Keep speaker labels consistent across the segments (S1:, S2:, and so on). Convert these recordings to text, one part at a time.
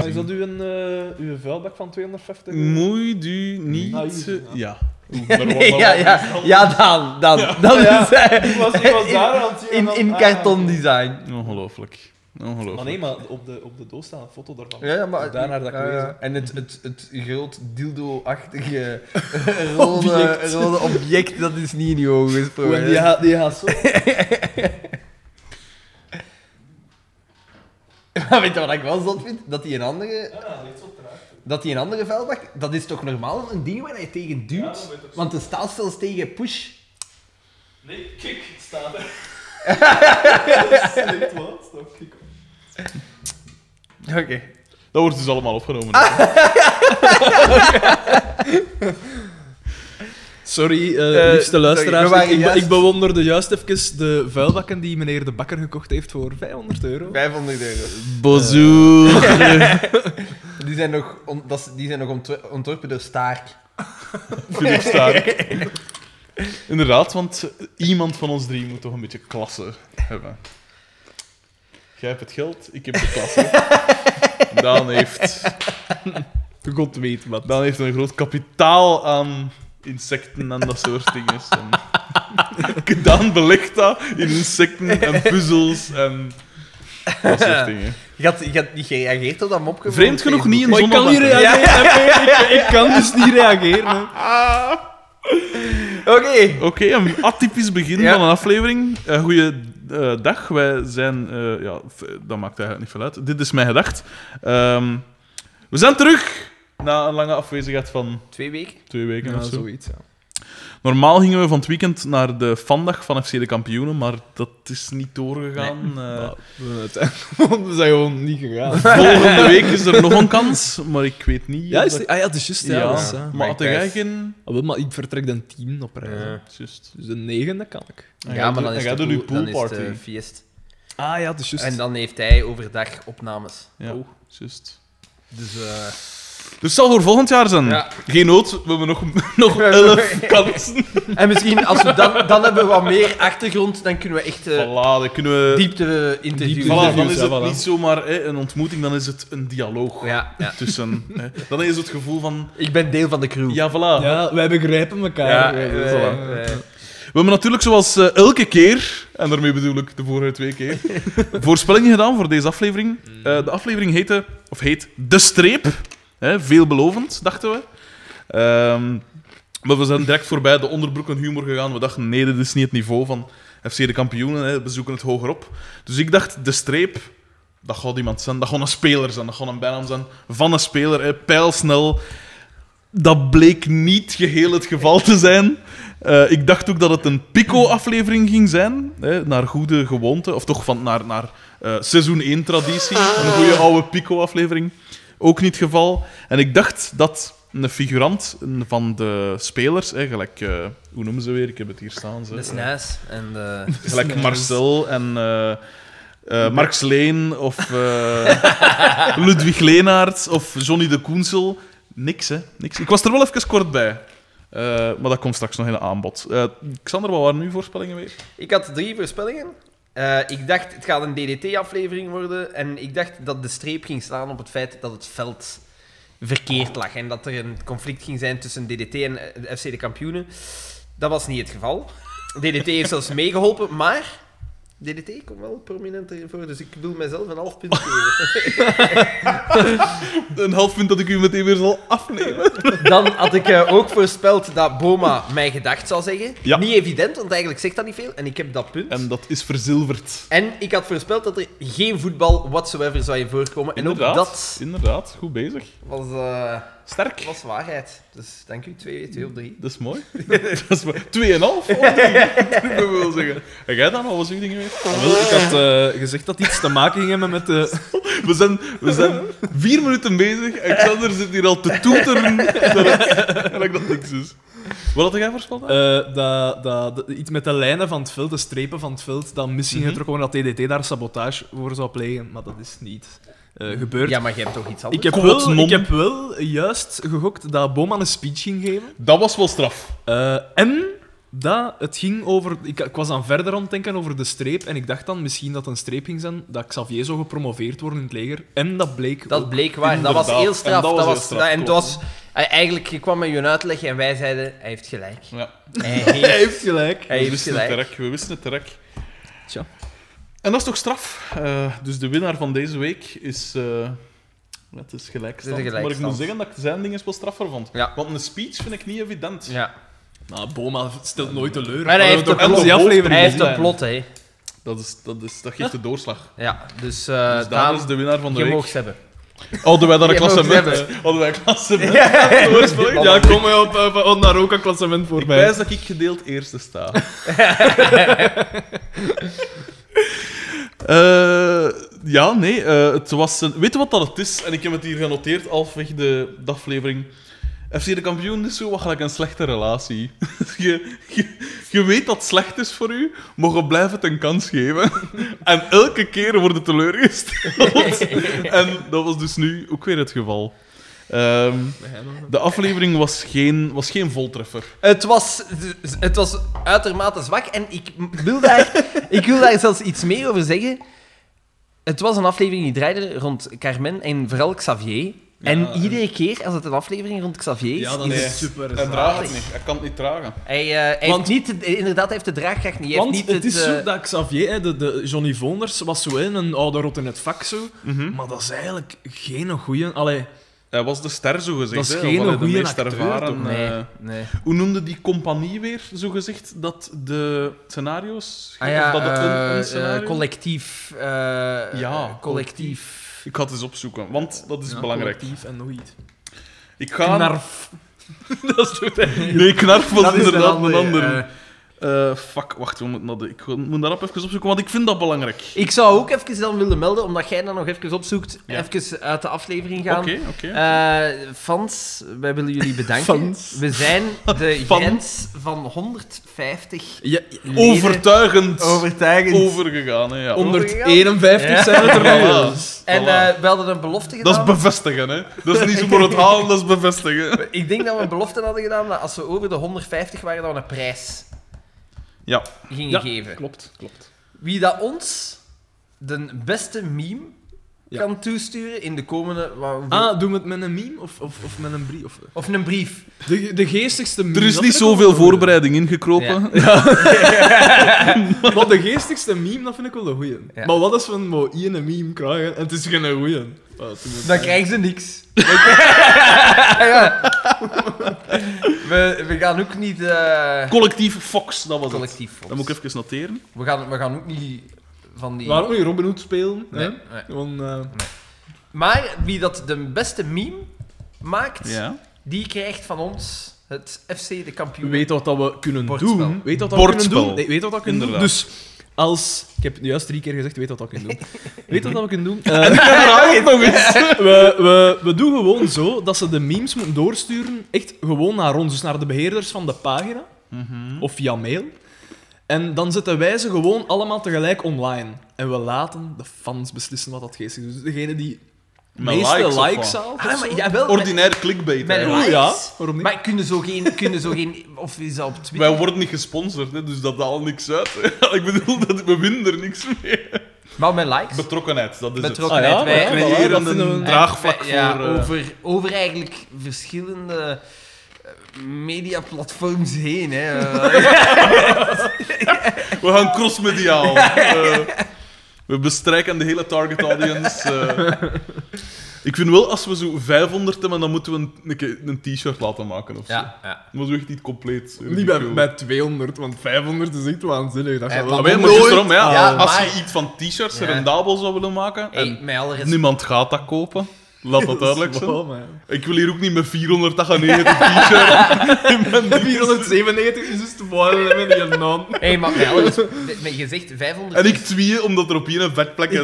S1: ik eh, van 250 euro?
S2: Moet u niet...
S1: Ah, hier,
S2: eh,
S1: ja.
S2: ja. Oeh, maar wat-
S3: Nee, ja, ja, ja, dan, dan. Dat
S1: Ja,
S3: is hij.
S1: Ik was, ik was daar aan het zien en
S3: In,
S1: dan-
S3: in
S1: ah,
S3: karton
S1: oké.
S3: design.
S2: Ongelooflijk. Ongelooflijk.
S1: Maar nee, maar op de, op de doos staat een foto daarvan.
S3: Ja, ja, maar...
S1: Op Daarnaar dat ik
S3: ja, ja.
S1: lees.
S3: En het, het, het groot dildo-achtige rode
S1: Object.
S3: object. rode object, dat is niet in je ogen
S1: Oeh,
S3: gesprongen.
S1: en die gaat, die gaat zo.
S3: Maar weet je wat ik wel zot vind? Dat die een andere,
S1: Ja, dit is zo traag.
S3: dat die een andere vuilbak, dat is toch normaal een ding waar je tegen
S1: Ja,
S3: duwt?
S1: dat weet ik
S3: Want de staat zelfs tegen push.
S1: Nee, kik staat er. Dat is niet wat, stop, kik.
S3: Oké.
S2: Dat wordt dus allemaal opgenomen.
S1: Sorry,
S3: Eh,
S1: eh liefste
S3: sorry,
S1: luisteraars.
S3: we waren
S1: ik, ik,
S3: juist-
S1: ik bewonderde juist even de vuilbakken die meneer De Bakker gekocht heeft voor 500 euro.
S3: 500 euro.
S2: Bozoer.
S3: Die zijn nog, on- dat is- die zijn nog ontwer- ontworpen door Staark.
S2: Philip Staart. Inderdaad, want iemand van ons drie moet toch een beetje klasse hebben. Jij hebt het geld, ik heb de klasse. Daan heeft,
S1: God weet wat.
S2: Daan heeft een groot kapitaal aan insecten en dat soort dingen. En Daan belegt dat in insecten en puzzels en dat soort dingen.
S3: Je had, je had niet gereageerd op dat mopje. van
S2: Vreemd genoeg niet
S3: Facebook.
S2: in
S1: Maar ik kan niet
S2: zonder
S1: reageren. Ik, ik kan dus niet reageren. hè.
S3: Oké.
S2: Oké, een atypisch begin
S3: Ja.
S2: van een aflevering. Eh Goeiedag, wij zijn... eh, ja, f- dat maakt eigenlijk niet veel uit. Dit is mijn gedacht. Ehm, we zijn terug na een lange afwezigheid van
S3: Twee weken.
S2: twee weken
S1: Ja,
S2: of zo.
S1: zoiets, ja.
S2: Normaal gingen we van het weekend naar de fandag van FC De Kampioenen, maar dat is niet doorgegaan. Eh,
S1: We zijn het- we zijn gewoon niet gegaan.
S2: volgende week is er nog een kans, maar ik weet niet...
S1: Ja,
S2: of
S1: is
S2: dat-
S1: die- ah, ja, het is juist. Ja,
S2: Ja,
S1: dat is, ja.
S2: maar had jij
S3: Prijs.
S2: geen...
S1: Ah, wel, maar ik vertrek de 10 op rij. hè.
S3: Ja.
S2: Juist.
S1: Dus de negende kan ik.
S2: En
S3: Ja,
S2: jij
S3: maar
S2: doet-
S3: dan is
S2: en jij
S3: de
S2: doet je
S3: pool- dan is het,
S2: poolparty.
S3: eh, feest.
S1: Ah ja, het is juist.
S3: En dan heeft hij overdag opnames.
S2: Ja,
S1: Oh.
S2: juist.
S1: Dus, eh,
S2: Dus het zal voor volgend jaar zijn.
S3: Ja.
S2: Geen nood, we hebben nog, nog Eh, elf kansen.
S3: En misschien, als we dan, dan hebben we wat meer achtergrond, dan kunnen we echt eh,
S2: voilà, dan kunnen we...
S3: diepte
S2: Voilà,
S3: interviewen.
S2: dan
S1: interviews,
S2: is
S1: hè,
S2: het
S1: voilà.
S2: niet zomaar hè, een ontmoeting, dan is het een dialoog.
S3: Ja, ja.
S2: Tussen, hè. Dan is het gevoel van...
S3: Ik ben deel van de crew.
S2: Ja, voilà.
S1: ja, wij begrijpen
S3: Ja,
S1: elkaar.
S3: eh,
S1: Wij-
S3: eh,
S1: wij-
S3: eh.
S2: We hebben natuurlijk zoals eh, elke keer, en daarmee bedoel ik de vorige twee keer, voorspellingen gedaan voor deze aflevering. Eh, de aflevering heette, of heet De Streep. Hè, veelbelovend, dachten we. Ehm, maar we zijn direct voorbij de onderbroekenhumor gegaan. We dachten, nee, dit is niet het niveau van FC de kampioenen. Hè, we zoeken het hoger op. Dus ik dacht, De Streep, dat gaat iemand zijn. Dat gaat een speler zijn. Dat gaat een bijnaam zijn van een speler. Hè, pijlsnel. Dat bleek niet geheel het geval te zijn. Eh, ik dacht ook dat het een Pico-aflevering ging zijn. Hè, naar goede gewoonte. Of toch van, naar, naar eh, seizoen 1-traditie. Een goede oude Pico-aflevering. Ook niet het geval. En ik dacht dat een figurant een van de spelers, eigenlijk, hoe noemen ze weer? Ik heb het hier staan. Ze,
S3: De snuis en de...
S2: Gelijk Marcel en eh eh Marx Leen of eh, Ludwig Leenaerts of Johnny de Koensel. Niks, hè. Niks. Ik was er wel even kort bij. Eh, maar dat komt straks nog in de aanbod. Eh, Xander, wat waren uw voorspellingen weer?
S3: Ik had drie voorspellingen. Eh, ik dacht, het gaat een DDT-aflevering worden. En ik dacht dat de streep ging slaan op het feit dat het veld verkeerd lag. En dat er een conflict ging zijn tussen DDT en eh, de FC de kampioenen. Dat was niet het geval. DDT heeft zelfs meegeholpen, maar... DDT komt wel prominenter voor, dus ik wil mezelf een half punt geven.
S2: Een half punt dat ik u meteen weer zal afnemen.
S3: Dan had ik eh, ook voorspeld dat Boma mijn gedacht zou zeggen.
S2: Ja.
S3: Niet evident, want eigenlijk zegt dat niet veel. En ik heb dat punt.
S2: En dat is verzilverd.
S3: En ik had voorspeld dat er geen voetbal whatsoever zou in voorkomen. En ook
S2: inderdaad,
S3: dat
S2: Inderdaad, goed bezig.
S3: was, eh,
S2: Sterk.
S3: was waarheid. Dus dank u, 2 op 3.
S2: Dat is mooi. dat is mooi. 2,5 of drie? Dat wil zeggen. En jij dan? Wat was uw ding weer?
S1: Ah, wel, ik had eh, gezegd dat iets te maken ging hebben met eh, de...
S2: We zijn, we zijn vier minuten bezig en Xander zit hier al te toeteren dat het- dat dat niks is. Wat had jij voorspeld? Daan?
S1: eh, dat, dat, dat- iets met de lijnen van het veld, de strepen van het veld, dat misschien
S2: Mhm.
S1: getrokken wordt dat TDT daar sabotage voor zou plegen. Maar dat is niet eh, gebeurd.
S3: Ja, maar jij hebt toch iets
S1: ik,
S3: anders?
S1: heb wel,
S2: Kotsmom.
S1: ik heb wel juist gegokt dat Boma een speech ging geven.
S2: Dat was wel straf.
S1: Eh, en dat het ging over. Ik, ik was dan verder aan het denken over de streep. En ik dacht dan misschien dat een streep ging zijn dat Xavier zou gepromoveerd worden in het leger. En dat bleek.
S3: Dat
S1: ook.
S3: bleek waar. Dat was
S2: Inderdaad.
S3: heel straf.
S2: En dat was
S3: dat
S2: heel
S3: was,
S2: straf,
S3: dat- en het
S2: klopt.
S3: was, eh, eigenlijk, je kwam met je uitleg en wij zeiden, hij heeft gelijk.
S2: Ja.
S3: Hij heeft,
S1: Hij heeft gelijk.
S2: we
S3: hij heeft
S2: wisten het
S3: gelijk.
S2: rek, we wisten het rek.
S1: Tja.
S2: En dat is toch straf? Eh, dus de winnaar van deze week is. eh het is gelijkstand.
S3: Het is een
S2: Maar ik
S3: gelijkstand.
S2: moet zeggen dat ik zijn dingen wel straffer vond.
S3: Ja.
S2: Want een speech vind ik niet evident.
S3: Ja.
S1: Nou, Boma stelt nooit teleur.
S3: Maar hij heeft
S1: toch
S3: de plot.
S1: die aflevering
S3: Hij heeft
S1: gezien.
S3: een plot, hè.
S2: Dat, is, dat, is, dat geeft de doorslag.
S3: Ja, dus eh
S2: dus daar
S3: Daan,
S2: is de winnaar van de
S3: je
S2: week.
S3: mag ze hebben.
S2: Hadden wij daar een
S3: Je mag ze
S2: klassement?
S3: hebben.
S2: eh, Hadden wij een klassement?
S1: Voorspelling? Ja, kom maar op, eh, op naar ook een klassement voor
S2: Ik
S1: mij.
S2: wijs dat ik gedeeld eerste sta. Eh, ja, nee. eh, het was een... Weet je wat dat het is? En ik heb het hier genoteerd, halfweg de, de aflevering. FC de kampioen is zo wat gelijk een slechte relatie. je, je, je weet dat het slecht is voor u, maar je blijft het een kans geven. en elke keer worden teleurgesteld. en dat was dus nu ook weer het geval. Ehm, de aflevering was geen, was geen voltreffer.
S3: Het was, het was uitermate zwak en ik wil, daar, ik wil daar zelfs iets meer over zeggen. Het was een aflevering die draaide rond Carmen en vooral Xavier. en iedere keer als het een aflevering rond Xavier is,
S1: eh, Ja, dan
S3: is
S1: is
S3: het-
S1: het super.
S2: Hij
S1: raar.
S2: draagt het niet. Hij kan het niet dragen.
S3: Hij, eh, hij heeft
S1: Want-
S3: niet, de- inderdaad, hij heeft de draagkracht niet. Hij
S1: Want
S3: heeft niet
S1: het is
S3: eh,
S1: zo dat Xavier, hè, de, de Johnny Vonders, was zo hè, een oude rot in het vak zo. Maar dat is eigenlijk geen goeie. Allee,
S2: Hij was de ster, zo gezegd.
S1: Dat is
S2: hè,
S1: geen
S2: of allee, de
S1: goeie
S2: meest
S1: acteur,
S2: ervaren.
S1: toch?
S2: eh,
S3: Nee, nee.
S2: hoe noemde die compagnie weer, zo gezegd, dat de scenario's.
S3: Ah ja,
S2: of dat het een- een
S3: eh,
S2: scenario-
S3: eh, collectief. eh, eh, collectief.
S2: Ik ga het eens opzoeken, want dat is
S1: ja,
S2: belangrijk.
S1: collectief en nog iets.
S2: Ik ga.
S1: Knarf.
S2: dat is het, hè. Nee, knarf was inderdaad een ander.
S3: eh,
S2: fuck, wacht, we moeten dat- ik ga- moet dat even opzoeken, want ik vind dat belangrijk.
S3: ik zou ook even dan willen melden, omdat jij dat nog even opzoekt,
S2: Ja.
S3: even uit de aflevering
S2: Oké,
S3: gaan.
S2: oké.
S3: Eh, fans, wij willen jullie bedanken.
S1: Fans.
S3: We zijn de
S2: Fans.
S3: grens van 150
S1: Ja,
S3: leden
S2: Overtuigend
S3: overtuigend.
S2: overgegaan, hè, ja.
S3: Onder-
S1: 151
S3: Ja.
S1: zijn het er nu.
S2: Voilà.
S1: dus.
S3: En
S2: Voilà.
S3: eh, we hadden een belofte
S2: Dat is
S3: gedaan.
S2: bevestigen, hè. Dat is niet zomaar het halen, dat is bevestigen.
S3: Ik denk dat we een belofte hadden gedaan dat als we over de 150 waren, dat we een prijs
S2: Ja.
S3: gingen
S1: Ja,
S3: geven.
S1: Klopt, klopt.
S3: Wie dat ons de beste meme
S1: Ja.
S3: kan toesturen in de komende... wa- hoeveel-
S1: Ah, doen we het met een meme of, of, of met een brief? Of...
S3: Of een brief.
S1: De, de geestigste meme.
S2: Er is
S1: dat
S2: niet
S1: vind ik
S2: zoveel
S1: wel een goeie.
S2: voorbereiding ingekropen.
S1: Maar de geestigste meme, dat vind ik wel een goeie.
S3: Ja.
S1: Maar wat als we een mooi een meme krijgen en het is geen goeie? Ah, het is-
S3: Dan krijgen ze niks. we, we gaan ook niet... eh,
S2: Collectief Fox, dat was het.
S3: collectief
S2: Dat moet ik even noteren.
S3: we, gaan, we gaan ook niet van die...
S1: Waarom moet je Robin Hood spelen?
S3: Nee,
S1: hè?
S3: nee.
S1: Gewoon, eh,
S3: Maar wie dat de beste meme maakt,
S2: Ja.
S3: die krijgt van ons het FC de kampioen.
S1: weet wat dat we kunnen
S3: Bordspel.
S1: doen. Weet wat dat we kunnen
S2: Bordspel.
S1: doen. Nee, weet wat dat we kunnen doen.
S2: Inderdaad.
S1: Dus als... Ik heb het juist drie keer gezegd, weet wat dat we kunnen doen. weet wat dat we kunnen doen. Eh,
S2: nog eens.
S1: we, we, we doen gewoon zo dat ze de memes moeten doorsturen. Echt gewoon naar ons. Dus naar de beheerders van de pagina.
S2: Mhm.
S1: Of via mail. En dan zetten wij ze gewoon allemaal tegelijk online. En we laten de fans beslissen wat dat geest is. Dus degene die de
S2: Met
S1: meeste
S2: likes
S1: likes,
S2: of wat?
S1: haalt. of
S3: Ah,
S1: zo.
S3: maar, jawel, met-
S2: Ordinair clickbait.
S3: met
S2: eigenlijk.
S1: Oeh,
S3: likes.
S1: ja, waarom niet?
S3: Maar kunnen zo geen... Kunnen zo geen of is dat op Twitter?
S2: Wij worden niet gesponsord, hè, dus dat haalt niks uit. Ik bedoel, dat we winnen er niks mee.
S3: Maar met likes?
S2: Betrokkenheid, dat is
S3: Betrokken-
S1: Ah ja,
S3: Met wij,
S1: wij
S2: het.
S3: hè?
S2: We
S1: creëren
S2: creëren
S1: een-
S2: een draagvlak
S3: ja,
S2: voor... eh,
S3: over, over eigenlijk verschillende eh, mediaplatforms heen. Hè. Eh,
S2: We gaan crossmediaal. Eh, we bestrijken de hele target audience. eh. ik vind wel, als we zo 500 hebben, dan moeten we een, een, keer een t-shirt laten maken of zo.
S3: ja, ja.
S2: Maar zo echt niet compleet.
S1: Niet bij,
S2: ridicule.
S1: bij 200, want 500 is echt waanzinnig. Dat
S3: Eh,
S1: gaat
S3: maar
S1: wel
S2: Ah, wel, maar
S1: nooit-
S2: juist daarom, ja,
S3: Ja,
S2: als
S3: maar-
S2: je iets van t-shirts
S3: Ja.
S2: rendabel zou willen maken,
S3: Hey,
S2: en
S3: met alle respect.
S2: niemand gaat dat kopen, laat dat duidelijk zijn.
S1: Wow, man.
S2: Ik wil hier ook niet met 498 t-shirts in mijn ding.
S1: 497 is dus te veel met die naam.
S3: Hey, maar met alle respect, met- met- je zegt 500...
S2: En ik tweeën omdat er op één een vetplek is.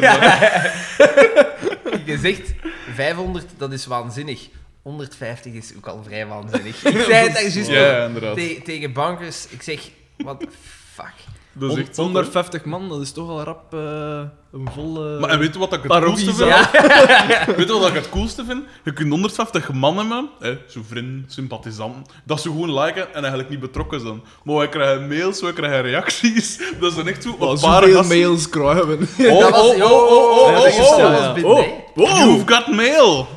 S3: Je zegt 500, dat is waanzinnig. 150 is ook al vrij waanzinnig. Ik zei het daar juist
S2: Ja,
S3: nog
S2: inderdaad.
S3: te- tegen bankers. Ik zeg, wat fuck.
S2: Dat is echt zot, hè.
S1: 150 man, dat is toch al rap eh, een volle.
S2: Maar en weet je wat ik het
S1: Parodiezaal.
S2: coolste vind? Weet je wat ik het coolste vind? Je kunt 150 mannen hebben, hè, zo vriend, sympathisant, dat ze gewoon liken en eigenlijk niet betrokken zijn. Maar wij krijgen mails, wij krijgen reacties. Dat zijn echt zo een paar
S1: zoveel
S2: gasten-
S1: mails krijgen.
S2: Oh,
S3: Dat was-
S2: oh, oh, oh, oh, oh,
S3: Ja, dat is
S2: oh,
S3: stel,
S2: oh.
S3: ja.
S1: oh,
S2: Wow. You've got mail!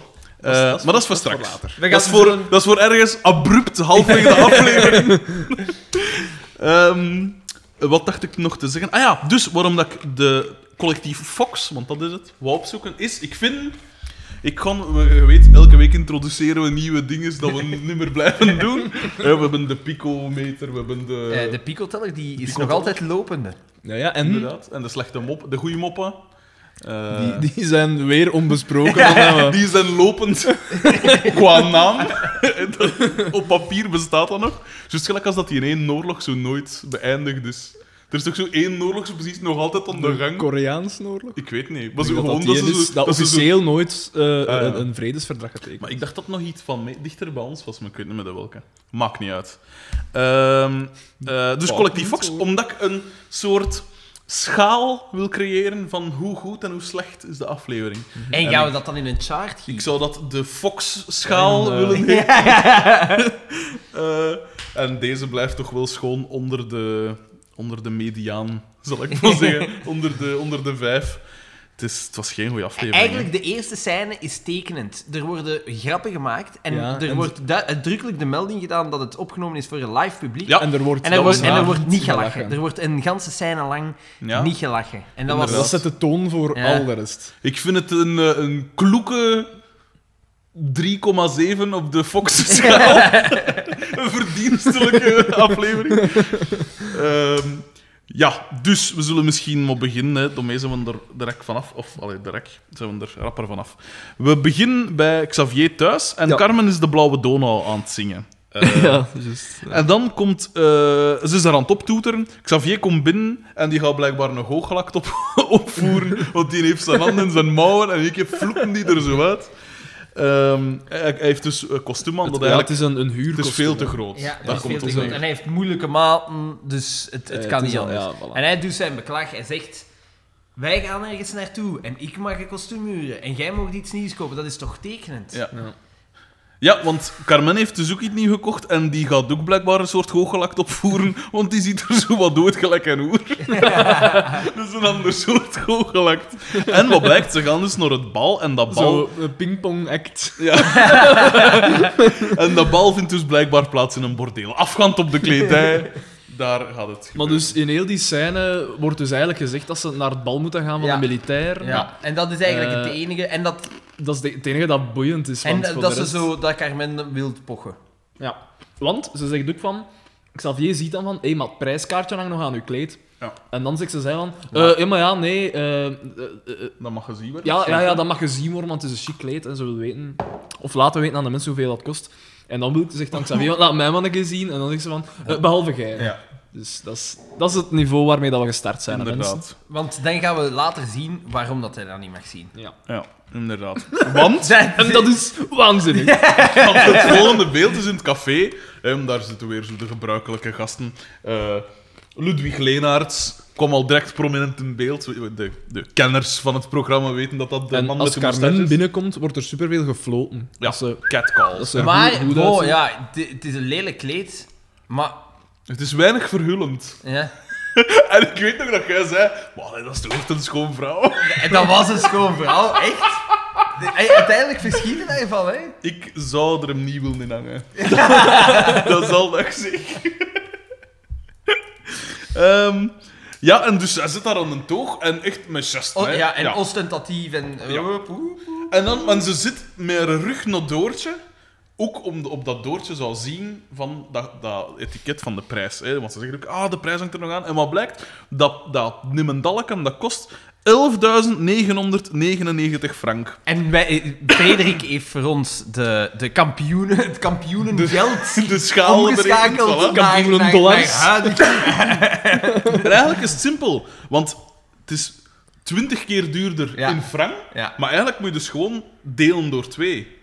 S2: Eh, maar dat is voor straks.
S3: We
S2: Dat, is
S3: gaan
S2: voor,
S3: doen-
S2: dat is voor ergens abrupt halverwege de aflevering. Ehm, wat dacht ik nog te zeggen? Ah ja, dus waarom dat ik de collectief Fox, want dat is het, wou opzoeken, is ik vind. Ik kan, we- je weet, elke week introduceren we nieuwe dingen dat we niet meer blijven doen. Eh, we hebben de picometer, we hebben de.
S3: Eh, de picoteller die is nog
S2: picoteller.
S3: altijd lopende.
S1: Ja, ja, en
S2: inderdaad, en de slechte mop, de goede moppen. Eh,
S1: die, die zijn weer onbesproken. eh,
S2: Ja, Die zijn lopend qua naam. Dat- Op papier bestaat dat nog. Juist gelijk als dat die in één oorlog zo nooit beëindigd is. Er is toch zo één oorlog zo precies nog altijd aan de gang?
S1: Koreaans oorlog.
S2: Ik weet niet.
S1: Ik
S2: Maar zo
S1: denk
S2: gewoon
S1: dat,
S2: dat
S1: die
S2: ze
S1: is
S2: zo-
S1: dat
S2: dat ze zo-
S1: officieel nooit eh,
S2: ja.
S1: een, een vredesverdrag getekend.
S2: Maar ik dacht dat nog iets van me- dichter bij ons was, maar ik weet niet meer dat welke. Maakt niet uit. Ehm, eh, dus
S1: Fuck,
S2: Collectief
S1: niet
S2: Fox,
S1: zo.
S2: omdat ik een soort schaal wil creëren van hoe goed en hoe slecht is de aflevering.
S3: En gaan we dat dan in een chart
S2: Ik
S3: gieten?
S2: zou dat de Fox-schaal
S1: En, eh,
S2: willen nemen. Eh, en deze blijft toch wel schoon onder de, onder de mediaan, zal ik maar zeggen. onder, de, onder de vijf. Het, is, het was geen goede aflevering. hè.
S3: Eigenlijk, de eerste scène is tekenend. Er worden grappen gemaakt en
S1: Ja,
S3: er
S1: en-
S3: wordt du- uitdrukkelijk de melding gedaan dat het opgenomen is voor een live publiek.
S2: Ja.
S1: En er wordt,
S3: En er,
S1: dat
S3: wordt,
S1: is
S3: en er
S1: waar,
S3: wordt niet gelachen. Er wordt een ganse scène lang
S2: Ja.
S3: niet gelachen. En dat
S1: Dat
S3: was...
S2: Inderdaad.
S1: zet de toon voor
S3: Ja.
S1: al de rest.
S2: Ik vind het een, eh, een kloeke 3,7 op de Fox-schaal. een verdienstelijke aflevering. Ehm, ja, dus we zullen misschien maar beginnen. hè. Daarmee zijn we er direct vanaf. Of, allee, direct zijn we er rapper vanaf. We beginnen bij Xavier thuis. En
S1: Ja.
S2: Carmen is de Blauwe Donau aan het zingen. Eh,
S1: Ja, juist.
S2: en dan komt... eh, ze is daar aan het optoeteren. Xavier komt binnen en die gaat blijkbaar een hooggelakt op, opvoeren. Want die heeft zijn handen in zijn mouwen en ik heb vloeken die er zo uit. Ehm, hij, hij heeft dus een kostuum aan dat
S1: Het, ja, het
S2: eigenlijk...
S1: is een, een
S2: Het
S1: huurkostuum.
S2: is veel te groot.
S3: Ja,
S2: Daar
S3: dat
S2: komt
S3: is veel
S2: het
S3: te
S2: op
S3: goed.
S2: neer.
S3: En hij heeft moeilijke maten, dus het, het
S1: Eh,
S3: kan
S1: het is
S3: niet
S1: al-
S3: anders.
S1: ja, voilà.
S3: En hij doet zijn beklag. Hij zegt... Wij gaan ergens naartoe en ik mag een kostuum huren en jij mag iets nieuws kopen. Dat is toch tekenend?
S2: Ja. Ja, want Carmen heeft dus ook iets nieuw gekocht en die gaat ook blijkbaar een soort hooggelakt opvoeren, want die ziet er zo wat dood gelijk aan oer. dat is een ander soort hooggelakt. En wat blijkt, ze gaan dus naar het bal en dat bal...
S1: Zo, een pingpong act.
S2: Ja. en dat bal vindt dus blijkbaar plaats in een bordeel. Afgaand op de kledij, daar gaat het.
S1: Maar dus in heel die scène wordt dus eigenlijk gezegd dat ze naar het bal moeten gaan van
S3: Ja.
S1: de militair.
S3: Ja, en dat is eigenlijk
S1: Eh,
S3: het enige. En dat,
S1: Dat is de, het enige dat boeiend is.
S3: en
S1: Want
S3: dat
S1: voor
S3: dat
S1: de
S3: ze
S1: rest-
S3: zo dat Carmen wil pochen.
S1: Ja. Want ze zegt ook van... Xavier ziet dan van, hé, maar het prijskaartje hangt nog aan uw kleed.
S2: Ja.
S1: En dan zegt ze zij van, eh,
S2: Ja.
S1: ja, maar ja, nee, eh, eh, eh, eh,
S2: Dat mag gezien worden.
S1: ja, ja, ja, dat mag gezien worden, want het is een chic kleed en ze wil weten, of laten weten aan de mensen hoeveel dat kost. En dan wil- zegt dan Xavier, laat mij maar een keer zien. En dan zegt ze van, eh, behalve jij.
S2: Ja,
S1: Dus dat is, dat is het niveau waarmee dat we gestart zijn. hè, mensen.
S2: inderdaad.
S3: Want dan gaan we later zien waarom dat hij dat niet mag zien.
S1: Ja.
S2: Ja, inderdaad. Want...
S1: En dat is waanzinnig.
S2: Want het volgende beeld is in het café. En daar zitten weer zo de gebruikelijke gasten. Eh, Ludwig Leenaerts kwam al direct prominent in beeld. De, de kenners van het programma weten dat dat de
S1: En
S2: man
S1: als
S2: met de moustache
S1: Carmen eh,
S2: is.
S1: binnenkomt, wordt er superveel gefloten.
S2: Ja,
S1: Dat ze,
S2: catcall.
S1: dat ze er goed-
S3: maar,
S1: goed
S3: oh
S1: uitzien.
S3: ja, het- het is een lelijk kleed. Maar,
S2: Het is weinig verhullend.
S3: ja.
S2: En ik weet nog dat jij zei... "Wauw, dat is toch echt een schoon vrouw?
S3: En dat was een schoon verhaal, echt. De- hey, uiteindelijk verschieten daarvan, hè?
S2: Ik zou er hem niet willen in hangen. dat zal ik zeggen. Ehm, ja, en dus hij zit daar aan een toog en echt met gesten.
S3: O-
S2: hè.
S3: Oh, ja, en ostentatief en. eh,
S2: Ja.
S3: woep, woep.
S2: En dan, en ze zit met haar rug naar Doortje. Ook om de- op dat Doortje zou zien van dat, dat etiket van de prijs. Hè? Want ze zeggen ook, ah, de prijs hangt er nog aan. En wat blijkt? Dat, dat Nimmendalken, dat kost 11.999 frank.
S3: En wij, eh, Frederik heeft voor ons de, de kampioenen, het kampioenengeld
S2: De schaal
S3: omgeschakeld
S2: berekend, voilà.
S3: naar,
S1: Kampioenen
S3: naar, naar
S1: dollars.
S3: huidige
S2: En eigenlijk is het simpel. Want het is 20 keer duurder
S3: Ja.
S2: in frank.
S3: Ja.
S2: Maar eigenlijk moet je dus gewoon delen door twee.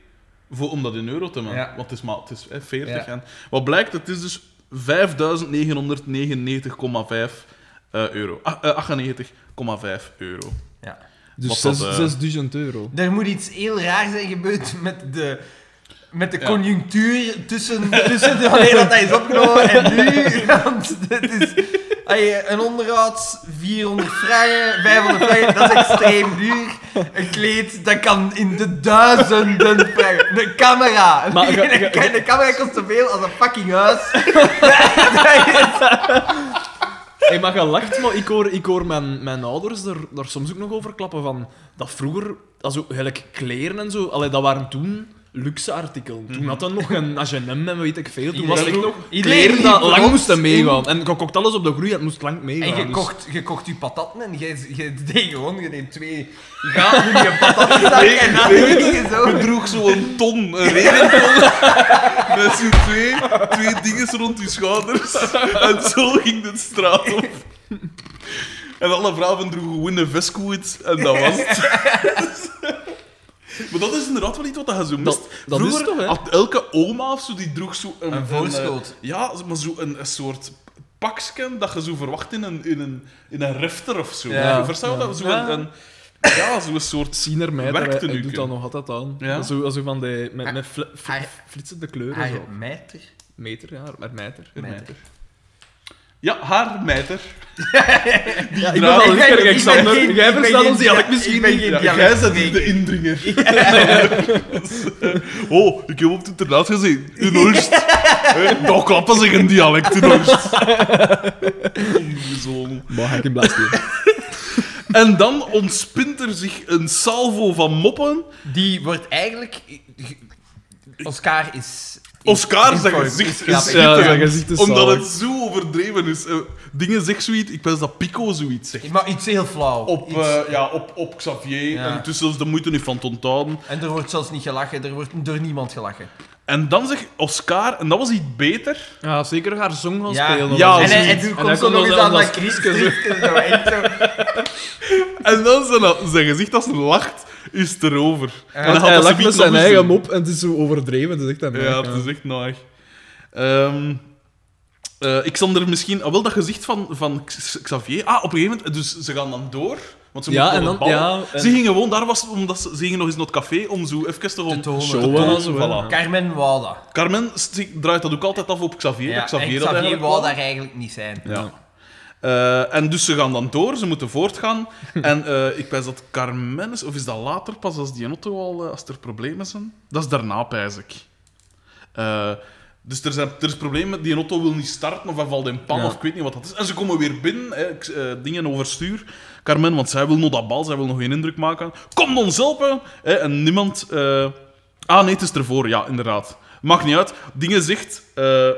S2: Voor, om dat in euro te maken.
S3: Ja.
S2: Want het is, maar, het is hè, 40.
S3: Ja.
S2: En wat blijkt, het is dus 5.999,5 eh eh, euro. Ah, eh, 98,5 euro.
S3: Ja.
S1: Dus
S2: Wat dat,
S1: zes-
S2: eh,
S1: 6000 euro.
S3: Er moet iets heel raar zijn gebeurd met de, met de conjunctuur tussen, tussen wanneer dat hij is opgenomen en nu. Want dit is, allee, een onderhoud, 400 frangen, 500 frangen, dat is extreem duur. Een kleed, dat kan in de duizenden frangen. Een camera.
S1: Maar ga-
S3: een,
S1: ga-
S3: een camera kost zoveel als een fucking huis.
S1: Hey, maar je lacht, maar ik hoor, ik hoor mijn, mijn ouders daar, daar soms ook nog over klappen van dat vroeger, dat zo, gelijk kleren en zo, allee, dat waren toen luxe artikelen.
S3: Mhm.
S1: Toen had dat nog een H&M en weet ik veel. Toen was het echt nog kleren dat
S3: liep
S1: lang
S3: rond
S1: moesten
S3: in-
S1: meegaan. En je kocht alles op de groei, het moest lang meegaan.
S3: En je
S1: dus-
S3: kocht, je kocht je patatten en je, je deed gewoon, je neemt twee gaten in je patatzak en dan deed je
S2: Ik
S3: zo.
S2: droeg zo'n ton, een regenton, met zo'n twee, twee dingen rond je schouders. En zo ging de straat op. En alle vrouwen droegen gewoon een vestkoet en dat was het. Maar dat is inderdaad wel iets wat je zo mist.
S1: Dat- dat is
S2: Vroeger
S1: toch, hè?
S2: had elke oma of zo, die droeg zo een...
S3: Een voorschoot.
S2: eh, ja, maar zo een, een soort paksken dat je zo verwacht in een, in een, in een refter of zo.
S1: Ja.
S2: Je Verstaan wat dat? Zo'n
S1: Ja.
S2: een, ja, zo'n soort...
S1: Siener mij,
S2: Werkt
S1: hij,
S2: het
S1: hij
S2: nu,
S1: doet
S2: Kim?
S1: dat nog altijd aan.
S2: Ja?
S1: Zo, zo van die, met, met fli- fli-
S3: Haar-
S1: flitsende kleuren.
S3: Ah,
S1: zo.
S3: je mijter.
S1: Meter, ja, maar meter.
S3: Mijter.
S2: Ja, haar mijter.
S1: Ja, ik
S2: draag-
S1: ben wel
S3: Ik ben- ik
S1: lekker,
S3: ben
S1: Alexander.
S3: geen-
S1: Jij
S3: ik ben
S1: verstaat
S3: geen-
S1: ons dialect
S3: ik ben
S1: misschien
S3: geen-
S1: niet.
S2: Ja,
S3: Ja,
S2: jij
S3: dat
S2: bent
S3: weet
S2: de
S3: ik.
S2: indringer. oh, ik heb op het internaat gezien. In Ulst. Hè, Daar Eh, nou, klappen ze een dialect in Ulst. Ongezonnen.
S1: Maar ga ik in blaas doen.
S2: En dan ontspint er zich een salvo van moppen.
S3: Die wordt eigenlijk... Oscar is...
S2: Oscar, zijn
S3: vorm.
S2: gezicht is
S3: Ja,
S1: ja,
S3: eh,
S1: zijn
S2: schitterend.
S1: gezicht is
S2: omdat
S1: zalig.
S2: het zo overdreven is. Eh, Dingen zegt zoiets, ik wens dat Pico zoiets zegt.
S3: Maar iets heel flauw.
S2: Op,
S3: Iets-
S2: eh, ja, op, op Xavier.
S3: Ja.
S2: En het is zelfs de moeite niet van te onthouden.
S3: En er wordt zelfs niet gelachen, er wordt door niemand gelachen.
S2: En dan zegt Oscar, en dat was iets beter.
S1: Ja, zeker haar song gaan
S3: Ja.
S1: spelen.
S2: Ja,
S1: of
S3: en,
S1: zo.
S3: en, en toen komt zo nog eens aan dat
S1: kriekske zo.
S3: kriekske zo. En zo.
S2: En dan zijn, zijn gezicht als hij lacht, is het erover. en
S1: Want
S2: gaat
S1: hij
S2: dat
S1: lacht
S2: zoiets
S1: met zijn
S2: nog
S1: eigen
S2: eens doen.
S1: mop en het is zo overdreven. Dat is echt een
S2: Ja,
S1: merk,
S2: het is echt naag. Ehm, eh, ik zal er misschien... Ah, wel dat gezicht van, van X- Xavier... Ah, op een gegeven moment... Dus ze gaan dan door... Want ze
S1: Ja,
S2: moeten
S1: en
S2: nog
S1: dan-
S2: wat ballen.
S1: ja, en-
S2: Ze gingen gewoon... Daar was omdat ze, ze gingen nog eens naar het café om zo even te, gewoon
S3: tonen.
S2: te
S1: Showen
S2: tonen,
S1: en zo, hè.
S2: voilà.
S3: Carmen wou dat.
S2: Carmen st- draait dat ook altijd af op Xavier.
S3: Ja,
S2: dat Xavier,
S3: en
S2: dat
S3: Xavier
S2: eigenlijk
S3: wou
S2: wou.
S3: daar eigenlijk niet zijn.
S2: Ja. Eh, en dus ze gaan dan door, ze moeten voortgaan. en eh, ik wijs dat Carmen is, of is dat later pas als die auto al, eh, als er problemen zijn? Dat is daarna, pijs ik. Eh, dus er, zijn, er is problemen met die auto wil niet starten of hij valt in pan
S1: Ja.
S2: of ik weet niet wat dat is. En ze komen weer binnen, hè, ik- eh, dingen overstuur. Carmen, want zij wil nog dat bal, zij wil nog geen indruk maken. Kom ons helpen! Hè, en niemand. eh, Ah nee, het is ervoor, ja, inderdaad. Maakt niet uit. Dingen zegt. eh, eh,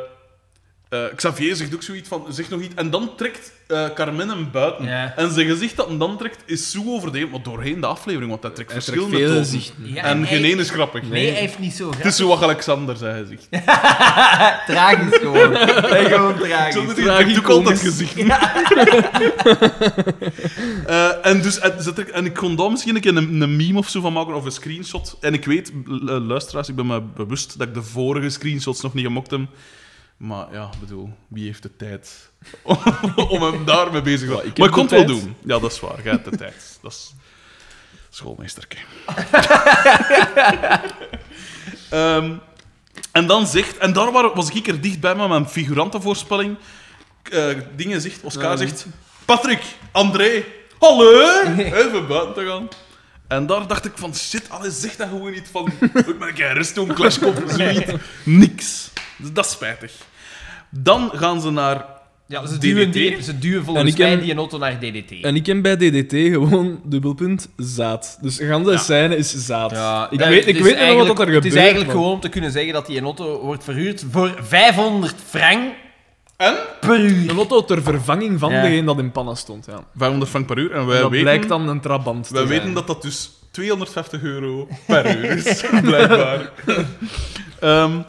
S2: Xavier zegt ook zoiets van, zegt nog iets. En dan trekt eh, Carmen hem buiten.
S3: Ja.
S2: En zijn gezicht dat hem dan trekt is zo overdreven, maar doorheen de aflevering, want hij trekt
S1: Hij trekt
S2: verschillende
S1: veel
S2: tonen.
S1: gezichten.
S3: Ja,
S2: en geen Dus-
S3: hij-
S2: ene is grappig.
S3: Nee, hij heeft niet zo graag.
S2: Het is zo wat Alexander, zijn gezicht.
S3: Tragisch gewoon. Nee, gewoon
S2: Zo
S3: tragisch.
S2: moet je ik doe ook altijd gezichten. Eh, en, dus, en, zet ik, en ik kon daar misschien een keer een, een meme of zo van maken, of een screenshot. En ik weet, l- eh, luisteraars, ik ben me bewust dat ik de vorige screenshots nog niet gemokt heb. Maar ja, ik bedoel, wie heeft de tijd om, om hem daarmee bezig te houden?
S1: ik
S2: maar ik
S1: heb
S2: kon het
S1: de
S2: wel
S1: tijd.
S2: doen. Ja, dat is waar. Jij hebt de tijd. Dat is schoolmeesterke. Ehm, en dan zegt, en daar waren- was ik er dichtbij met mijn figurantenvoorspelling. Eh, dingen zegt, Oscar zegt: Patrick, André, hallo! Even buiten te gaan. En daar dacht ik van shit, alles zegt dat gewoon niet van. Ik ben een keer rust doen, clash komt zoiets. Niks. Dus dat is spijtig. Dan gaan ze naar.
S3: Ja, ze
S2: DDT.
S3: duwen, die, ze duwen
S1: En
S3: volgens
S1: ik heb-
S3: mij die auto naar DDT.
S1: En ik heb bij DDT gewoon dubbelpunt zaad. Dus gaan de
S2: Ja.
S1: scène is zaad.
S3: Ja,
S1: ik
S3: dat-
S1: weet,
S3: het
S1: ik
S3: is
S1: weet nog wat
S3: eigenlijk-
S1: dat er gebeurt.
S3: Het is eigenlijk
S1: man.
S3: gewoon om te kunnen zeggen dat die auto wordt verhuurd voor 500 frank
S2: En?
S3: per uur.
S1: Een lotto ter vervanging van
S3: Ja.
S1: degene dat in pannen stond. Ja.
S2: 500 frank per uur. En wij
S1: dat
S2: weten,
S1: blijkt dan een trabant te
S2: wij
S1: zijn.
S2: weten dat dat dus 250 euro per uur is, blijkbaar. Ehm,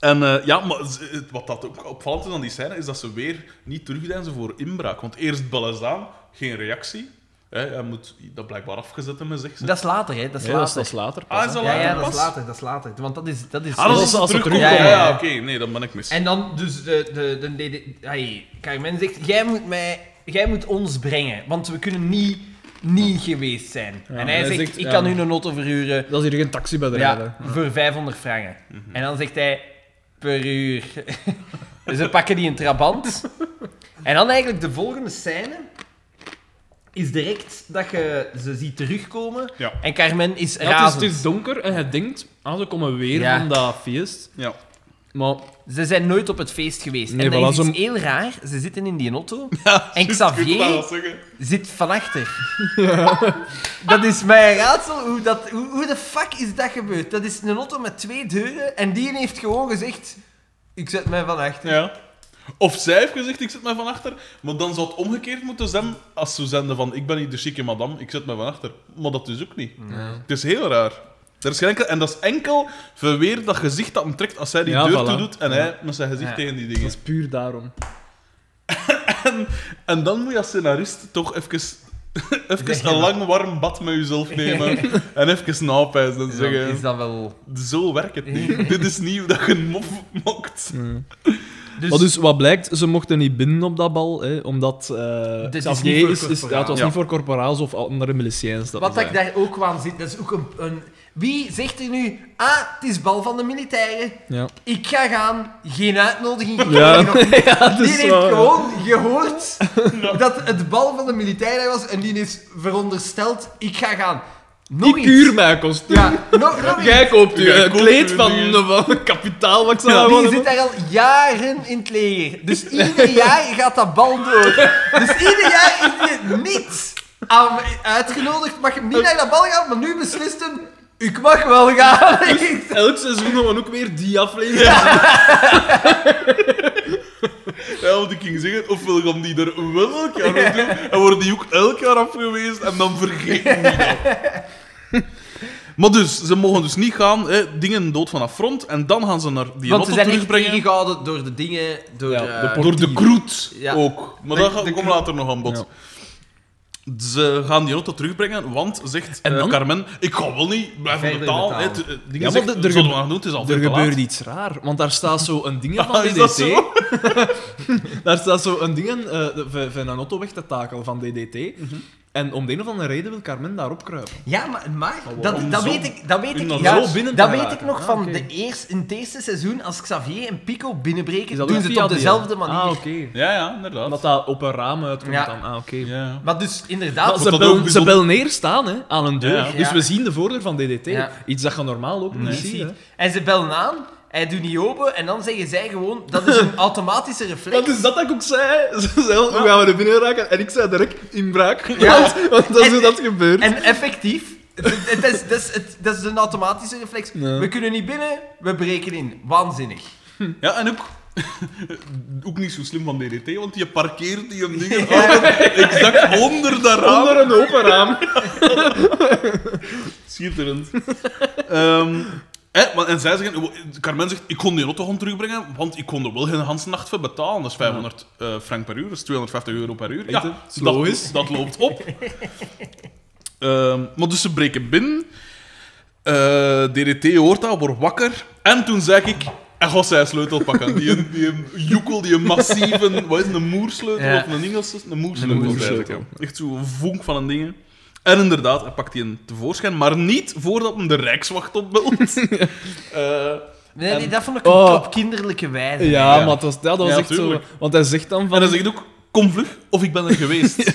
S2: en eh, ja, maar z- het- wat dat ook opvallend is aan die scène, is dat ze weer niet terugdeinzen voor inbraak. Want eerst bellen ze aan, geen reactie. Hè, hij moet dat blijkbaar afgezet hebben, zegt ze.
S3: Dat is later, hè? Dat is
S1: Ja, dat is,
S3: later.
S1: dat is later. pas,
S2: Ah, is
S1: hè.
S2: dat
S3: ja, ja,
S2: later
S3: dat is
S2: pas?
S3: later, dat is later. Want dat is... Dat is,
S2: Ah, dat is als ze
S1: Als ze
S2: terugkomen.
S3: terugkomen.
S2: Ja,
S3: Ja,
S2: ja,
S3: ja.
S2: oké. Nee, dan ben ik mis.
S3: En dan dus de, de, de, DDT... Hey, Carmen zegt, jij moet mij jij moet ons brengen, want we kunnen niet niet geweest zijn. en hij
S1: hij
S3: zegt,
S1: zegt,
S3: ik
S1: ja.
S3: kan u een auto verhuren
S1: Dat is hier geen taxibedrijf.
S3: ja, voor 500 frangen. En dan zegt hij, per uur. dus ze pakken die een trabant. en dan eigenlijk de volgende scène is direct dat je ze ziet terugkomen.
S2: Ja.
S3: En Carmen is
S1: Ja, het, is, dus
S3: razend.
S1: het is donker en je denkt, ah, ze komen weer
S3: Ja.
S1: van dat feest.
S2: Ja.
S1: Maar
S3: Ze zijn nooit op het feest geweest.
S1: Nee,
S3: en dat
S1: voilà,
S3: is
S1: zo-
S3: iets heel raar. Ze zitten in die auto. en Xavier zit van achter. Dat is mijn raadsel. Hoe, dat, hoe, hoe de fuck is dat gebeurd? Dat is een auto met twee deuren en die heeft gewoon gezegd: Ik zet mij van achter.
S2: Ja. Of zij heeft gezegd, ik zet mij van achter. Maar dan zou het omgekeerd moeten zijn als ze zenden van, ik ben niet de chique madame, ik zet mij van achter. Maar dat is ook niet. Het is heel raar. Er is geen enkel, en dat is enkel verweer dat gezicht dat hem trekt als zij die
S1: Ja,
S2: deur
S1: voilà.
S2: toe doet en hij met zijn gezicht
S3: Ja.
S2: tegen die
S1: dat
S2: dingen.
S1: is puur daarom.
S2: En dan moet je als scenarist toch even,
S3: Zeg
S2: even
S3: maar.
S2: een lang warm bad met jezelf nemen en even napijzen en
S3: Dus dan
S2: zeggen...
S3: is dat wel.
S2: Zo werkt het niet. Dit is niet hoe dat je een mof mokt.
S3: Dus,
S1: Maar dus wat blijkt, ze mochten niet binnen op dat bal, hè, omdat eh
S3: Dit is niet
S1: Xavier
S3: voor
S1: is... is, ja, het was
S3: corporaals.
S1: niet voor corporaals of andere miliciëns. Dat
S3: wat
S1: was
S3: ik
S1: hij.
S3: daar ook aan zit, dat is ook een, een. Wie zegt er nu: Ah, het is bal van de militairen.
S1: Ja.
S3: Ik ga gaan, geen uitnodiging
S1: Ja.
S3: gekregen. of
S1: ja, dat
S3: Die
S1: is
S3: heeft
S1: waar.
S3: gewoon gehoord dat het bal van de militairen was en die is verondersteld, ik ga gaan. Nog
S1: Ik
S3: iets.
S1: huur mij kostuum.
S3: Ja, nog, nog iets.
S1: Jij koopt u
S2: Jij
S1: een
S2: koopt
S1: kleed
S2: u
S1: van,
S2: dingen.
S1: van kapitaal, wat ik zou
S3: Die
S1: hebben.
S3: zit daar al jaren in het leger. Dus ieder jaar gaat dat bal door. Dus ieder jaar is hij niet aan- uitgenodigd. Mag hem niet naar dat bal gaan, maar nu beslist hem... Ik mag wel gaan.
S1: Elk seizoen gaan we ook weer die aflevering.
S2: Ja, want ik ging zeggen, ofwel gaan die er wel elk jaar op doen, en worden die ook elk jaar afgewezen, en dan vergeten die dat. Maar dus, ze mogen dus niet gaan, hè, dingen dood vanaf front, en dan gaan ze naar die
S3: Want
S2: auto
S3: ze zijn echt
S2: terugbrengen.
S3: tegengehouden door de dingen, door...
S1: Ja,
S3: eh,
S1: de por-
S2: Door de kroet
S3: Ja.
S2: ook. Maar
S3: De-
S2: dat ga-
S3: de
S2: komt
S3: kroet.
S2: later nog aan bod. Ze gaan die auto terugbrengen, want, zegt
S1: En
S2: eh,
S1: dan?
S2: Carmen, ik ga wel niet blijven
S3: Verder
S2: betalen.
S3: betalen.
S2: hè. Het, eh, dingen
S1: maar
S2: zegt,
S1: de- er
S2: zullen we
S1: gebe-
S2: gaan doen, het is al
S1: Er
S2: veel te laat.
S1: gebeurt iets raar, want daar staat zo een ding
S2: Ah,
S1: van
S2: is dat
S1: DDT.
S2: zo?
S1: daar staat zo een ding eh, van- van een auto weg te takelen van DDT.
S2: Mhm.
S1: En om de een of andere reden wil Carmen daarop kruipen.
S3: Ja, maar, maar
S1: Oh,
S3: dat,
S2: om
S3: dat,
S2: zo-
S3: weet ik, dat weet
S2: om
S3: ik,
S2: dan
S3: ja,
S1: zo binnen te
S3: dat weet
S1: raken.
S3: ik nog
S1: Ah,
S3: van
S1: oké.
S3: de eerste, in het eerste seizoen, als Xavier en Pico binnenbreken,
S1: Is dat
S3: doen
S1: ook
S3: ze het
S1: via
S3: op
S1: die-
S3: dezelfde manier.
S1: Ah, oké.
S2: Ja, ja, inderdaad.
S1: Omdat dat op een raam uitkomt
S3: Ja.
S1: dan. Ah, oké.
S2: Ja.
S3: Maar dus
S1: Maar
S3: inderdaad,
S2: dat
S1: ze,
S2: ook
S1: bellen, ze
S2: bijzonder-
S1: bellen neerstaan hè, aan een deur.
S2: Ja.
S1: Dus
S3: Ja.
S1: we zien de voordeur van DDT.
S3: Ja.
S1: Iets dat je normaal ook niet ziet. hè.
S3: en ze bellen aan, hij doet niet open, en dan zeggen zij gewoon, dat is een automatische reflex.
S1: Dat is dat dat ik ook zei. Ze zei,
S2: Ah.
S1: hoe gaan we er binnen raken? En ik zei direct, inbraak.
S3: Ja.
S1: Want, want dat is hoe dat gebeurt.
S3: En effectief, het, het is, dat, is, het- dat is een automatische reflex.
S1: Ja.
S3: We kunnen niet binnen, we breken in. Waanzinnig.
S2: Ja, en ook, ook niet zo slim van DDT, want je parkeert die hem dingen altijd exact onder dat raam.
S1: Onder een open raam.
S2: Schitterend. Ehm, hè, maar- en zij zeggen, Carmen zegt, ik kon die auto gewoon terugbrengen, want ik kon er wel geen hele nacht voor betalen. Dat is 500 eh, frank per uur, dat is 250 euro per uur.
S1: Echt, hè?
S2: Ja,
S1: Slow
S2: dat,
S1: is.
S2: dat loopt op. Ehm, maar dus ze breken binnen. Eh, DDT hoort dat, wordt wakker. En toen zei ik, en gaat zij sleutel pakken. Die, die joekel, die massieve, wat is het, een moersleutel
S3: Ja.
S2: of een Engelse? Een moersleutel.
S1: Een moersleutel.
S2: eigenlijk, ja. Echt zo'n vonk van een ding. En inderdaad, hij pakt die een tevoorschijn, maar niet voordat hem de Rijkswacht opbelt. Eh,
S3: Nee, nee, dat vond ik
S1: Oh.
S3: op kinderlijke wijze.
S1: Ja,
S2: Ja.
S1: maar het was, ja, dat was
S2: Ja,
S1: echt
S2: tuurlijk.
S1: zo. Want hij zegt dan
S2: en
S1: van...
S2: hij zegt ook, kom vlug, of ik ben er geweest.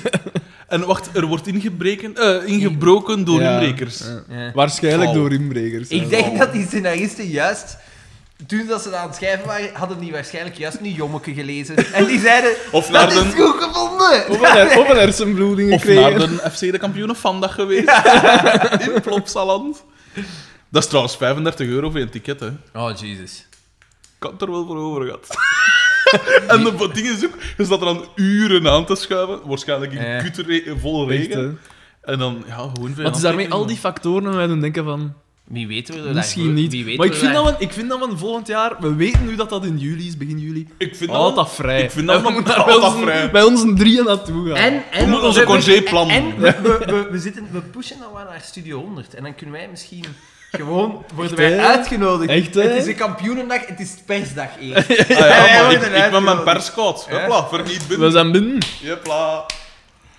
S2: En wacht, er wordt ingebreken, eh, ingebroken door
S1: Ja.
S2: inbrekers.
S1: Ja.
S3: Ja.
S1: Waarschijnlijk
S2: Val.
S1: door inbrekers.
S3: Ik
S1: hè.
S3: denk dat die scenaristen juist, toen dat ze dat aan het schrijven waren, hadden die waarschijnlijk juist een jommeke gelezen. En die zeiden,
S2: Of naar
S3: dat
S2: de-
S3: is goed gevonden.
S1: Of een, her- of een hersenbloeding
S2: Of naar
S1: gekregen.
S2: de FC de kampioenen vandaag geweest. In Plopsaland. Dat is trouwens 35 euro voor een ticket, hè.
S3: Oh, Jesus.
S2: Ik had het er wel voor over gehad. en de ding is ook, je staat er aan uren aan te schuiven. Waarschijnlijk in
S3: Ja.
S2: kutte re- volle
S1: Echt,
S2: regen.
S1: hè.
S2: En dan, ja, gewoon veel
S1: Want het is daarmee al die factoren waar wij doen denken van...
S3: Wie weet we er
S1: Misschien
S3: daarvoor-
S1: niet.
S3: Wie weet
S1: Maar ik
S3: we
S1: vind,
S3: daar-
S1: dat we, ik vind dat we volgend jaar... We weten nu dat dat in juli is, begin juli.
S2: Ik vind
S1: Altijd
S2: dat...
S1: vrij.
S2: ik vind dat
S1: En we
S2: we-
S1: moeten
S2: altijd
S1: bij ons-
S2: vrij.
S1: Bij ons een drieën naartoe gaan.
S3: En, en
S2: moeten onze
S3: we- we-
S2: congé plannen.
S3: En we, we, we, we zitten, we pushen dan wel naar Studio 100. En dan kunnen wij misschien Gewoon worden
S1: Echt,
S3: wij
S1: hè?
S3: uitgenodigd.
S1: Echt, hè?
S3: het is een kampioenendag, het is persdag eerst.
S2: Ah, ja,
S3: Wij
S2: maar
S3: worden
S2: ik, ik ben mijn
S3: uitgenodigd.
S2: perskoud.
S3: Ja.
S2: Hopla, verniet binnen.
S1: We zijn binnen.
S2: Jepla.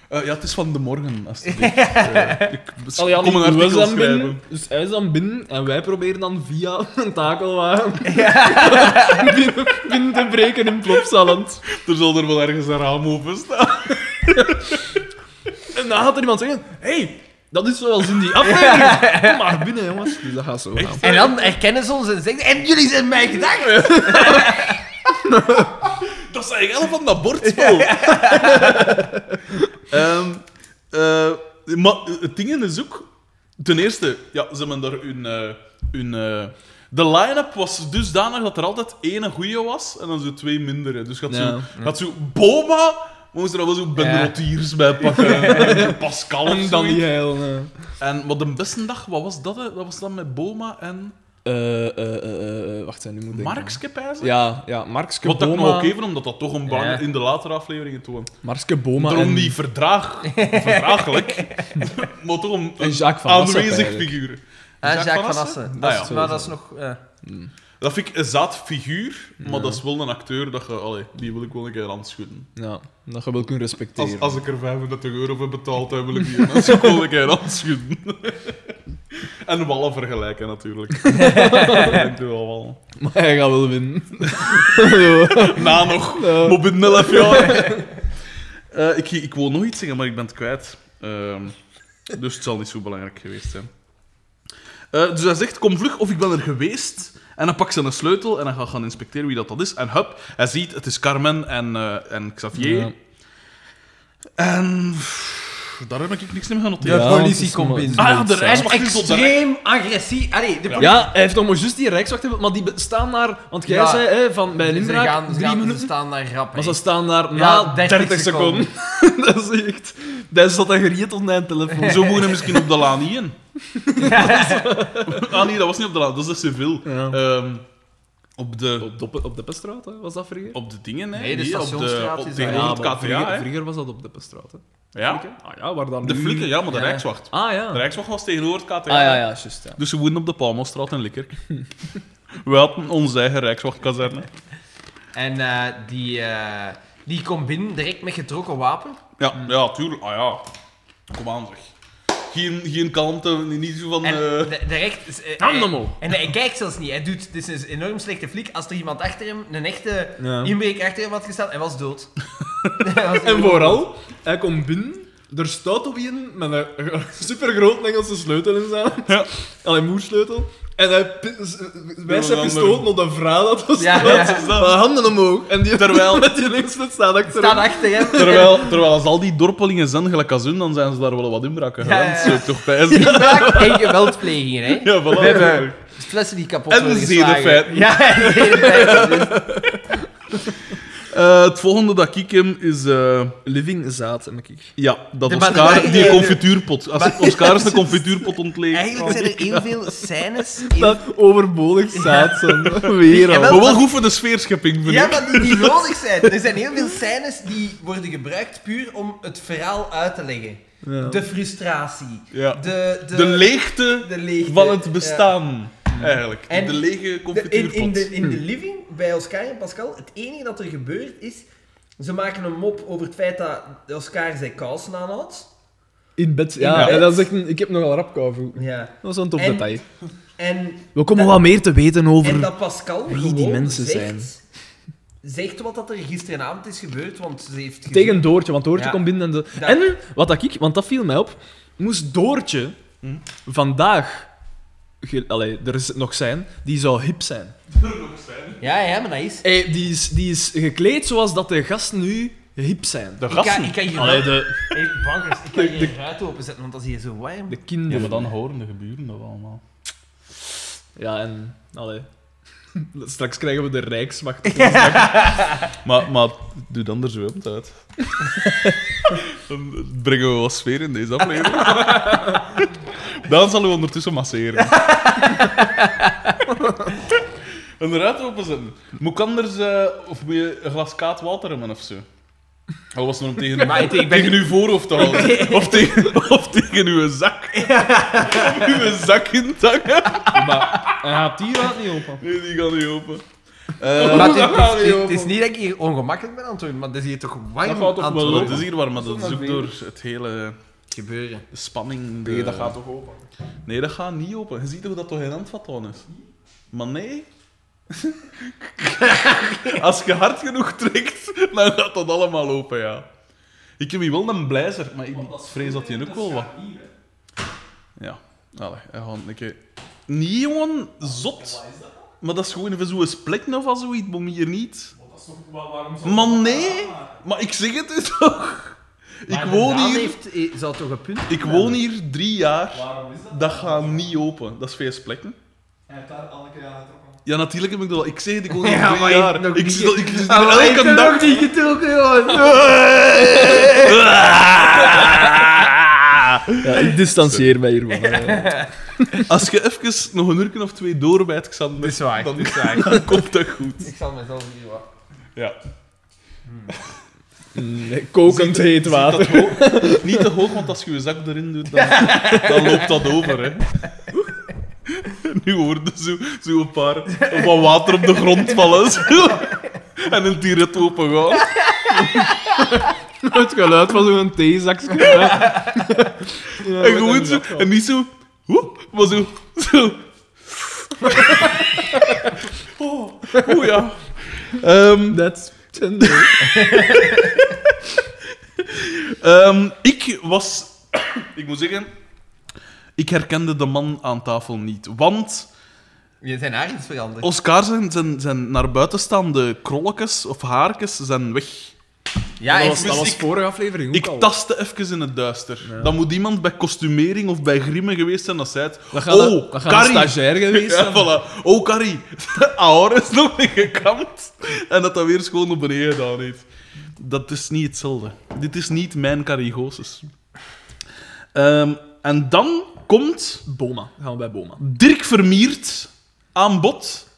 S2: Eh, ja, het is van de morgen, alsjeblieft. Eh, ik bes-
S1: Allee, ja,
S2: kom een
S1: die- we
S2: artikel
S1: zijn
S2: schrijven.
S1: binnen. Dus hij is dan binnen en wij proberen dan via een takelwagen binnen, binnen te breken in Plopsaland.
S2: Er zal er wel ergens een raam open staan.
S1: En dan gaat er iemand zeggen: hey, dat is zoals in die aflevering. Kom maar binnen, jongens. Dus dat gaat zo. gaan.
S3: En dan herkennen ze ons en zeggen En jullie zijn mijn gedachten!
S2: Dat zijn elf van dat bordspel. Ehm, eh, maar het ding is ook... Ten eerste, ja, ze hebben daar hun... eh, hun eh, de line-up was dusdanig dat er altijd één goeie was en dan zo twee mindere. Dus gaat,
S1: Ja.
S2: zo, gaat zo Boma... maar Moest er dan wel zo Ben
S3: Ja.
S2: Rotiers bij pakken. en Pascal of
S1: En dan
S2: zoiets.
S1: die heil. eh.
S2: En wat een beste dag, wat was dat? hè? Dat was dan met Boma en
S1: Eh, eh, eh, eh, wacht, hè, nu moet ik.
S2: Markske Pijzen?
S1: Ja, ja, Markske
S2: Wat dat ik
S1: Boma.
S2: nog ook even, omdat dat toch een baan
S3: Ja.
S2: in de latere afleveringen toe.
S1: Markske Boma.
S2: Daarom
S1: en-
S2: die verdraag, verdraaglijk, maar toch een,
S1: En
S2: een
S1: Jacques van Assen,
S2: aanwezig
S1: eigenlijk.
S2: figuur.
S3: En
S2: Jacques
S3: Jacques
S2: van
S3: van Assen.
S2: Assen?
S3: Dat
S2: Ah,
S3: is,
S2: ja.
S3: maar dat is nog... eh, ja.
S2: Dat vind ik een zaad figuur, maar dat is wel een acteur dat je, allee, die wil ik wel een keer aanschudden.
S1: Ja, dat je wel kunt respecteren.
S2: Als, als ik er 35 euro voor betaald heb, wil ik die mensen wel een keer aanschudden. en wallen vergelijken natuurlijk. ik doe wel wallen.
S1: Maar hij gaat wel winnen.
S2: Na nog. Maar binnen 11 jaar. Eh, ik, ik wil nog iets zeggen, maar ik ben het kwijt. Ehm, dus het zal niet zo belangrijk geweest zijn. Eh, dus hij zegt, kom vlug of ik ben er geweest. En dan pakt ze een sleutel en dan gaat gaan inspecteren wie dat, dat is. En hup, hij ziet, het is Carmen en, eh, en Xavier.
S1: Ja.
S2: En pff, daar heb ik niks meer genoteerd.
S1: Ja,
S3: De
S1: want
S3: politie
S1: het is
S3: komt
S1: maar-
S3: binnen.
S2: Ah ja, de
S1: Noodzaak.
S2: reiswacht is op de rij.
S3: Extreem agressief. Allee, de politie...
S1: Ja, hij heeft nog maar juist die rijkswacht hebben, maar die be- staan daar... Want jij
S3: Ja.
S1: zei, hè, van, bij een
S3: Ze
S1: inbraak,
S3: gaan, ze
S1: drie
S3: gaan ze
S1: minuten.
S3: staan daar rap.
S1: Maar
S3: hè.
S1: ze staan daar
S3: Ja,
S1: na
S3: 30
S1: 30, seconden. dat is echt... Daar zat een geriet onder zijn telefoon.
S2: Zo moet je misschien op de laan niet in. ah nee, dat was niet op de laan, dat is de civil.
S1: Ja.
S2: Ehm, op de
S1: Op, op, op de Pestraat, hè, was dat vergeten?
S2: Op de dingen, hè?
S3: Nee, de
S2: op de,
S3: Stationsstraat
S2: op
S3: is
S2: de,
S3: dat,
S2: ja,
S3: ja.
S2: het
S1: maar
S2: KVA,
S1: vroeger,
S2: hè.
S1: vroeger was dat op de Pestraat, hè.
S2: ja?
S1: Ah ja, waar dan
S2: De
S1: nu-
S2: flikken, ja, maar de
S3: Ja.
S2: Rijkswacht.
S1: Ah
S2: De
S1: ja.
S2: Rijkswacht was tegenover het KVA.
S1: Ah ja, ja, juist, ja.
S2: Dus ze woonden op de Palmostraat in Likkerk. We hadden onze eigen Rijkswachtkazerne.
S3: En eh, die, eh, die komt binnen direct met getrokken wapen.
S2: Ja, ja, tuurlijk. Ah ja. Kom aan, zeg. Geen, geen kalmte, niet zo van...
S3: En
S2: eh,
S3: de- direct... is, eh,
S1: Kan
S3: hij-
S1: hem al.
S3: En hij kijkt zelfs niet. Hij doet... Het is een enorm slechte flik. Als er iemand achter hem, een echte
S1: Ja.
S3: inbreker achter hem had gestaan, hij was dood. Hij was
S1: En
S3: dood.
S1: vooral, hij komt binnen, er staat op iemand met een supergrote Engelse sleutel in zijn hand.
S2: Ja.
S1: Alleen moersleutel. En hij pi- s- wijst zijn pistool naar de vrouw dat was.
S3: Ja, ja.
S2: wat is dat?
S1: handen omhoog. En die
S2: Terwijl-
S1: met die linksvoet staan achter
S3: Staan
S1: hem.
S3: achter hem.
S2: Terwijl, terwijl als al die dorpelingen zijn gelijk als hun, dan zijn ze daar wel wat inbraken
S3: Ja,
S2: gedaan.
S3: ja, ja.
S2: Zou ik toch pijzen? Ja,
S3: Inbraak en geweldplegingen, hè.
S2: voilà.
S3: We hebben flessen die kapot
S2: En
S3: worden geslagen.
S2: zedenfeiten.
S3: Ja, en zedenfeiten.
S2: Eh, het volgende dat ik hem is... eh,
S1: Living zaad, heb ik.
S2: ja, dat
S3: De
S2: Oscar...
S3: batterij-
S2: Die confituurpot. Als ik Oscar is een confituurpot ontleed.
S3: Eigenlijk zijn er heel veel scènes in...
S1: Dat overbodig zaad zijn. Weer
S3: Ja,
S1: al.
S2: Maar wel goed voor de sfeerschepping, vind ik.
S3: Ja, maar die, die nodig zijn. Er zijn heel veel scènes die worden gebruikt puur om het verhaal uit te leggen.
S1: Ja.
S3: De frustratie.
S2: Ja.
S3: De, de,
S2: De leegte
S3: de leegte.
S2: van het
S3: Ja.
S2: bestaan, eigenlijk.
S3: En
S2: de lege Hm.
S3: De- in,
S2: confituurpot.
S3: in, de, in de living bij Oscar en Pascal, het enige dat er gebeurt is. Ze maken een mop over het feit dat Oscar zijn kousen aanhoudt.
S1: In bed.
S3: In
S1: Ja,
S3: bed.
S1: en dat is echt een, ik heb nogal rap gevoel.
S3: Ja.
S1: Dat was een tof
S3: En-
S1: detail.
S3: En,
S1: We komen wat meer te weten
S3: en
S1: over...
S3: dat Pascal
S1: wie die
S3: gewoon
S1: mensen
S3: zegt,
S1: zijn.
S3: Zegt wat dat er gisteravond is gebeurd, want ze heeft gezien-
S1: Tegen Doortje, want Doortje
S3: Ja.
S1: komt binnen en... De... En, wat dat ik... Want dat viel mij op. Moest Doortje vandaag... ge- Allee, er is nog zijn. Die zou hip zijn.
S3: Ja, ja, maar dat is.
S1: Hey, die, is, die is gekleed zoals dat de gasten nu hip zijn.
S2: De Ah,
S3: Ik kan,
S2: gasten.
S3: ik kan hier
S1: Allee, de,
S3: Hey, bankers, ik kan hier een ruit openzetten, want dat is hier zo warm.
S1: de kinderen. Ja,
S2: horen de geburen dat allemaal.
S1: en... Allee. Straks krijgen we de Rijksmacht.
S2: Maar, maar doe dan er zo op uit. dan brengen we wat sfeer in deze aflevering. dan zal u ondertussen masseren. Een ruit openzetten. Moet ik anders... eh, of moet je een glas koud water hebben of zo? Al was het nog om tegen,
S3: Maar ik- ik ben-
S2: tegen uw voorhoofd te houden. Of tegen, of tegen uw zak. Om uw zak in te hangen.
S1: Maar hij gaat die raad niet open.
S2: Nee, die gaat niet open. Eh,
S3: Maar het, is-
S2: dat gaat
S3: het is-
S2: niet
S3: het is
S2: open.
S3: niet dat ik hier ongemakkelijk ben aan het doen, maar het is hier toch warm
S2: Dat gaat toch wel
S3: aan het
S2: open.
S3: worden.
S2: Het is hier warm, maar dat
S4: Zo
S2: is ook
S4: maar
S2: door het hele
S3: gebeuren.
S2: de spanning. de-
S4: Nee, dat gaat toch open?
S2: Nee, dat gaat niet open. Je ziet hoe dat toch geen handvat aan is. Maar nee. Als je hard genoeg trekt, dan gaat dat allemaal open, ja. Ik heb hier wel een blijzer, maar ik vrees dat hij ook wel wat... Ja, allee, hij gaat een keer... Nee, jongen, zot. Maar dat is gewoon even zo'n splek of als zoiets, maar hier niet.
S4: Dat is toch wel waarom zo.
S2: Maar nee, maar ik zeg het is toch. Ik
S3: Maar
S2: woon
S3: Daan
S2: hier,
S3: Heeft, eh, zou toch een punt
S2: ik woon hier drie jaar.
S4: Waarom is dat?
S2: Dat gaat niet open. Dat is veel plekken.
S4: Hij heeft daar alle keer aan getrokken.
S2: Ja, natuurlijk heb ik dat wel. Ik zeg het, ik woon hier
S3: Ja,
S2: drie
S3: maar je hebt
S2: jaar.
S3: nog
S2: Ik
S3: niet-
S2: zit, ik zit
S3: Ah,
S2: hier
S3: maar ik
S2: elke
S3: heb
S2: dag.
S3: nog niet getrokken, jongen.
S1: Ja, ik distancieer mij hiervan. hè.
S2: Als je even nog een uur of twee doorbijt, Xander,
S3: Dat is waar,
S2: dan,
S3: dat is waar.
S2: dan komt dat goed.
S3: Ik zal mezelf hier wat...
S2: Ja.
S1: Nee, Kokend heet water.
S2: Zit dat hoog? Niet te hoog, want als je je zak erin doet, dan, dan loopt dat over. Hè. Nu hoorden zo, zo een paar wat water op de grond vallen. Zo. En een tiret open gaan.
S1: Het geluid van zo'n theezakje.
S2: En gewoon zo, en niet zo, hoe, maar zo, zo. Oh, oh ja. Ehm,
S1: Dat
S2: ehm, ik was, ik moet zeggen, ik herkende de man aan tafel niet. Want
S3: Je zijn haar iets
S1: Oh,
S3: veranderd.
S2: Oscar zijn, zijn, zijn naar buiten staande krolletjes of haartjes zijn weg.
S3: ja, hij
S1: was,
S3: is
S1: dat was
S2: ik-
S1: vorige aflevering ook
S2: Ik
S1: al.
S2: tastte even in het duister. Dan moet iemand bij kostumering of bij grimmen geweest zijn dat zei het.
S1: Dat gaat
S2: oh,
S1: een- dat gaat een
S2: Carrie.
S1: stagiair geweest zijn.
S2: Ja, voilà. Oh, Carrie. De Aor is nog niet gekamd. En dat dat weer schoon op beneden gedaan heeft. Dat is niet hetzelfde. Dit is niet mijn Carigosis. Ehm, en dan komt
S1: Boma. Gaan we bij Boma.
S2: Dirk Vermiert aan bod.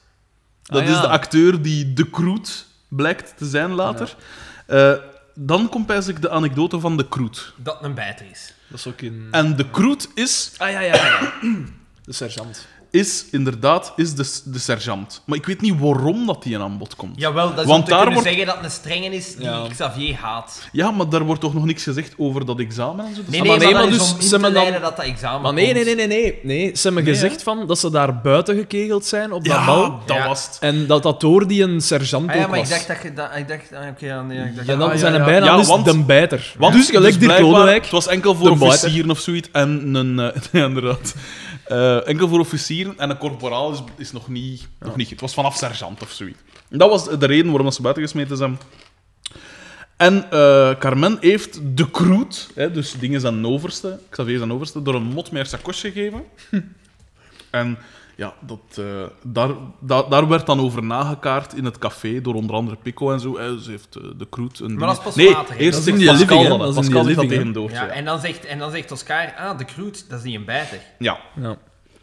S2: Dat
S1: Ah, ja.
S2: is de acteur die de Kroet blijkt te zijn later.
S1: Ah,
S2: Eh, dan komt eigenlijk de anekdote van de Kroet.
S3: dat een bijter is.
S1: Dat is ook in...
S2: En de Kroet is,
S1: Ah, ja, ja, ja. De sergeant.
S2: is inderdaad is de, de sergeant. Maar ik weet niet waarom dat die aan bod komt.
S3: Jawel, dat is
S2: Want
S3: om te
S2: daar
S3: kunnen
S2: wordt-
S3: zeggen dat het een strenge is die
S1: Ja.
S3: Xavier haat.
S2: Ja, maar daar wordt toch nog niks gezegd over dat examen en zo? Dat
S3: Nee,
S2: is-
S1: Ah, maar
S3: nee, maar,
S1: nee, maar dus
S3: dat is om in
S1: ze
S3: te
S1: men dan-
S3: leiden dat dat examen
S1: Maar nee,
S3: komt.
S1: nee, nee, nee, nee. nee. Ze hebben gezegd van dat ze daar buiten gekegeld zijn op dat
S2: Ja,
S1: bal.
S2: dat
S3: Ja.
S2: was het.
S1: En dat dat door die een sergeant
S3: Ah, ja,
S1: ook
S3: maar ik
S1: was.
S3: dacht dat je dat... Ik dacht, ah, oké, ja, nee, ik dacht,
S1: En dan
S3: ah, ja,
S1: zijn er
S3: ja.
S1: bijna
S2: Ja,
S1: dus
S2: want-
S1: de bijter.
S2: Want
S1: dus gelijk Dirk
S2: blijkbaar-
S1: Lodewijk.
S2: Het was enkel voor
S1: de buiten.
S2: officieren of zoiets. En een... eh, ja, inderdaad. Eh, enkel voor officieren en een corporaal is, is nog, niet, nog niet... Het was vanaf sergeant of zoiets. Dat was de reden waarom dat ze buiten gesmeten zijn. En eh, Carmen heeft de kroet, hè, dus dingen zijn overste, Xavier zijn overste, door een mot meer sakosje gegeven. en ja, dat, eh, daar, daar, daar werd dan over nagekaart in het café door onder andere Pico en zo. hè. ze heeft eh, de kroet een.
S3: Maar dat
S2: ding-
S3: is pas
S2: nee,
S3: later, hè.
S2: eerst
S1: Dat is in die
S2: zegt Pascal
S1: living, hè.
S2: dat.
S1: Dat is in
S2: Pascal
S1: die
S2: zegt dat tegen
S1: living,
S2: Doortje.
S3: Ja,
S2: Ja,
S3: en dan zegt, en dan zegt Oscar, ah, de Kroet, dat is niet een bijter.
S2: ja.
S1: Ja.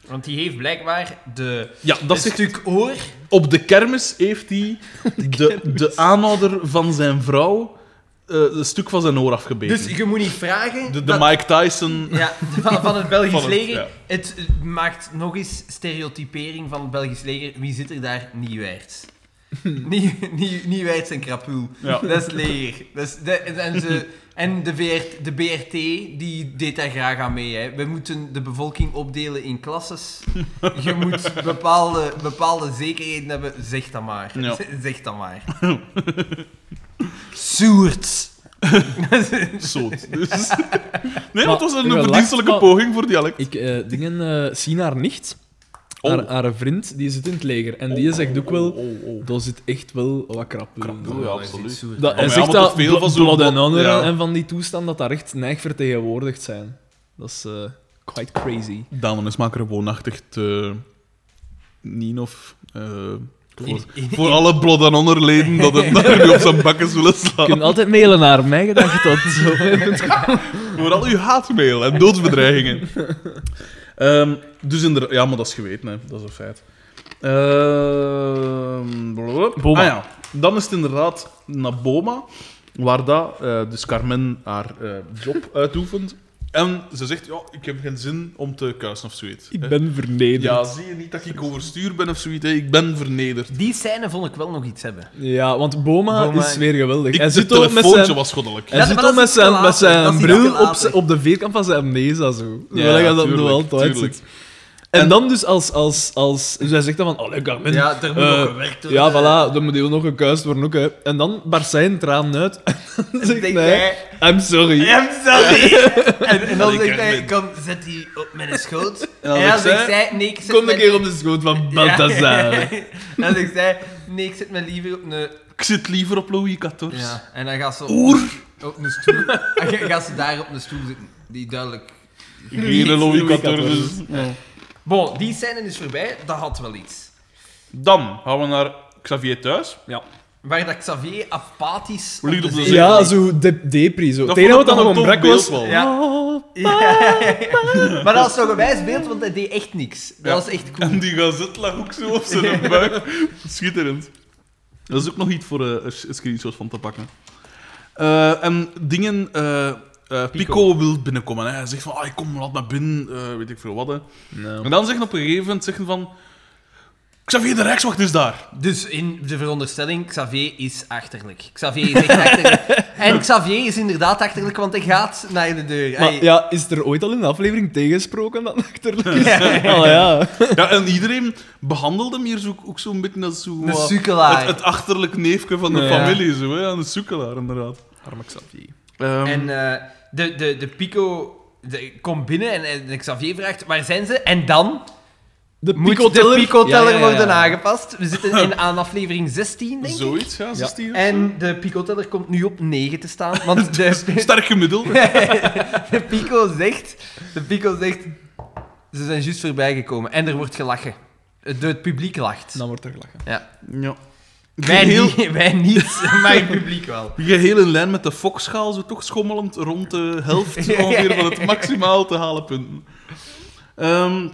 S3: Want die heeft blijkbaar de...
S2: Ja, dat
S3: een
S2: zegt
S3: stuk oor.
S2: Op de kermis heeft hij de, de aanhouder van zijn vrouw eh, een stuk van zijn oor afgebeten.
S3: Dus je moet niet vragen...
S2: de de
S3: dat-
S2: Mike Tyson.
S3: Ja, van, van het Belgisch
S2: Van het,
S3: leger.
S2: ja.
S3: Het eh, maakt nog eens stereotypering van het Belgisch leger. Wie zit er daar? Nieuwaerts. Nie- Nie- Nieuwaerts en Krapul.
S2: Ja.
S3: Dat is het leger. Dat is, dat- en ze, en de, VR de BRT, die deed daar graag aan mee. Hè. We moeten de bevolking opdelen in klasses. Je moet bepaalde, bepaalde zekerheden hebben. Zeg dat maar.
S2: Ja.
S3: Zeg dat maar. Soert.
S2: Zo. Dus.
S1: Maar
S2: Nee, dat was een
S1: je lacht,
S2: verdienstelijke
S1: maar-
S2: poging voor dialect.
S1: Ik, eh, dingen eh, zien haar nicht.
S2: Oh.
S1: Haar, haar vriend, die zit in het leger. En die zegt ook wel...
S2: Oh, oh.
S1: Dat zit echt wel wat krap. in."
S2: Krap, ja, absoluut.
S1: Dat,
S2: maar
S1: hij
S2: ja,
S1: zegt
S2: maar
S1: dat
S2: toch veel
S1: bl-
S2: van zo'n
S1: Blood and
S2: blad-
S1: Honor
S2: ja.
S1: en van die toestand dat daar echt neig vertegenwoordigd zijn. Dat is eh, quite crazy.
S2: Damen is maken woonachtig te... Ninov... eh, voor,
S3: in-
S2: voor alle blood en honor leden dat het daar nu op zijn bakken zullen
S1: Je
S2: slaan.
S1: kunt altijd mailen naar mij, gedacht dat zo.
S2: Voor al uw haatmail en doodsbedreigingen. Ehm, dus inderdaad... Ja, maar dat is geweten, hè. dat is een feit. Ehm, blablabla.
S1: Boma.
S2: Ah ja, dan is het inderdaad naar Boma. Waar dat, eh, dus Carmen haar eh, job uitoefent. En ze zegt, ja, ik heb geen zin om te kuisen of zoiets. hè.
S1: Ik ben vernederd.
S2: Ja,
S1: Ja,
S2: zie je niet dat ik overstuur ben of zoiets? hè? Ik ben vernederd.
S3: Die scène vond ik wel nog iets hebben.
S1: want Boma,
S3: Boma-
S1: is weer geweldig.
S2: Ik,
S1: hij
S2: het
S1: zit al met
S2: telefoontje
S1: zijn,
S2: was goddelijk.
S1: hij
S3: Ja,
S1: zit
S3: maar
S1: al
S3: dat
S1: met
S3: is iets te
S1: zijn, met
S3: later. Dat
S1: zijn
S3: is iets te
S1: bril op,
S3: later.
S1: zijn- op de vierkant van zijn neza zo.
S2: Ja,
S1: Ja, dat nog
S2: tuurlijk,
S1: altijd
S2: tuurlijk.
S1: zit. En dan dus als... als, als dus hij zegt dan van, oh, Carmen,
S3: Ja, er moet
S1: eh,
S3: nog gewerkt worden.
S1: Ja, voilà, dan moet hij ook nog gekuist worden. Ook, hè. En dan barst zijn traan uit. En dan zegt
S3: Denk
S1: hij, I'm sorry.
S3: I'm sorry. en, en dan
S2: Ik
S3: zegt hij,
S2: herken.
S3: kom, zet die op mijn schoot.
S1: dan
S3: En dan
S1: zegt
S3: zegt zij, nee, ik zet
S1: Kom een
S3: mijn-
S1: keer op de schoot van
S3: Ja.
S1: Balthazar.
S3: dan zegt zij, nee, ik zet me liever op een...
S2: Ik zit liever op Louis XIV.
S3: Ja, en dan gaat ze op, op een stoel... en ga- gaat ze daar op een stoel zitten, die duidelijk...
S2: Ik leer de Louis XIV.
S3: Bon, die scène is voorbij, dat had wel iets.
S2: Dan gaan we naar Xavier thuis.
S3: Waar dat Xavier apathisch... op
S2: Ligt op de
S3: zee-
S2: zee. Ja,
S1: Ja, zo de depri. Zo.
S2: Dat
S1: Het enige
S2: vond
S1: wat
S2: ik
S1: dan nog
S2: nog een
S1: ontbrak was...
S2: tof beeld wel.
S3: Ja.
S1: Oh,
S3: Maar dat was nog een wijs beeld, want hij deed echt niks. Dat
S2: Ja.
S3: was echt cool.
S2: En die gazet lag ook zo op zijn buik. Schitterend. Dat is ook nog iets voor eh, een s- een screenshot van te pakken. Eh, en dingen... eh, eh, Pico.
S3: Pico
S2: wil binnenkomen. Hè. Hij zegt van, ah, kom, laat maar binnen. eh, weet ik veel wat. Hè. En dan zeggen op een gegeven moment zeggen van... Xavier, de Rijkswacht is daar.
S3: Dus in de veronderstelling, Xavier is achterlijk. Xavier is echt achterlijk. en Xavier is inderdaad achterlijk, want hij gaat naar de deur.
S1: Maar
S3: Hij-
S1: ja, is er ooit al in de aflevering tegengesproken dat achterlijk is?
S3: Ja.
S1: Oh ja.
S2: Ja, en iedereen behandelde hem hier zo, ook zo'n beetje als zo,
S3: Een
S2: wat-
S3: sukkelaar.
S2: Het, het achterlijk neefje van de
S1: Ja.
S2: familie, zo, hè? een sukkelaar inderdaad.
S1: Arme Xavier.
S2: Ehm,
S3: En eh, de, de, de Pico de- komt binnen en, en Xavier vraagt waar zijn ze? En dan
S1: De
S3: moet
S1: picoteller.
S3: de Pico-teller
S1: Ja, ja, ja, ja.
S3: worden aangepast. We zitten in, aan aflevering 16, denk ik.
S2: zoiets, ja, 16 of zo.
S3: En de Pico-teller komt nu op 9 te staan, want de,
S2: Sterk gemiddelde.
S3: de Pico zegt... De Pico zegt... Ze zijn juist voorbijgekomen en er wordt gelachen. Het, het publiek lacht.
S2: Nou.
S1: Dan wordt er gelachen.
S2: Ja.
S3: Wij,
S2: Geheel,
S3: niet, wij niet, maar het publiek wel.
S2: geheel in lijn met de fokschaal, zo toch schommelend rond de helft ongeveer van het maximaal te halen punten. Ehm,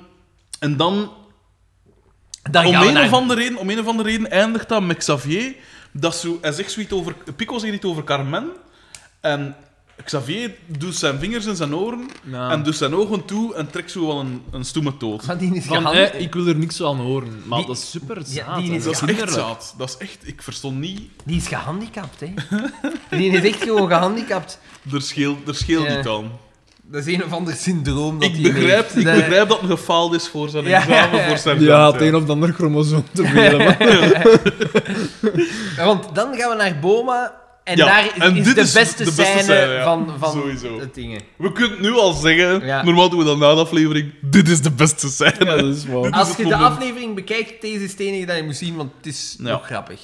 S2: en dan,
S3: Dan
S2: om
S3: gaan we
S2: een,
S3: naar...
S2: of andere reden, om een of andere reden, eindigt dat met Xavier. Dat zo, hij zegt zoiets over, Pico zegt iets over Carmen. En Xavier doet zijn vingers in zijn oren en doet zijn ogen toe en trekt zo wel een, een stoeme toot.
S3: Want die is
S1: Van,
S3: gehandeld.
S1: eh, ik wil er niks aan horen. Maar
S3: Die-
S1: dat is super
S3: Ja,
S1: zaad.
S3: die
S1: hè.
S3: is
S2: Dat is echt
S1: kinderlijk.
S2: zaad. Dat is echt, ik verstond niet,
S3: Die is gehandicapt, hè. Die is echt gewoon gehandicapt.
S2: er scheelt, er scheelt
S3: Ja.
S2: niet aan.
S3: Dat is een of ander syndroom dat
S2: Ik
S3: die
S2: begrijp,
S3: heeft.
S2: ik
S3: Dat-
S2: begrijp dat hij gefaald is voor zijn
S3: Ja.
S2: examen, voor zijn
S1: Ja,
S2: veld,
S1: het een of ander chromosoom te veel. maar-
S3: Ja, Want dan gaan we naar Boma. En
S2: Ja,
S3: daar is,
S2: en
S3: is
S2: dit
S3: de
S2: is
S3: beste
S2: de beste
S3: scène,
S2: scène, ja.
S3: van, van
S2: Sowieso.
S3: het dingen.
S2: We kunnen nu al zeggen,
S3: Ja.
S2: normaal doen we dat na de aflevering, dit is de beste scène.
S1: Ja, dat is waar.
S2: is
S3: Als
S2: het
S3: je de
S2: moment.
S3: aflevering bekijkt, deze is het enige dat je moet zien, want het is
S2: Ja.
S3: nog grappig.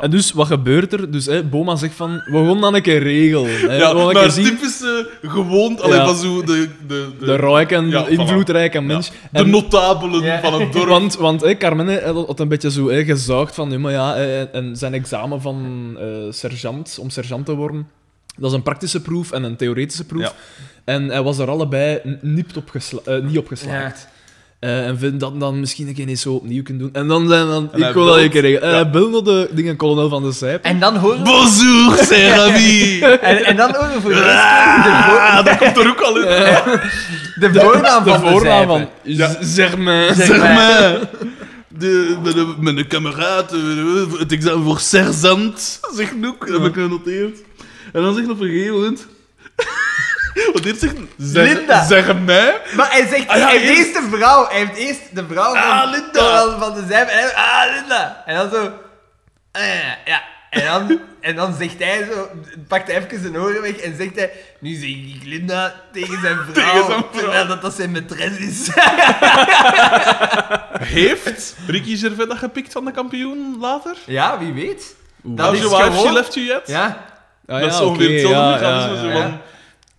S1: En dus, wat gebeurt er? Dus hè, Boma zegt van, we gaan dan een keer regelen. Hè.
S2: Ja,
S1: we gaan een
S2: maar
S1: keer zien.
S2: typische gewoond, alleen
S1: Ja.
S2: van zo de, de, de,
S1: De rijk en
S2: Ja, voilà.
S1: invloedrijke mens.
S2: de
S1: En-
S2: notabelen
S3: Ja.
S2: van het dorp.
S1: Want, want hè, Carmen hè, had een beetje zo hè, gezaagd van, nee, maar ja, hè, en zijn examen van eh, sergeant, om sergeant te worden, dat is een praktische proef en een theoretische proef.
S2: Ja.
S1: En hij was er allebei n- niet op, gesla- eh, niet op geslaagd.
S3: Ja.
S1: Eh, en vindt dat dan misschien een keer niet zo opnieuw kunnen doen. En dan zijn dan,
S2: En hij
S1: ik wil dat
S2: belt.
S1: een keer regelen.
S2: Ja.
S1: Hij belde de dingen kolonel van de Zijp.
S3: En dan horen we,
S2: Bonjour, c'est ami!
S3: en, en dan horen we voor de rest de,
S2: Ah, dat komt er ook al in.
S3: vo- de voornaam
S1: de
S3: van de
S1: voornaam
S3: zijpen.
S1: van
S2: Ja.
S1: Germain.
S3: Zeg
S2: Zeg
S3: maar.
S2: maar. De, met, een, met een kameraad, eh, het examen voor sergeant, zegt Noek, heb ik genoteerd. En dan zegt op een gegeven moment... Want dit zegt... Zeg,
S3: Linda.
S2: Zeg mij.
S3: Maar hij zegt,
S2: Ah ja,
S3: hij heeft
S2: eerst-
S3: eerst de vrouw. Hij heeft eerst de vrouw van,
S2: Ah, Linda.
S3: Donald van de Zijp. En hij- ah, Linda. En dan zo... eh, ja. En dan, en dan zegt hij zo... Pakt hij even zijn oren weg en zegt hij... Nu zeg ik Linda tegen zijn vrouw.
S2: Tegen zijn vrouw.
S3: Terwijl dat, dat zijn maîtresse is.
S2: Heeft Ricky Gervais dat gepikt van de kampioen later?
S3: ja, wie weet. Dat
S2: How's
S3: is
S2: your wife, she
S3: gewoon...
S2: left you yet?
S3: Ja.
S1: Ah,
S2: dat is
S1: ja,
S2: ongeveer
S1: oké,
S2: hetzelfde
S1: ja,
S2: lichaam,
S1: ja,
S2: dus zo
S1: ja.
S2: van...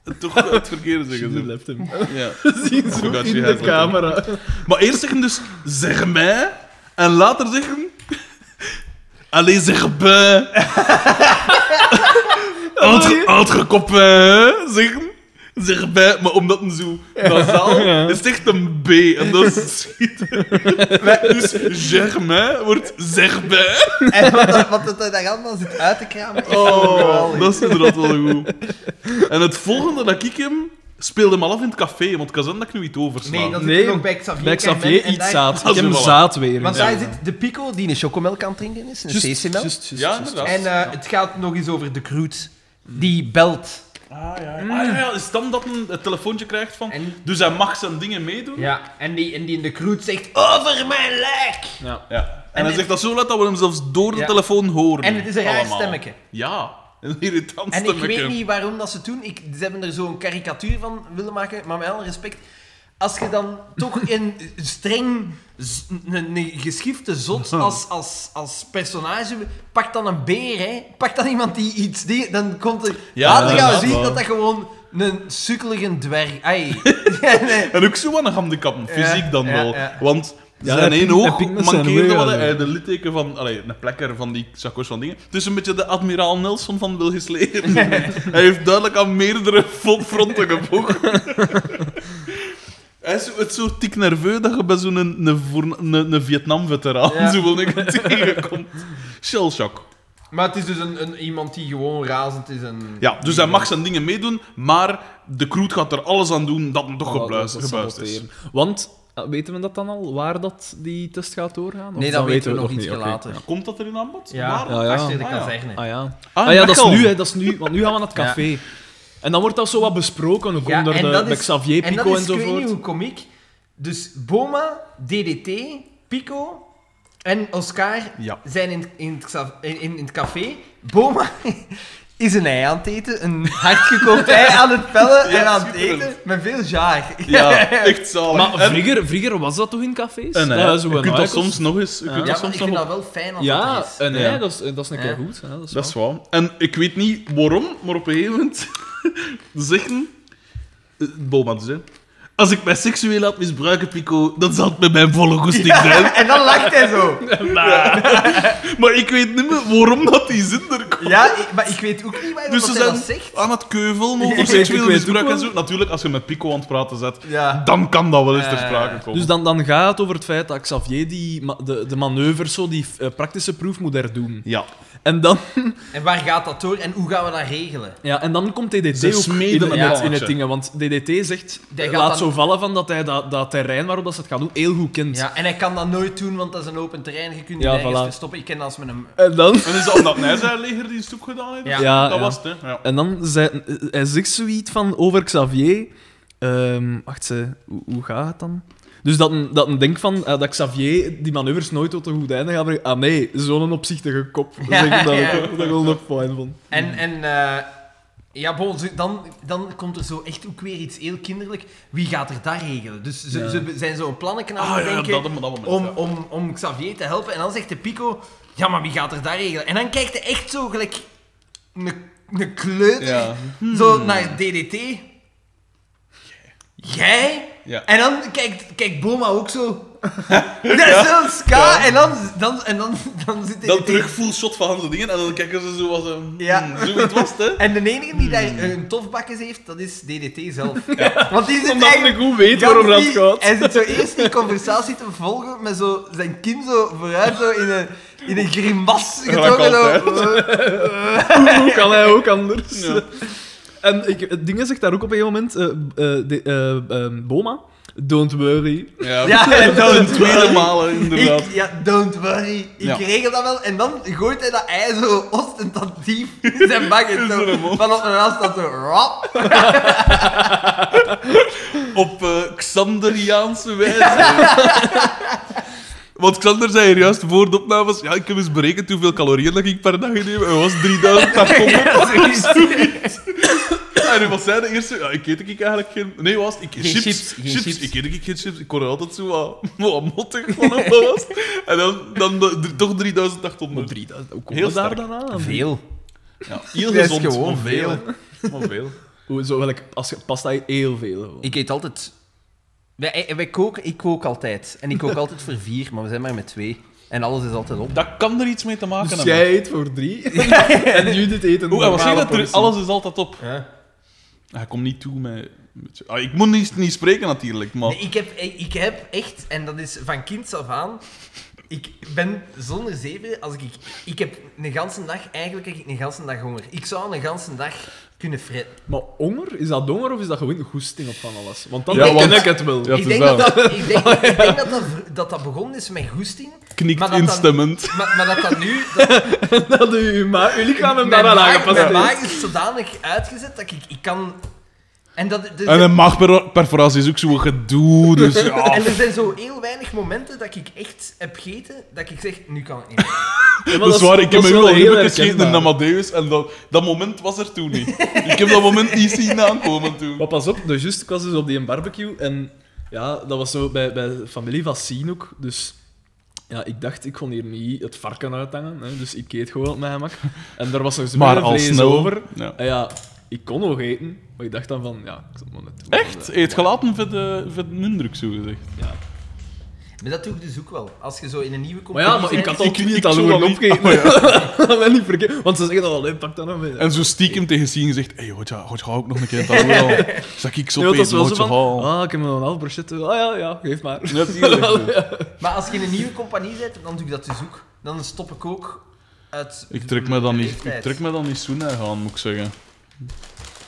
S2: eh, Toch het verkeerde zeggen.
S1: Ze
S2: zo.
S1: left hem.
S2: Ja.
S1: Zien zo
S2: God, she
S1: in de
S2: has left him.
S1: camera.
S2: Maar eerst zeggen dus, zeg mij. En later zeggen... Allee, zeg bij. Oud- Oudgekoppen, hè, zeggen. zich bij, maar omdat een zo nasaal is het echt een B. En dat is schitterend. Dus Germain wordt Zerbij.
S3: En wat, dat- wat dat hij daar allemaal zit uit te kramen. is
S2: Oh,
S3: geweldig.
S2: dat is inderdaad wel goed. En het volgende dat ik hem... Speelde hem al af in het café, want Kazan dat ik nu iets oversla.
S3: Nee, dat is
S1: Nee,
S3: nog bij Xavier.
S1: Bij
S3: Kermen
S1: Xavier
S3: en
S1: iets
S3: daar-
S1: zaad.
S2: Dat
S1: Ik
S2: is
S1: heb
S2: een
S1: een
S2: voilà.
S1: zaad weer.
S3: Want
S1: ja.
S3: daar zit de pico die een chocomelk aan het drinken is, een
S1: Juist,
S3: cecimel.
S1: juist, juist,
S2: ja,
S1: juist.
S2: inderdaad.
S3: En eh, het gaat nog eens over de Kroet. Die belt.
S2: Ah, ja, ja. Ah, ja, ja, is dan dat een het telefoontje krijgt van...
S3: En-
S2: Dus hij mag zijn dingen meedoen?
S3: Ja, en die, en die in de Kroet zegt: Over mijn lijk!
S2: Ja. En,
S3: En
S2: hij
S3: het-
S2: zegt dat zo laat dat we hem zelfs door de
S3: Ja.
S2: telefoon horen.
S3: En het is een raar
S2: Allemaal.
S3: stemmetje.
S2: Ja, een irritant
S3: En ik
S2: stemmetje.
S3: weet niet waarom dat ze het doen. Ik, ze hebben er zo'n karikatuur van willen maken, maar met alle respect. Als je dan toch een streng, z- een, een geschifte zot als, als, als personage, pak dan een beer, hè. pak dan iemand die iets... Die, dan komt er...
S2: Ja,
S3: later gaan
S2: inderdaad
S3: we zien
S2: wel.
S3: dat dat gewoon een sukkelige dwerg... Ai. Ja, nee.
S2: En ook zo aan de handicap, fysiek
S3: Ja,
S2: dan
S3: ja,
S2: wel.
S3: ja.
S2: Want
S1: Ja,
S2: zijn
S1: hij
S2: één
S1: ping- hij
S2: oog
S1: pingt met zijn
S2: mankeerde
S1: ogen,
S2: wel. hè.
S1: ja.
S2: Hij had eh, de litteken van... Allee, een plekker van die zakkers van dingen. Het is een beetje de admiraal Nelson van Wilgis Leer. hij heeft duidelijk aan meerdere fron- fronten gebogen. Hij is zo- het zo tik nerveus dat je bij zo'n een, een, voorna- een, een Vietnam-veteraan
S3: Ja.
S2: zo wel een tegenkomt. Shellshock.
S3: Maar het is dus een, een, iemand die gewoon razend is en...
S2: Ja, dus hij mag zijn dingen meedoen, maar de crew gaat er alles aan doen dat hem toch
S1: Oh,
S2: gebuist,
S1: dat is
S2: gebuist is.
S1: saboteren. Want, eh, weten we dat dan al, waar dat die test gaat doorgaan? Of
S3: Nee, dat weten we nog
S1: niet?
S3: iets
S1: Oké.
S3: later.
S2: Komt dat er in aanbod?
S3: Ja,
S2: Waar?
S1: Ja, ja.
S3: achter de
S2: Ah, ja.
S3: kazerne.
S1: Ah ja.
S2: Ah,
S1: Ah, ja, dat is
S2: Mechel.
S1: nu, hè, dat is nu, want nu gaan we naar het café. En dan wordt dat zo wat besproken, ook onder de, bij Xavier
S3: en dat
S1: Pico
S3: is, ik weet niet
S1: enzovoort.
S3: hoe komiek. Dus Boma, DDT, Pico en Oscar
S2: Ja.
S3: zijn in, in, het Xa- in, in het café. Boma is een ei aan het eten, een hardgekookt ei aan het pellen
S2: Ja,
S3: en aan het
S2: schitterend.
S3: eten met veel jaar.
S2: Ja, echt zalig.
S1: Maar
S2: En-
S1: vroeger, vroeger was dat toch in cafés?
S2: en, hè,
S1: ja, zo
S2: je
S1: een
S2: kunt dat
S1: eikel.
S2: soms nog eens... Je
S1: Ja.
S2: kunt
S3: Ja,
S2: dat
S3: maar ik
S2: soms
S3: vind
S2: nog
S3: dat wel fijn als
S1: Ja,
S3: dat is.
S1: en, hè,
S2: Ja.
S1: dat, is, dat is een keer
S3: Ja.
S1: goed. Hè, dat is
S2: Dat is
S1: waar.
S2: waar. En ik weet niet waarom, maar op een gegeven moment zeggen... eh, Boma dus, hè. Als ik mij seksueel laat misbruiken, Pico, dan zal het met mijn volle goesting zijn.
S3: En dan lacht hij zo.
S2: Maar ik weet niet meer waarom dat die zin er komt.
S3: Ja, ik- maar ik weet ook niet waarom
S2: Dus
S3: dat
S2: ze
S3: hij
S2: zijn
S3: dat zegt.
S2: aan het keuvelen
S1: Ik
S2: over
S1: weet-
S2: seksueel
S1: ik weet
S2: misbruik
S1: ook
S2: en
S1: wel.
S2: zo. Natuurlijk, als je met Pico aan het praten zet,
S3: Ja.
S2: dan kan dat wel eens ter
S3: Eh,
S2: sprake komen.
S1: Dus dan, dan gaat het over het feit dat Xavier die, ma- de, de manoeuvres, zo, die eh, praktische proef moet herdoen.
S2: Ja.
S1: En dan,
S3: En waar gaat dat door en hoe gaan we dat regelen?
S1: ja, en dan komt DDT
S2: Ze
S1: ook in,
S2: smeden
S1: in
S2: het
S1: het, in
S2: mannetje.
S1: het ding. hè, Want DDT zegt,
S3: Die gaat
S1: laat
S3: dan-
S1: zo vallen van dat hij dat, dat terrein waarop dat ze het gaan doen heel goed kent.
S3: Ja, en hij kan dat nooit doen, want dat is een open terrein. Je kunt je
S1: Ja,
S3: ergens
S1: voilà.
S3: verstoppen. Ik ken dat als met een...
S1: En dan...
S2: En is dat omdat hij zijn legerdienst ook gedaan heeft?
S3: Ah, Ja.
S1: Ja,
S2: dat
S1: ja.
S2: was het, hè. Ja.
S1: En dan zei, hij zegt zoiets van over Xavier. Ehm, wacht, ze, hoe, hoe gaat het dan? Dus dat een, dat een denkt van eh, dat Xavier die manoeuvres nooit tot een goed einde gaat brengen. Ah nee, zo'n opzichtige kop.
S3: Ja,
S1: Zeg, dat,
S3: ja.
S1: ik, dat ik wel nog fijn vond.
S3: En, en eh, ja, bon, ze- dan, dan komt er zo echt ook weer iets heel kinderlijk. Wie gaat er dat regelen? Dus ze,
S1: Ja.
S3: ze be- zijn zo'n plannen aan
S2: Ah
S3: het
S2: ja, dat,
S3: denken
S2: dat, dat moment.
S3: om,
S2: ja.
S3: om, om Xavier te helpen. En dan zegt de Pico, ja, maar wie gaat er dat regelen? En dan kijkt hij echt zo gelijk een, een kleuter
S2: Ja. Hmm.
S3: zo naar DDT. Jij?
S2: Ja.
S3: En dan kijkt, kijkt Boma ook zo... Dat is zo'n ska. En dan, dan, en dan, dan zit hij...
S2: Dan terug full shot van zijn dingen en dan kijken ze zo als een...
S3: Ja.
S2: Ja. Zoiets was het, hè.
S3: En de enige die daar een tofbakkes heeft, dat is DDT zelf. Want die zit
S1: Omdat ik
S3: eigenlijk...
S1: goed weet waarom dat gaat.
S3: Hij zit zo eerst die conversatie te volgen met zo zijn kin zo vooruit zo in een, in een grimas getrokken.
S2: Gelijk
S3: Zo, eh,
S1: Hoe kan hij ook anders?
S2: Ja.
S1: En ik, het ding zegt daar ook op een moment, eh, eh, de- eh, ehm, Boma, don't worry.
S2: Ja,
S3: Ja, en dan-
S2: een tweede malen, inderdaad.
S3: ik, ja, don't worry. Ik
S2: Ja.
S3: regel dat wel. En dan gooit hij dat ei zo ostentatief in zijn bakken.
S2: In zijn mond.
S3: Van op een afstand zo... rap.
S2: Op eh, Xanderiaanse wijze. Want Xander zei hier juist voor de opnames, ja, ik heb eens berekend hoeveel calorieën dat ik per dag inneem. En was 3800. En wat zei de eerste? Ja, ik eet ik eigenlijk geen... Nee, wat was het? Ik eet
S3: Geen
S2: chips.
S3: chips, geen chips.
S2: Ik eet ik geen chips. Ik hoor er altijd zo wat, wat mottig van op dat was. En dan, dan de- de- toch 3800.
S3: oh,
S1: Hoe komt
S2: Heel
S1: dat daar
S2: sterk.
S1: dan aan?
S3: Veel.
S2: Ja, heel
S3: Dat is
S2: gezond.
S3: gewoon
S2: maar
S3: veel.
S2: hè. Maar veel.
S1: Hoe- Zo, welk, als je past dat heel veel. gewoon.
S3: Ik eet altijd. Wij, wij koken, ik kook altijd. En ik kook altijd voor vier, maar we zijn maar met twee. En alles is altijd op.
S2: Dat kan er iets mee te maken
S1: Dus
S2: hebben.
S1: jij eet voor drie en Judith eet een
S2: Hoe, en wat
S1: normale
S2: zeg je dat? Er,
S1: portie.
S2: alles is altijd op. Ah, Hij komt niet toe met... met- Ah, ik moet niet, niet spreken natuurlijk, maar...
S3: Nee, ik, heb, ik heb echt, en dat is van kind af aan, ik ben zonder zeven, als ik, ik, ik heb een ganse dag, eigenlijk heb ik een ganse dag honger. Ik zou een ganse dag kunnen fretten.
S1: Maar honger? Is dat honger of is dat gewoon een goesting op van alles? Want dan
S2: Ja,
S1: ken
S2: want-
S1: ik het wel.
S2: Ja. het
S3: ik,
S2: is
S3: denk dat dat, ik, denk, ik denk dat dat, dat dat begonnen is met goesting,
S2: knikt
S3: maar dat dan-
S2: instemmend.
S3: maar, maar dat dat nu... Dat,
S1: Dat u, maar uw lichaam hem
S3: mijn
S1: daaraan
S3: maag-
S1: aangepast
S3: mijn
S1: heeft.
S3: maag is zodanig uitgezet dat ik, ik kan... En dat... dus-
S2: En een maagperforatie is ook zo'n gedoe, dus ja.
S3: en er zijn zo heel weinig momenten dat ik echt heb gegeten, dat ik zeg, nu kan ik niet.
S1: Ja, maar
S2: Dat is waar, ik heb me
S1: wel
S2: wel
S1: heel
S2: heel gescheten in
S1: herkenbaar.
S2: Amadeus en dat, dat moment was er toen niet. ik heb dat moment niet zien aankomen toen.
S1: Maar pas op, dus juist, ik was dus op die barbecue en ja, dat was zo bij, bij de familie van Sien ook. Dus ja, ik dacht, ik kon hier niet het varken uithangen, hè, dus ik eet gewoon op mijn gemak. En daar was nog zo'n
S2: Maar al
S1: vlees
S2: snel.
S1: over.
S2: Ja.
S1: En ja, ik kon nog eten, maar ik dacht dan van, ja, ik zal het maar net doen.
S2: Echt? Eet gelaten eh, voor de, voor de indruk, zo gezegd.
S1: Ja.
S3: Maar dat doe ik dus ook wel. Als je zo in een nieuwe
S1: Maar ja,
S3: competitie
S1: maar ik
S3: bent-
S1: had al
S2: Ik- ik
S1: niet al
S2: zou
S1: gewoon
S2: dat niet-
S1: opgegeten. dat ben ik verkeerd. Want ze zeggen dan, alleen pak dat nog mee.
S2: En zo stiekem tegen Sien gezegd, hé, hey, wat ja, wat ga ik nog een keer aan het al. Zag ik zo
S1: Nee, want dat is
S2: peet,
S1: wel
S2: wat
S1: zo
S2: zo
S1: van,
S2: haal.
S1: ah, ik heb nog een half brochette. Ah ja, ja, geef maar.
S2: Natuurlijk.
S3: Maar als je in een nieuwe compagnie zit, dan doe ik dat dus ook. Dan stop ik ook uit.
S2: Ik trek me dan niet, ik
S3: leeftijd.
S2: trek me dan niet zo naar gaan, moet ik zeggen.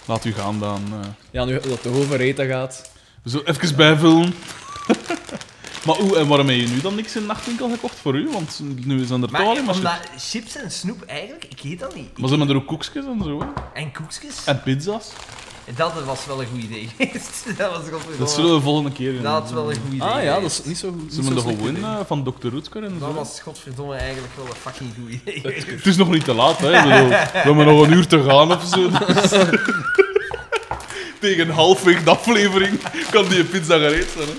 S2: Laat u gaan dan. eh.
S1: Ja, nu dat toch over eten gaat.
S2: Zo, even bijvullen. maar oeh, en waarom heb je nu dan niks in de nachtwinkel gekocht voor u? Want nu zijn er toch
S3: Maar
S2: alleen maar chips.
S3: omdat chips en snoep eigenlijk, ik eet dat niet.
S2: Maar ze hebben er ook koekjes en zo, hè?
S3: En koekjes,
S2: En pizza's.
S3: dat was wel een goed idee geweest. Dat was godverdomme-
S1: Oh.
S2: Dat zullen we de volgende keer doen.
S3: Dat was wel een goed idee.
S1: Ah ja, dat is
S3: geweest.
S1: niet zo goed.
S2: Ze hebben er gewoon eh, van Dr. Roetker en
S3: Dat
S2: zo.
S3: was godverdomme eigenlijk wel een fucking goed idee. geweest.
S2: Het is nog niet te laat, hè? Ik bedoel, we hebben nog een uur te gaan of zo. dus- Tegen halfweg de aflevering kan die pizza gereed zijn, hè?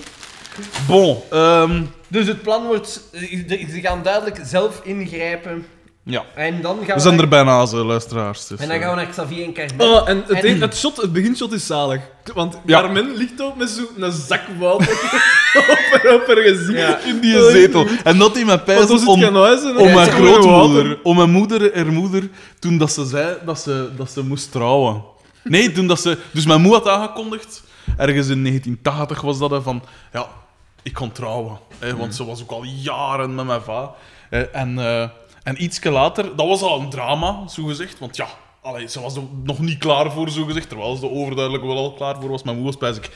S2: Bon, ehm,
S3: Dus het plan wordt, eh, ze gaan duidelijk zelf ingrijpen.
S2: ja.
S3: En dan gaan
S2: We
S3: we,
S2: zijn
S3: naar-
S2: er bijna, zo, luisteraars. Dus,
S3: en dan
S2: eh,
S3: gaan we naar Xavier en Carmen.
S1: Oh, en het,
S3: En-
S1: een- het, shot, het beginshot is zalig. Want
S2: Ja.
S1: Carmen ligt ook met zo'n zak water op haar, op haar gezicht.
S3: Ja.
S2: eh, in die zetel. En dat in mijn
S1: Want als
S2: pijs
S1: het
S2: om,
S1: geen huis en
S2: om
S1: hij
S2: mijn
S1: is gewoon
S2: grootmoeder.
S1: water.
S2: Om mijn moeder, haar moeder, toen dat ze zei dat ze, dat ze moest trouwen. Nee, toen dat ze... Dus mijn moeder had aangekondigd, ergens in 1980 was dat, hè, van... Ja, ik kon trouwen. Hè,
S1: Mhm.
S2: want ze was ook al jaren met mijn va. Hè, en, eh, en ietsje later, dat was al een drama, zogezegd. Want ja, allee, ze was er nog niet klaar voor, zogezegd. Terwijl ze er overduidelijk wel al klaar voor was. Mijn moeder was, ik,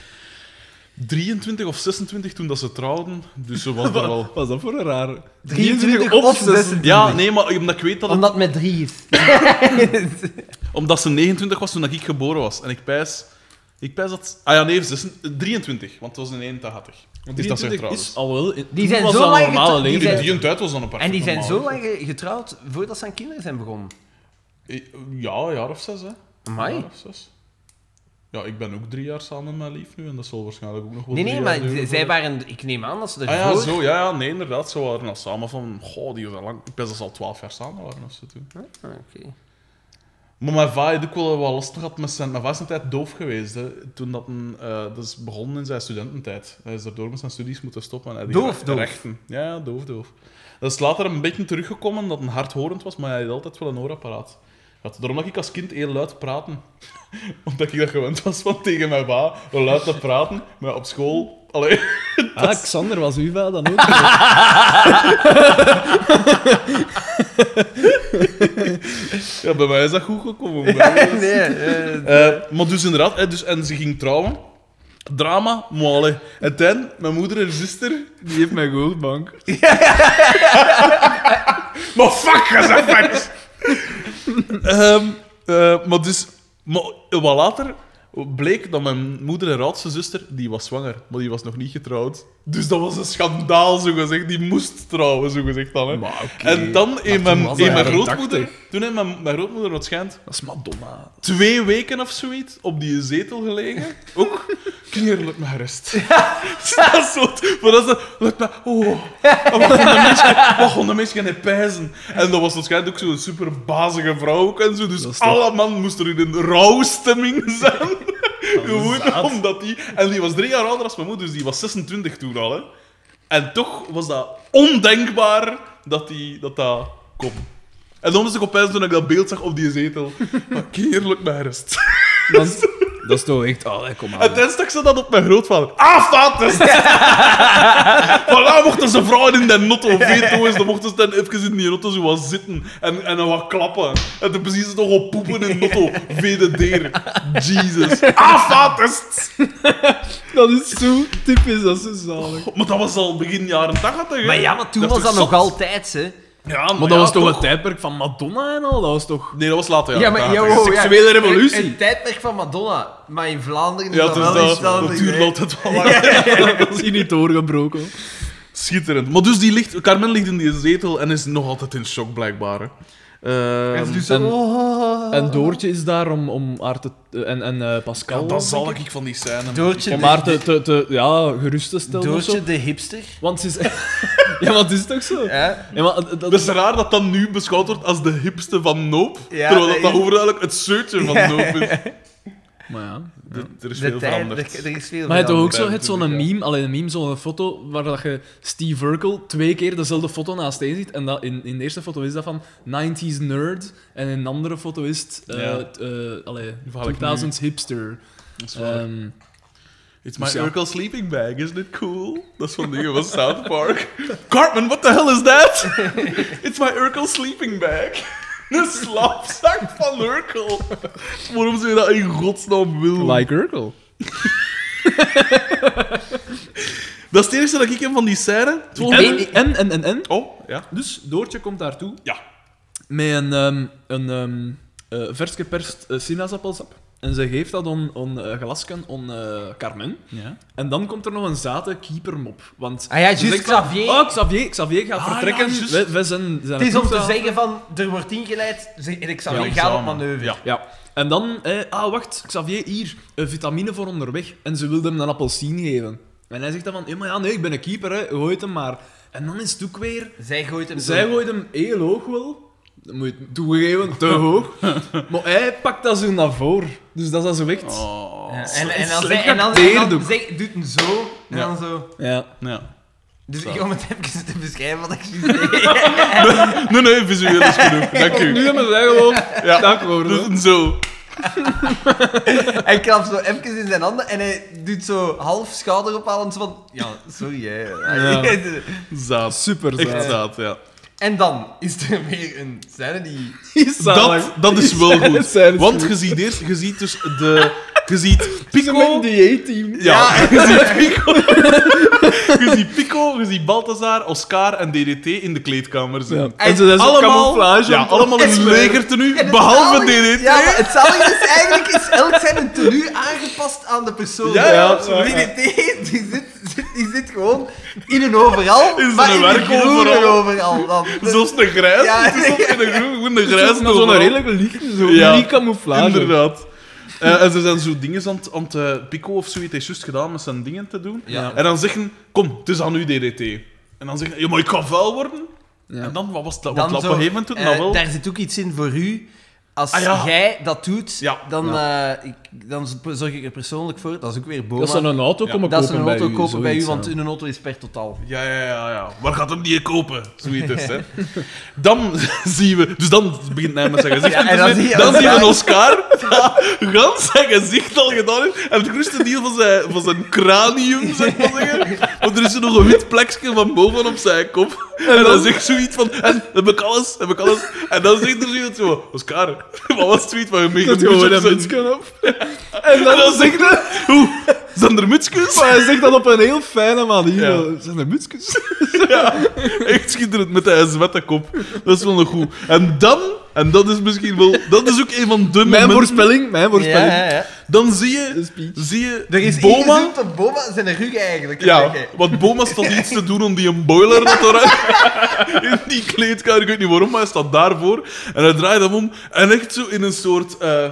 S2: 23 of 26 toen dat ze trouwden. Dus ze was daar
S1: Wat
S2: al...
S1: was dat voor een rare?
S3: 23 of 26.
S2: Ja, nee, maar omdat ik weet dat het
S3: Omdat het met drie is.
S2: Omdat ze 29 was toen ik geboren was. En ik pijs... Ik pijs dat... Ah ja, nee, ze is 23, want het was in 81.
S1: Want
S2: Het is dat ze
S1: 23
S2: getrouwd
S1: is
S2: is.
S1: al wel...
S3: Die zijn
S1: was
S3: zo
S1: dat een
S3: lang
S1: normale
S3: getrouwd, die
S1: leeftijd.
S3: zijn-
S2: Die tijd was dan een paar
S3: En die zijn zo lang ge- getrouwd voordat ze aan kinderen zijn begonnen.
S2: Eh, Ja, een jaar of zes, hè. Een
S3: Amai.
S2: jaar of zes. Ja, ik ben ook drie jaar samen met mijn lief nu, en dat zal waarschijnlijk ook nog wel
S3: Nee,
S2: drie
S3: nee,
S2: jaar
S3: maar
S2: duren
S3: z-
S2: voordat-
S3: zij waren... Ik neem aan dat ze
S2: Ah
S3: ervoor...
S2: ja, zo, ja, ja, nee, inderdaad. Ze waren al samen van... Goh, die is al lang... Ik pijs dat ze al 12 jaar samen waren of zo toen.
S3: Ah, oké.
S2: Maar mijn vader heeft ook wel wat lastig gehad met zijn... Mijn vader is een tijd doof geweest, hè. Toen dat, een, eh, dat is begonnen in zijn studententijd. Hij is daardoor met zijn studies moeten stoppen. en Hij die
S3: Doof, doof?
S2: Rechten. Ja, ja, doof, doof. Dat is later een beetje teruggekomen, dat hij hardhorend was, maar hij had altijd wel een hoorapparaat. gehad. Daarom dat ik als kind heel luid praten. Omdat ik dat gewend was van tegen mijn pa, wel luid te praten. Maar op school... Allee,
S1: Ah, Xander was uw vader dan ook.
S2: ja, bij mij is dat goed gekomen.
S3: Nee, eh,
S2: Eh, maar dus inderdaad, hè, dus, en ze ging trouwen. Drama, maar allee. En ten, mijn moeder en zuster,
S1: Die heeft mijn goldbank.
S2: Maar fuck, je bent vet. Ehm, eh, maar dus... Maar wat later bleek dat mijn moeder en oudste zuster... Die was zwanger, maar die was nog niet getrouwd. Dus dat was een schandaal, zogezegd. Die moest trouwen, zogezegd dan. Hè.
S1: Maar oké.
S2: En dan in mijn,
S1: was
S2: in
S1: dat
S2: mijn
S1: jaren
S2: grootmoeder...
S1: 80.
S2: Toen heeft mijn, mijn grootmoeder, wat schijnt,
S1: Dat is Madonna.
S2: twee weken of zoiets op die zetel gelegen. Ook knierlijk maar rust. dat is soort, maar dat is dat, dat, dat- oh, en wat gaan de mensen, wat gaan de mensen gaan pijzen? En dat was waarschijnlijk ook zo'n superbazige vrouw ook en zo, dus
S1: Dat is toch-
S2: alle man moest er in een rouwstemming zijn. Gewoon
S1: zaad.
S2: omdat die... En die was drie jaar ouder als mijn moeder, dus die was 26 toen al, hè. En toch was dat ondenkbaar dat die, dat, dat kon. En dan was ik opeens toen ik dat beeld zag op die zetel. Maar keerlijk bij rust.
S1: Want Dat is toch echt... Oh, kom aan.
S2: En dan stak ze dat op mijn grootvader. Ah, fatest! Voilà, mochten ze vrouwen in de notto veto eens, dan mochten ze dan even in die notto zo wat zitten en, en dan wat klappen. En dan precies nog op poepen in notto. VDD. Jesus. Ah, fatest!
S1: Dat is zo typisch, dat is zo zalig.
S2: Maar dat was al begin jaren 80, hè?
S3: Maar ja, maar toen
S2: Dat
S3: was
S2: is
S3: dat
S2: toch
S3: nog
S2: zot?
S3: altijd, hè.
S2: Ja, maar,
S1: Maar dat
S2: ja,
S1: was toch, het tijdperk van Madonna en al? Dat was toch...
S2: Nee, dat was later, ja.
S3: Ja, maar...
S2: ja,
S3: ja, wow, ja.
S1: seksuele revolutie.
S3: Een, een tijdperk van Madonna. Maar in Vlaanderen is
S2: Ja,
S3: dat
S2: dus
S3: wel
S2: dat,
S3: iets anders,
S2: dat
S3: hè.
S2: duurde altijd wel lang.
S1: Dat is hier niet doorgebroken. hoor.
S2: Schitterend. Maar dus die ligt, Carmen ligt in die zetel en is nog altijd in shock, blijkbaar. hè. Ehm,
S3: En ze doet zo,
S1: en-
S3: oh.
S1: En Doortje is daar om, om haar te... En, en eh, Pascal.
S2: ja, dat zal
S1: denk
S2: oh, ik van die scène.
S3: Doortje,
S1: Om
S3: de-
S1: haar te, te, te- ja, gerust te stellen of
S3: Doortje
S1: zo.
S3: de hipster.
S1: Want ze is... ja, maar het is toch zo? Ja.
S3: Ja.
S1: maar, dat
S2: Het is raar dat dat nu beschouwd wordt als de hipste van Noop,
S3: Ja,
S2: terwijl dat,
S3: dat
S2: dat
S3: is-
S2: overduidelijk het zeurtje van
S3: Ja.
S2: Noop is.
S1: Maar ja.
S2: D- Er is
S3: De
S2: veel
S3: tijd, er,
S2: veranderd.
S3: er is veel
S1: Maar je hebt toch ook
S2: Ja,
S1: zo, je hebt zo'n
S2: natuurlijk, ja.
S1: meme, alleen een meme, zo'n foto waar dat je Steve Urkel twee keer dezelfde foto naast je ziet. En dat in, in de eerste foto is dat van 90s nerd en in een andere foto is het eh,
S2: Ja.
S1: t- eh, allee,
S2: verhaal ik
S1: 2000s hipster.
S2: Dat is waar.
S1: Ehm,
S2: It's my
S1: dus ja.
S2: Urkel sleeping bag, isn't it cool? Dat is van dingen van South Park. Cartman, what the hell is that? It's my Urkel sleeping bag. De slaapzak van Urkel. Waarom zou je dat in godsnaam willen?
S1: like Urkel.
S2: Dat is het eerste dat ik hem van die scène... Het volgende-
S1: En, en, en, en, en.
S2: Oh, ja.
S1: Dus Doortje komt daartoe
S2: Ja.
S1: met een, ehm, een ehm, eh, vers geperst eh, sinaasappelsap. En ze geeft dat om, om eh, glasken om eh, Carmen.
S2: ja.
S1: En dan komt er nog een zate keepermop. Want
S3: Ah ja,
S1: ze
S2: Dus
S3: juist
S1: zegt van,
S3: Xavier.
S1: Oh, Xavier, Xavier gaat
S2: Ah,
S1: vertrekken.
S2: ja, juist.
S1: we, we zijn, zijn eh.
S3: Het is om te
S1: proefzaal.
S3: zeggen van, er wordt ingeleid, ze- en ik zal
S1: Ja,
S3: weer gaan op
S2: examen.
S3: manoeuvre.
S2: Ja.
S1: Ja. En dan, eh, ah wacht, Xavier, hier, eh, vitamine voor onderweg. En ze wilde hem een appelsien geven. En hij zegt dan van, ja maar ja, nee, ik ben een keeper, hè. gooi het hem maar. En dan is het ook weer,
S3: Zij gooit hem
S1: zij
S3: door.
S1: gooit hem heel hoog wel. Dat moet je toegeven, te hoog. Maar hij pakt dat zo naar voren. Dus dat is dat zo echt.
S2: Oh.
S3: Ja, en,
S1: Slecht
S3: en dan, zij- en dan, en dan,
S1: acteerdoek.
S3: zij doet hem zo, en
S2: Ja.
S3: dan zo.
S1: Ja.
S2: Ja.
S3: Dus
S2: Zo.
S3: ik om het even te beschrijven wat ik zie.
S2: Nee, nee, visueel is genoeg. Dank
S1: Nu
S2: u.
S1: hebben wij gewoon
S2: Ja.
S1: akkoord.
S2: Dat is een zo.
S3: hij klapt zo even in zijn handen en hij doet zo half schouder ophalend zo van... Ja, sorry hè.
S1: Ja.
S2: Zaad.
S1: Super
S2: Echt
S1: zalig.
S2: zaad, ja.
S3: En dan is er weer een scène die...
S2: Dat, dat is wel goed.
S1: Zijn
S2: Want je ziet eerst, je ziet dus de... Je ziet
S1: Mijn
S2: Pico...
S1: dieetteam.
S2: Ja, je ziet Pico... Je ziet Pico, je ziet Balthazar, Oscar en DDT in de kleedkamer zijn.
S1: En ze zijn zo
S2: Allemaal,
S1: camouflage.
S2: ja, allemaal in
S3: En- En
S2: legertenu,
S3: het
S2: behalve
S3: zalige-
S2: DDT.
S3: Ja, maar het zalige is eigenlijk is elk zijn tenue aangepast aan de persoon.
S2: Ja, ja,
S1: absoluut.
S3: DDT, die zit, zit- die zit gewoon in een overal,
S2: In
S3: maar
S2: zijn
S3: in een
S2: werkoverall.
S3: groene overal. dan.
S2: Zoals een grijs.
S3: Ja.
S2: Het is ook in een groen, gewoon een grijs.
S1: Dat is wel een redelijk licht, zo
S2: Ja,
S1: die camouflage.
S2: Inderdaad. Eh, en ze zijn zo dingen aan het... aan het, eh, Pico of zoiets heeft juist gedaan met zijn dingen te doen.
S3: Ja.
S2: En dan zeggen, kom, het is aan u DDT. En dan zeggen, ja, maar ik ga vuil worden.
S1: Ja.
S2: En dan, wat was dat? Want
S3: Dan zo,
S2: op een gegeven moment doet dat
S3: eh,
S2: wel.
S3: Daar zit ook iets in voor u. Als
S2: Ah, ja.
S3: jij dat doet,
S2: Ja.
S3: dan, eh, ik, dan zorg ik er persoonlijk voor. Dat is ook weer Boma.
S1: Dat ze een auto
S2: Ja,
S1: komen
S3: dat ze
S1: kopen
S3: een auto
S1: bij u,
S3: kopen bij u,
S1: zoiets,
S3: want
S1: ja.
S3: in een auto is per totaal.
S2: Ja, ja, ja, ja. Waar gaat hem die kopen? Zoiets dus, hè. Dan zien we... Dus dan begint hij met zijn gezicht
S3: Ja,
S2: in
S3: en
S2: te
S3: dan
S2: zweten.
S3: zie je
S2: Dan zien we
S3: Oscar.
S2: een Oscar dat gans zijn gezicht al gedaan heeft. En het grootste deel van zijn, van zijn cranium, zeg maar zeggen. Want er is zo nog een wit plekje van boven op zijn kop. En dan zegt zoiets van... En, heb ik alles? Heb ik alles? En dan zegt er zoiets zo... Oscar, wat was het zoiets van je mee?
S1: Dat gewoon een mutsken op. En
S2: En
S1: dan
S2: dan
S1: zegt
S2: zegt
S1: hij...
S2: hij... Oeh, zijn er mutsjes?
S1: Maar hij zegt dat op een heel fijne manier.
S2: Ja.
S1: Zijn er mutsjes?
S2: Echt schitterend met de zwette kop. Dat is wel nog goed. En dan, en dat is misschien wel, dat is ook een van de
S1: Mijn
S2: momenten-
S1: voorspelling, mijn voorspelling.
S2: Dan zie je,
S1: Een speech.
S2: zie je
S3: Er is
S2: Boma.
S3: ingezoomd op Boma zijn rug eigenlijk.
S2: Ja,
S3: Kijk, hè.
S2: want Boma staat iets te doen om die een boiler te redden. In die kleedkamer, ik weet niet waarom, maar hij staat daarvoor. En hij draait hem om en echt zo in een soort eh,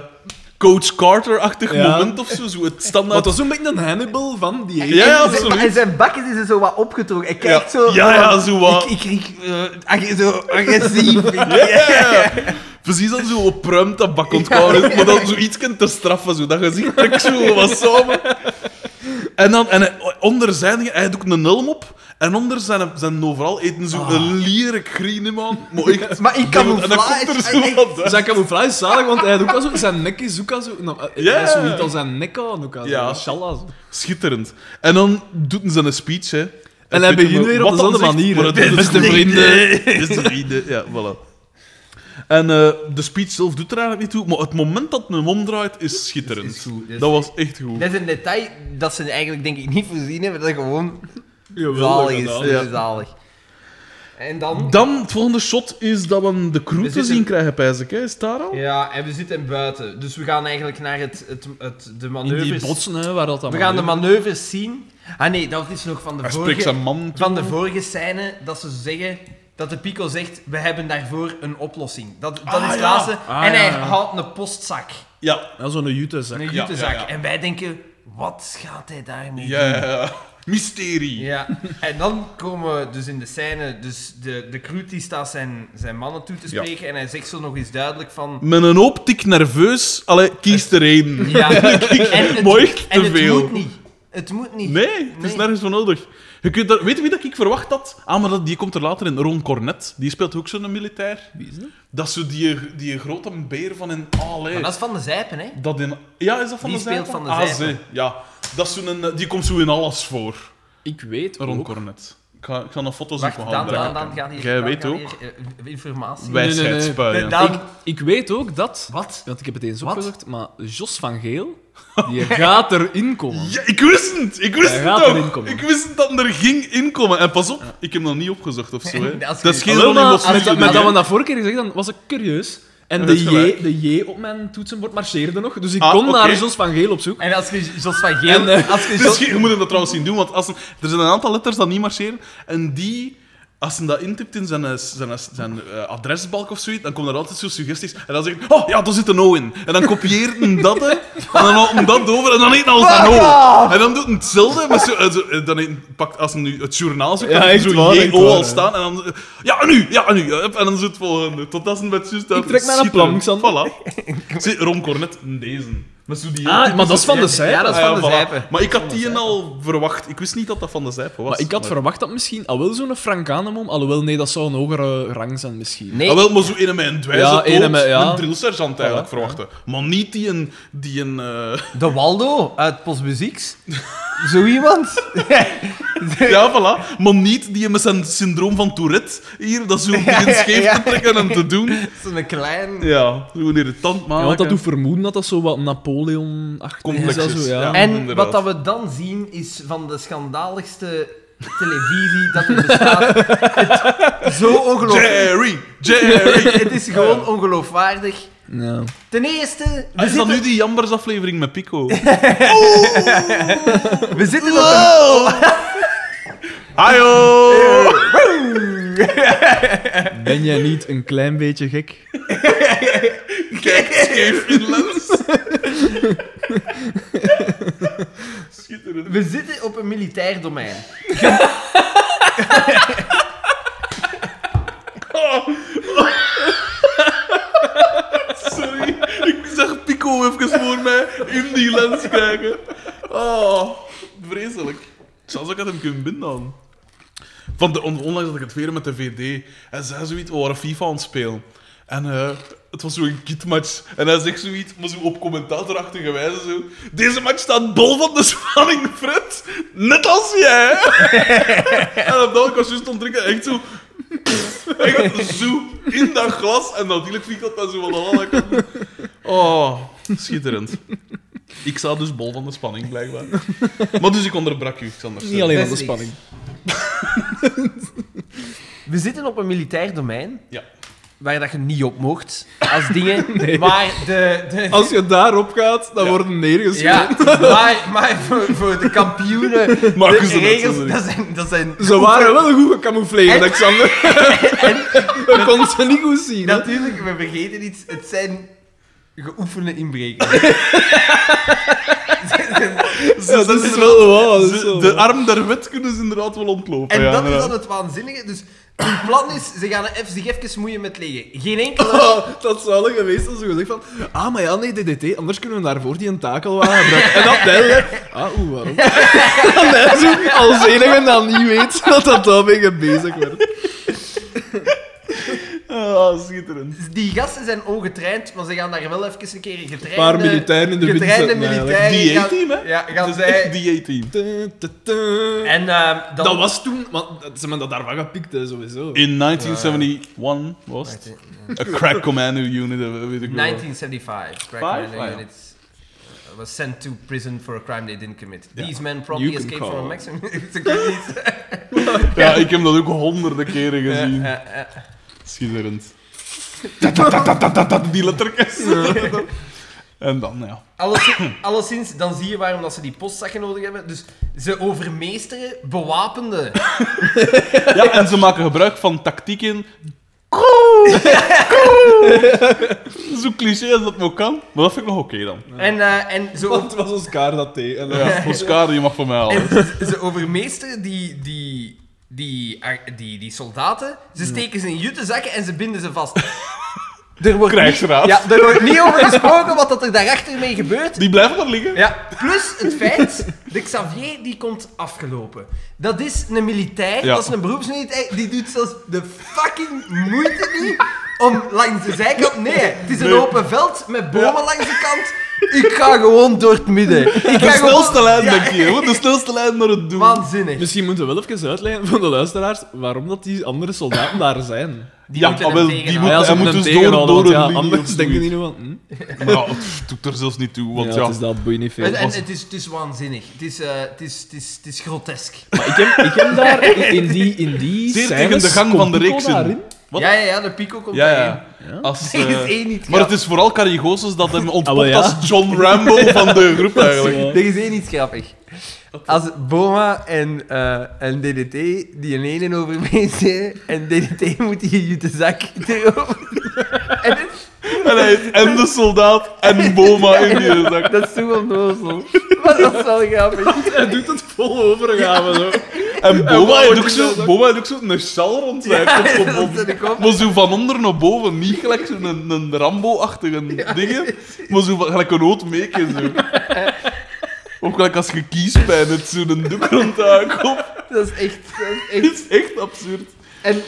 S2: Coach Carter-achtig
S1: Ja.
S2: moment of zo. Zo het standaard...
S1: Want dat is een beetje een Hannibal van die
S2: Ja, ja,
S3: En zijn-
S2: absoluut.
S3: En zijn bakken is er zo wat opgetrokken. Hij
S2: Ja.
S3: kijkt zo...
S2: Ja, ja, zo wat.
S3: Ik, ik, ik, eh, ag- zo agressief. Ik-
S2: Ja. Precies dan zo opruimd dat bak ontkomen is, maar dan zo iets ter straffen, zo dat gezicht trekt zo wat samen. En dan en hij- onder zijn dingen, hij doet ook een helm op. En onder zijn, zijn overal eten ze een lierlijk green man. Maar echt.
S3: Ah. Maar in
S2: En dan komt er
S3: camouflage...
S2: zo wat uit.
S1: Zijn camouflage is zalig, want hij had ook al zo, zijn nek is ook al zo... Nou, hij-
S2: Ja.
S1: Hij is zo niet al zijn nek aan, ook al
S2: Ja.
S1: ja. zo.
S2: Schitterend. En dan doet hij zijn speech, hè.
S1: En hij
S2: weet
S1: begint
S2: hem
S1: weer
S2: wat
S1: op dezelfde
S2: dan zegt,
S1: manier,
S2: maar
S1: hè.
S2: het doet
S1: Beste
S2: het niet.
S1: vrienden.
S2: Beste vrienden, ja, voilà. En eh, de speech zelf doet er eigenlijk niet toe, maar het moment dat hij hem omdraait is schitterend.
S3: Is- is goed, is-
S2: dat was echt goed.
S3: Dat is een detail dat ze eigenlijk denk ik niet voorzien hebben, dat gewoon
S1: Jawel,
S3: zalig is.
S1: gedaan.
S3: Dat is
S2: Ja.
S3: zalig. En dan...
S2: Dan, het volgende shot is dat we de crew
S3: We
S2: te
S3: zitten-
S2: zien krijgen, pijs ik, hè. Is het daar al?
S3: Ja, en we zitten buiten. Dus we gaan eigenlijk naar het, het, het, de
S1: In
S3: manoeuvres...
S1: die botsen, hè, waar dat dan
S3: We gaan de
S1: maar-
S3: manoeuvres zien. Ah nee, dat is nog van de
S2: Hij
S3: vorige...
S2: spreekt zijn man toe.
S3: Van de vorige scène dat ze zeggen dat de Pico zegt: We hebben daarvoor een oplossing. Dat, dat
S2: Ah,
S3: is het
S2: ja.
S3: laatste.
S1: Ah,
S3: en
S1: ja,
S3: hij
S1: ja.
S3: haalt een postzak,
S2: Ja,
S1: Ja, zo'n jute, zeg.
S3: een
S2: ja,
S3: jutezak.
S2: ja.
S3: En wij denken: Wat gaat hij daarmee
S2: Ja,
S3: doen?
S2: ja, ja. mysterie.
S3: Hmm. Ja, en dan komen we dus in de scène, dus de, de crew die staat zijn, zijn mannen toe te
S2: Ja.
S3: spreken en hij zegt zo nog eens duidelijk van...
S2: Met een hoop tik nerveus, allee, kies er één.
S3: Ja, en
S2: Maar echt
S3: en
S2: te
S3: het
S2: veel.
S3: moet niet. Het moet niet.
S2: Nee, het is
S3: Nee.
S2: nergens voor nodig. Je kunt daar, weet je wie dat ik verwacht had? Ah, maar dat, die komt er later in. Ron Cornet, die speelt ook zo'n militair.
S1: Wie is dat?
S2: Dat is zo die, die grote beer van een... Allee.
S3: Maar dat is van de zijpen, hè.
S2: Dat in, ja, is dat van
S3: Die
S2: de
S3: speelt
S2: zijde?
S3: van de
S2: ah,
S3: zijde.
S2: zee, Ja, dat is zo'n, eh, die komt zo in alles voor.
S1: Ik weet
S2: Ron
S1: ook.
S2: Cornet. Ik ga, ik ga een foto
S3: Wacht,
S2: zoeken van
S3: dan,
S2: hem brengen.
S3: dan, dan gaat hier...
S2: Jij
S3: dan
S2: weet
S3: gaat
S2: ook.
S3: hier, eh, informatie.
S1: Wij- nee, nee.
S2: Wijsheidsspuien.
S3: Dan-
S1: Ik, ik weet ook dat...
S3: Wat?
S1: Want ik heb het eens
S3: Wat?
S1: opgezocht, maar Jos van Geel, die gaat erin komen.
S2: Ja, ik wist het! Ik wist
S1: Hij
S2: het
S1: gaat erin
S2: ook!
S1: komen.
S2: Ik wist het dat er ging inkomen. En pas op, ik heb hem nog niet opgezocht of zo. Hè.
S3: Als je-
S2: Dat is
S1: Alhoewel,
S2: geen Ronnie
S1: maar met,
S2: Lofsmith.
S1: met dat we dat vorige keer gezegd hadden, was ik curieus. En
S2: Dat
S1: de
S2: is gelijk.
S1: J, de J op mijn toetsenbord marcheerde nog, dus ik
S2: Ah,
S1: kon
S2: oké.
S1: naar Jos van Geel op zoek.
S3: En als je Jos van Geel...
S1: En, eh,
S3: als je
S2: Het is
S3: Jos-
S2: geen- je moet hem dat trouwens zien doen, want als een- er zijn een aantal letters dat niet marcheren. En die, als hij dat intipt in zijn, eh, zijn, eh, zijn eh, adresbalk of zoiets, dan komen er altijd zo suggesties. En dan zegt hij, oh ja, daar zit een O in. En dan kopieert hij dat, hè, en dan haalt hij dat over en dan heet hij als een O. En dan doet hij hetzelfde, maar zo, eh, zo, eh, dan heet- pakt, als hij nu het journaal zoekt,
S1: Ja,
S2: dan heeft
S1: echt
S2: hij
S1: waar,
S2: zo
S1: echt
S2: J-O
S1: waar,
S2: al
S1: hè.
S2: staan. En dan, eh, ja, en nu, ja, en nu. hup, En dan zit het volgende. Totdat ze met juist uit-
S1: Ik trek naar een plan,
S2: Schitterend. Voilà. Zie, Ron Cornet, deze. Met zo die
S1: Ah, maar dat is van de
S3: Ja,
S1: zijde.
S3: dat is
S2: Ah,
S3: van de
S2: dus ja, voilà.
S3: zijpen.
S2: Maar ik had die al verwacht. Ik wist niet dat dat van de zijpen was.
S1: Maar ik had verwacht dat misschien al wel zo'n Frank Anemon, alhoewel nee, dat zou een hogere rang zijn misschien.
S3: Nee,
S2: Ah, wel, maar zo een met een dwijze
S1: Ja, een
S2: dood,
S1: met- ja.
S2: een drillsergeant eigenlijk
S1: Voilà,
S2: verwachten. Maar niet die een... Die een eh,
S3: De Waldo uit Postmuzieks. Zo iemand.
S2: ja, voilà. Maar niet die met zijn syndroom van Tourette hier, dat zo die een scheef te trekken en te doen.
S3: Zo'n klein...
S2: Ja, gewoon irritant maken.
S1: Ja, want dat doet vermoeden dat dat zo wat Napoleon-achtig is.
S2: Complex
S1: dat
S2: is,
S1: zo,
S2: ja.
S1: ja.
S3: En
S2: inderdaad.
S3: wat dat we dan zien is van de schandaligste televisie dat er bestaat. Het, zo ongelooflijk.
S2: Jerry! Jerry!
S3: Het is gewoon ongeloofwaardig.
S1: Ja.
S3: Ten eerste,
S2: Ah,
S3: we
S2: Is dat nu
S3: zitten,
S2: die Jambers-aflevering met Pico?
S3: we zitten op een...
S2: Ajo!
S1: Ben jij niet een klein beetje gek?
S2: Kijk, scheef in lens. Schitterend.
S3: We zitten op een militair domein.
S2: Sorry, ik zag Pico even voor mij in die lens kijken. Oh, vreselijk. Zelfs ik had hem kunnen binden dan. Van de, on- onlangs had ik het weer met de VD. En zei zoiets, we waren FIFA aan het spelen. En eh, het was zo'n kitmatch. En hij zegt zoiets, maar zo op commentatorachtige wijze zo... Deze match staat bol van de spanning, Fred. Net als jij. en op dat moment was juist ontdrinken echt zo... Echt zo in dat glas. En natuurlijk vliegt dat dan zo van aan alle kanten. Oh, schitterend. Ik sta dus bol van de spanning, blijkbaar. Maar dus ik onderbrak u, Xander.
S1: Niet alleen
S3: dat
S1: aan
S3: is
S1: de
S3: niks.
S1: spanning.
S3: We zitten op een militair domein
S2: Ja.
S3: waar dat je niet op mocht als dingen. Maar de, de,
S1: Als je daarop gaat, dan
S2: Ja.
S1: worden neergeschoten.
S3: Ja, maar, maar voor, voor de kampioenen,
S2: Maken
S3: de
S2: ze dat
S3: regels,
S2: zo,
S3: dat zijn... Dat zijn
S1: Ze waren wel goed gecamoufleerd, Alexander. We konden ze niet goed zien. hè.
S3: Natuurlijk, we vergeten iets. Het zijn geoefende inbrekers.
S1: Ja, dat is wel waar. dat is
S2: Ze-
S1: wel
S2: de
S1: waar.
S2: arm der wet kunnen ze inderdaad wel ontlopen.
S3: En
S2: ja,
S3: dat is
S2: inderdaad.
S3: dan het waanzinnige. Dus Hun plan is, ze gaan even- zich even moeien met liggen. Geen enkele...
S1: Oh, dat zou er geweest als ze gezegd van... Ah, maar ja, nee, DDT, anders kunnen we daarvoor die een takelwagen gebruiken. En dan duidelijk... Ah, oeh, waarom? En hij zo als enige dan niet weet dat dat daarmee bezig wordt.
S2: Ah, schitterend.
S3: Die gasten zijn ongetraind, maar ze gaan daar wel even een keer een getrainde...
S1: Paar militairen in de wind
S3: Getrainde
S1: zetten,
S3: militairen... gaan-
S2: DA-team, hè?
S3: Ja, gaan
S2: Het is echt
S3: zij...
S2: DA-team.
S1: Tu, tu, tu.
S3: En ehm, dan...
S1: Dat was toen... Want ze hebben dat daarvan gepikt, hè, sowieso.
S2: In 1971 was het. Een crack commando unit, eh, weet ik wel.
S3: 1975. Crack
S2: Five?
S3: Commander
S2: Ah, ja.
S3: units uh, was sent to prison for a crime they didn't commit.
S2: Ja.
S3: These men
S1: You
S3: probably
S1: can
S3: escaped from
S1: call.
S3: a maximum security.
S2: Ja, ik heb dat ook honderden keren gezien.
S3: Eh, eh,
S2: Schitterend. Tatatatatatatat, Die letterkens. En dan, ja.
S3: Alleszins, alleszins, dan zie je waarom dat ze die postzakken nodig hebben. Dus ze overmeesteren bewapende.
S2: ja. En ze maken gebruik van tactieken. Zo cliché als dat maar kan. Maar dat vind ik nog oké dan.
S3: En, eh, en, ze,
S1: Want
S3: o-
S1: het was Oscar dat deed. En dan-
S2: Ja, Oscar, je mag van mij halen.
S3: en ze overmeesteren die, die, die, ar- die, die soldaten. Ze steken ze in jute zakken en ze binden ze vast. Er wordt
S2: Krijgsraad.
S3: Ja, er wordt niet over gesproken wat dat er daarachter mee gebeurt.
S2: Die blijven daar liggen.
S3: Ja, plus het feit, de Xavier die komt afgelopen. Dat is een militair,
S2: Ja.
S3: dat is een beroepsmilitair, die doet zelfs de fucking moeite niet om langs de zijkant... Nee, het is een
S2: Nee.
S3: open veld met bomen langs de kant. Ik ga gewoon door het midden. Ik ga
S2: De snelste lijn,
S3: Ja.
S2: denk je. hè. De snelste lijn naar het doel.
S3: Waanzinnig.
S1: Misschien moeten we wel even uitleggen van de luisteraars waarom dat die andere soldaten daar zijn. Ah
S3: Die
S2: ja,
S3: moeten
S2: maar
S3: hem
S2: wel, die
S3: tegenhouden.
S2: moet-
S1: Ja,
S2: hij
S1: ze
S2: moet
S1: moeten
S2: dus
S1: hem
S2: door,
S1: tegenhouden, want
S2: door een
S1: ja,
S2: linie of
S1: Anders denken
S2: zoiets.
S1: die nu van... Hm?
S2: Maar ja, pff, doet er zelfs niet toe, want
S1: ja,
S2: ja...
S1: het is dat, boeit niet veel.
S3: En, en het, is, het is waanzinnig. Het is, eh, het is, het is, het is grotesk.
S1: Maar ik heb, ik heb daar in in die, in die
S2: Zeer
S1: scènes
S2: tegen de gang
S1: komt
S2: van de
S1: Pico
S2: reeks in.
S1: daarin.
S2: Wat?
S3: Ja, ja, ja, de pico komt
S2: Ja,
S3: daarin.
S2: ja. Als,
S3: Er is
S2: eh,
S3: één niet
S2: maar
S3: grappig.
S2: het is vooral Carrie Goossens dat hem ontpopt
S1: Ah, wel, ja.
S2: als John Rambo van de groep, eigenlijk.
S1: Ja.
S3: Er is één iets grappig. Als Boma en, eh, en DDT die een ene overmeesteren en DDT moet die jute zak erover. en dat is-
S2: En hij is en de soldaat en Boma in die zak.
S3: dat is zo onnozel. Maar dat is wel grappig.
S1: Hij doet het vol overgave. zo.
S2: En Boma
S1: wordt
S2: heeft ook
S1: in de
S2: zo,
S1: zak.
S2: Boma heeft ook zo een sjal rond zijn
S3: Ja,
S2: kop
S3: dat
S2: gebonden.
S3: zit ik op.
S2: Maar zo van onder naar boven, niet gelijk zo'n een, een Rambo-achtige dingen, maar zo van- gelijk een rood meekje zo. Of gelijk als je kiespijn hebt, zo'n doek rond de aankoop.
S3: Dat is echt. Dat is
S2: Het
S3: echt.
S2: is echt absurd.
S3: En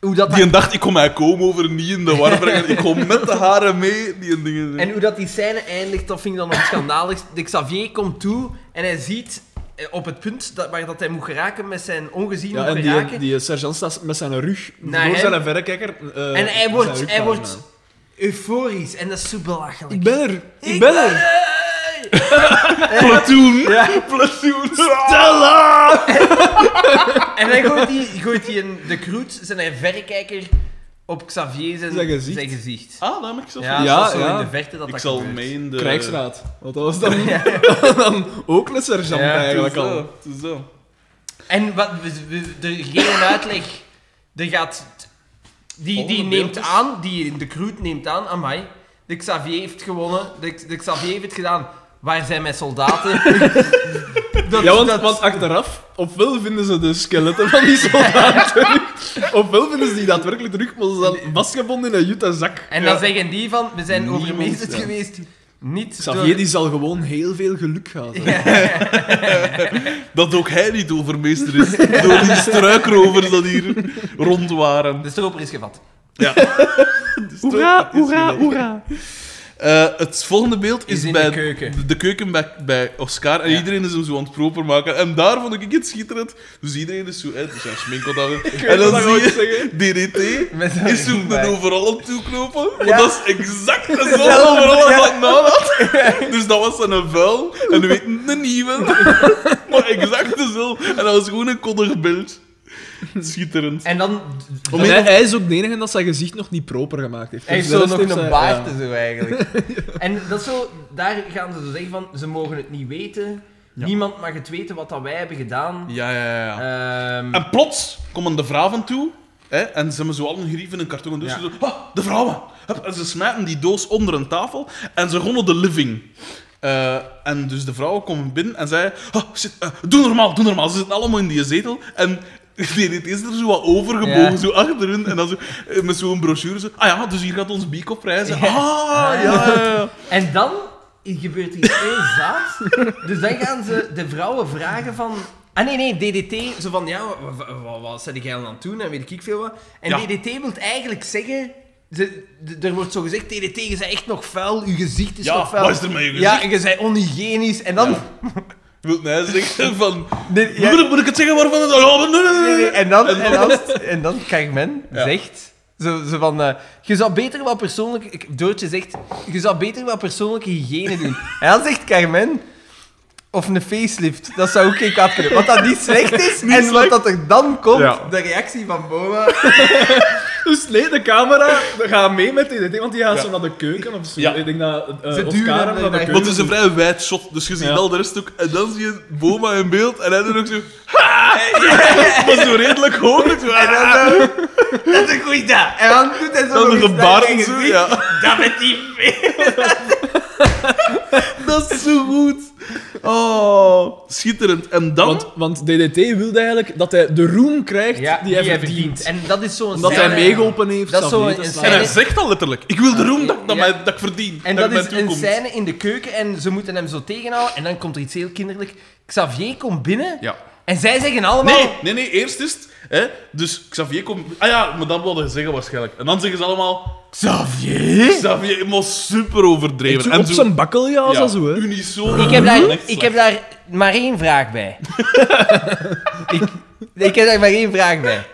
S3: hoe dat,
S2: Die een dacht, ik kom mijn komen over niet in de war brengen. Ik kom met de haren mee. Die een dingen
S3: en hoe dat die scène eindigt, dat vind ik dan nog schandalig. De Xavier komt toe en hij ziet eh, op het punt dat, waar dat hij moet geraken met zijn ongezien
S1: Ja, en
S3: geraken.
S1: die, die sergeant staat met zijn rug
S3: Naar
S1: door
S3: hem.
S1: zijn verrekijker. eh,
S3: en hij
S1: zijn
S3: wordt,
S1: rug
S3: hij
S1: naar
S3: wordt
S1: hem.
S3: euforisch en dat is zo belachelijk.
S1: Ik ben er. Ik ben er.
S2: Platoon! Platoon! Stella!
S3: En dan gooit hij, gooit hij een, de Kroet, zijn verrekijker, op Xavier zijn,
S1: Zijn gezicht.
S3: zijn gezicht.
S2: Ah, dat heb ik zelf
S3: Ja,
S2: niet.
S1: Ja,
S3: dat is zo
S1: ja.
S3: in de verte dat
S2: Ik
S3: dat
S2: zal eh,
S3: gebeurt.
S2: mee in de...
S1: Krijgsraad. Want dat was dan, dan ook een sergeant
S3: Ja,
S1: eigenlijk
S2: Eigenlijk
S1: al.
S2: al. Het is zo.
S3: En wat, we- we- er geen uitleg. Er gaat... Die, die
S2: Volgende
S3: neemt
S2: beeld is-
S3: aan, die, de Kroet neemt aan, amai. De Xavier heeft gewonnen, de, de Xavier heeft het gedaan. Waar zijn mijn soldaten? dat,
S1: Ja, want,
S3: dat-
S1: want achteraf, ofwel vinden ze de skeletten van die soldaten terug, ofwel vinden ze die daadwerkelijk terug, maar ze zijn vastgebonden in een jute zak.
S3: En dan zeggen die van, we zijn
S1: Niemand,
S3: overmeesterd
S1: ja.
S3: geweest. Niet
S1: Xavier die zal gewoon heel veel geluk gaan.
S3: door...
S1: hebben.
S2: Dat ook hij niet overmeester is. door die struikrovers dat hier rond waren.
S3: De stroper is gevat.
S2: Hoera, hoera, hoera. Eh, het volgende beeld
S3: Is
S2: is,
S3: in
S2: bij
S3: de keuken.
S2: de keuken bij, bij Oscar. En
S3: Ja.
S2: iedereen is hem zo aan het proper maken. En daar vond ik het schitterend. Dus iedereen is zo... Hè, dus zijn smink wat aan. En dan zie je DDT
S3: Met zijn
S2: is zo
S3: ring bij.
S2: een overal aan toeknopen. Want
S3: Ja.
S2: dat is exact dezelfde overal als dat nou had. Dus dat was een vuil. En we weten een nieuwe. Maar exact dezelfde. En dat was gewoon een koddig beeld. Schitterend.
S3: En dan...
S1: En hij, hij is ook de enige dat zijn gezicht nog niet proper gemaakt heeft.
S3: Hij heeft
S1: Dus de
S3: zo
S1: rest
S3: nog een
S1: zijn-
S3: baard
S1: ja.
S3: en zo eigenlijk. En dat is zo, daar gaan ze zo zeggen van, ze mogen het niet weten.
S2: Ja.
S3: Niemand mag het weten wat dat wij hebben gedaan.
S2: Ja, ja, ja. ja.
S3: Ehm,
S2: En plots komen de vrouwen toe. Hè, en ze hebben zo al een grief in een kartonnen doos.
S3: Ja.
S2: Ze zo, "Ah, de vrouwen! Hup, en ze smijten die doos onder een tafel. En ze gonnen de living. Eh, en dus de vrouwen komen binnen en zeiden... "Ah, shit, eh, doe normaal, doe normaal. Ze zitten allemaal in die zetel. En DDT is er zo wat overgebogen,
S3: Ja.
S2: zo achter hun. En dan zo, eh, met zo'n brochure. Zo, ah ja, dus hier gaat ons biek op reizen.
S5: Ja.
S2: Ah, ja, ja, ja.
S5: En dan gebeurt er iets heel zaads. Dus dan gaan ze de vrouwen vragen van...
S3: Ah nee, nee, DDT, zo van ja, wa- wa- wa- wat, zet ik aan het doen en weet ik veel wat. En
S2: Ja.
S3: DDT wil eigenlijk zeggen, ze, d- er wordt zo gezegd, DDT, je bent echt nog vuil, je gezicht is nog
S2: Ja,
S3: vuil.
S2: wat is er met je gezicht?
S3: Ja, en je bent onhygiënisch. En dan...
S2: Wil hij zeggen van...
S3: Nee, ja,
S2: Moet, ik, moet ik het zeggen waarvan het... Oh, nee, nee,
S3: nee,
S2: nee,
S3: nee,
S2: nee.
S3: en dan... En dan, en dan Carmen
S2: Ja.
S3: zegt... Zo, zo van, eh, je zou beter wat persoonlijk... ik- Doortje zegt, je zou beter wat persoonlijke hygiëne doen. En dan zegt Carmen... Of een facelift, dat zou ook geen kap kunnen. Wat dat niet slecht is, en
S2: slecht.
S3: wat dat er dan komt,
S2: Ja.
S3: de reactie van Boma...
S1: Dus nee, de camera gaat mee met DDT, want die gaat
S2: Ja.
S1: zo naar de keuken of zo.
S2: Ja.
S1: Ik denk dat eh,
S3: Ze
S1: Oscar
S3: duwen
S1: hem
S3: hem
S1: naar de
S3: naar-
S1: keuken...
S2: Want het is een vrij wijd shot, dus je ziet
S1: Ja.
S2: wel de rest ook. En dan zie je Boma in beeld en hij doet ook zo... Ha! Maar zo redelijk hoog. Zo, ah,
S3: Dat is een goeie dat. En dan doet hij zo
S2: dan de
S3: nog iets naar
S2: gebaren
S3: je
S2: zo,
S3: gezicht.
S2: ja.
S3: Dat met die
S2: Dat is zo goed. Oh, schitterend. En dan...
S1: Want, want DDT wilde eigenlijk dat hij de roem krijgt die hij verdient.
S3: En dat is zo'n
S1: Omdat hij
S3: scène-
S1: meegeholpen heeft.
S3: Dat is
S1: Xavier
S3: zo'n-
S1: te
S3: een
S1: slaan.
S2: en hij
S3: nee.
S2: zegt al letterlijk, ik wil de roem dat, dat,
S3: Ja.
S2: mij, dat ik verdien.
S3: En dat
S2: mij
S3: is een
S2: toekomt.
S3: scène in de keuken en ze moeten hem zo tegenhouden. En dan komt er iets heel kinderlijk. Xavier komt binnen
S2: Ja.
S3: en zij zeggen allemaal...
S2: Nee, nee, nee, eerst is het... Hè, dus Xavier komt... Ah ja, maar dat wilde je zeggen waarschijnlijk. En dan zeggen ze allemaal...
S3: Xavier?
S2: Xavier, maar super overdreven.
S1: Zo
S2: en
S1: op zijn bakkeljaas en zo, hè.
S2: Unisono.
S3: Ik heb, daar,
S2: Echt
S3: ik heb daar maar één vraag bij. ik, ik heb daar maar één vraag bij.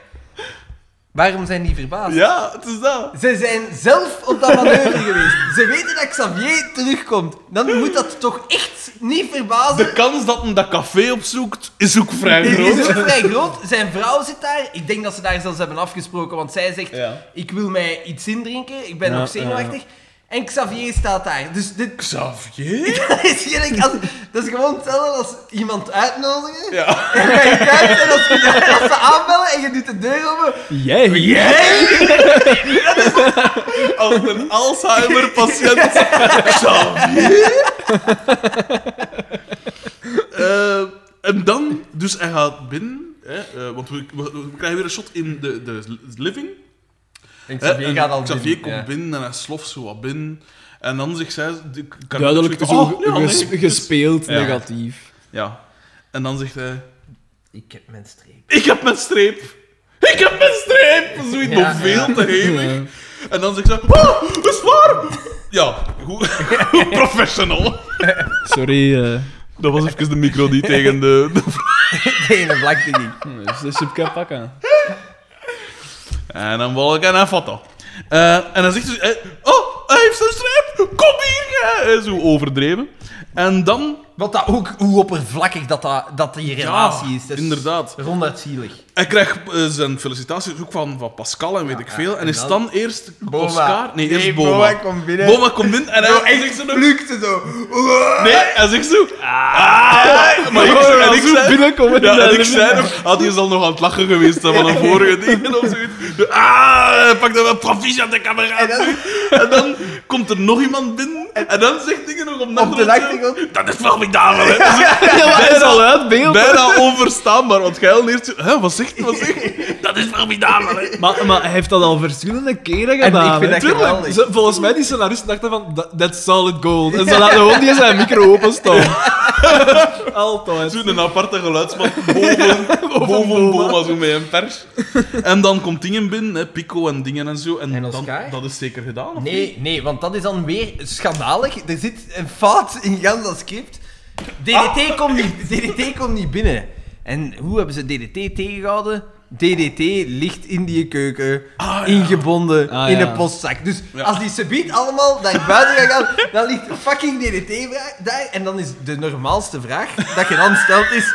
S3: Waarom zijn die verbaasd?
S2: Ja, het is dat.
S3: Ze zijn zelf op dat manoeuvre geweest. Ze weten dat Xavier terugkomt. Dan moet dat toch echt niet verbazen.
S2: De kans dat hij dat café opzoekt, is ook vrij
S3: Dit is
S2: groot.
S3: ook vrij groot. Zijn vrouw zit daar. Ik denk dat ze daar zelfs hebben afgesproken, want zij zegt:
S2: Ja.
S3: Ik wil mij iets indrinken, ik ben
S1: Ja,
S3: nog zenuwachtig. En Xavier staat daar. Dus dit
S2: Xavier?
S3: dat is, geen- als- dat is gewoon hetzelfde als iemand uitnodigen.
S2: Ja.
S3: En dan ga je kijken en als, je- als ze aanbellen en je doet de deur open.
S1: Jij?
S2: Als een Alzheimer-patiënt. Xavier? Eh, en dan, dus hij gaat binnen. Hè, eh, want we, we, we krijgen weer een shot in de, de living.
S3: En
S2: Hè,
S3: Xavier
S2: en
S3: gaat al
S2: Eh, Xavier
S3: binnen,
S2: komt
S3: ja.
S2: binnen en hij sloft zo wat binnen. En dan zegt zij... de- kan-
S1: Duidelijk
S2: zegt,
S1: zo
S2: "Oh, nee,
S1: ges-
S2: nee, het is-"
S1: gespeeld
S2: Ja.
S1: negatief.
S2: Ja. En dan zegt hij...
S3: Ik heb mijn streep.
S2: Ik heb mijn streep. Ik heb mijn streep. Zoiets
S3: Ja,
S2: nog veel
S3: ja.
S2: te hevig.
S1: Ja.
S2: En dan zegt ze... Ah, dat is waar. Ja, goed. Professional.
S1: Sorry, eh
S2: Dat was even de micro die tegen de...
S3: Nee, dat blijkt niet.
S1: dus de subcap pakken.
S2: En dan wil ik aan een foto. Eh, en dan zegt ze... eh, oh, hij heeft zijn streep. Kom hier. jij." Eh, Zo overdreven. En dan...
S3: Wat dat ook, hoe oppervlakkig dat, dat, dat die relatie is. Dat is
S2: inderdaad.
S3: Ronduit zielig.
S2: Hij krijgt eh, zijn felicitaties ook van, van Pascal en weet ik veel. En,
S3: en
S2: is
S3: dan-
S2: dan eerst
S3: Boma.
S2: Oscar... Nee, eerst
S3: Nee,
S2: Boma.
S3: Boma komt binnen.
S2: Boma komt binnen en hij hij zegt zo... nog-
S3: Plukte zo.
S2: Nee, hij zegt zo... Ah, maar ik, en ik zei...
S1: binnenkomen.
S2: Ja, en ik zei nog, had hij al nog aan het lachen geweest hè, van een vorige dingen of zoiets. Ah, pak dan wel provisie aan de camera. En
S3: En
S2: dan,
S3: dan-
S2: komt er nog iemand binnen en dan zegt dingen nog op de
S3: Op de
S2: achtergrond,
S3: achtergrond.
S2: Dat is formidabel, hè. Dat is
S1: Hij is al uit beeld.
S2: bijna onverstaanbaar, want jij al eerst... zo, Hè, wat zegt hij? Wat zegt hij? Dat is formidabel, hè.
S1: Maar, maar hij heeft dat al verschillende keren
S3: ik
S1: gedaan.
S3: vind
S1: hè.
S3: dat
S1: Tuurlijk.
S3: geweldig.
S1: Ze- volgens mij die scenaristen dachten van, "That- that's solid gold. En ze laten gewoon die zijn micro openstaan. Altijd.
S2: Zo'n aparte geluidsman boven, boven Boma, zo met een pers. En dan komt dingen binnen, hè, Pico en dingen en zo. En,
S3: En
S2: dan,
S3: Oscar?
S2: dat is zeker gedaan, of niet?
S3: Nee, nee, want dat is dan weer schandalig. Er zit een fout in gans dat script. DDT,
S2: Ah.
S3: komt niet, DDT komt niet binnen. En hoe hebben ze DDT tegengehouden? DDT ligt in die keuken, ingebonden
S1: Ah,
S3: in
S1: ja.
S3: een postzak. Dus
S2: Ah, Ja.
S3: als die subiet allemaal naar buiten gaan, gaan, dan ligt fucking DDT vra- daar. En dan is de normaalste vraag dat je dan stelt is...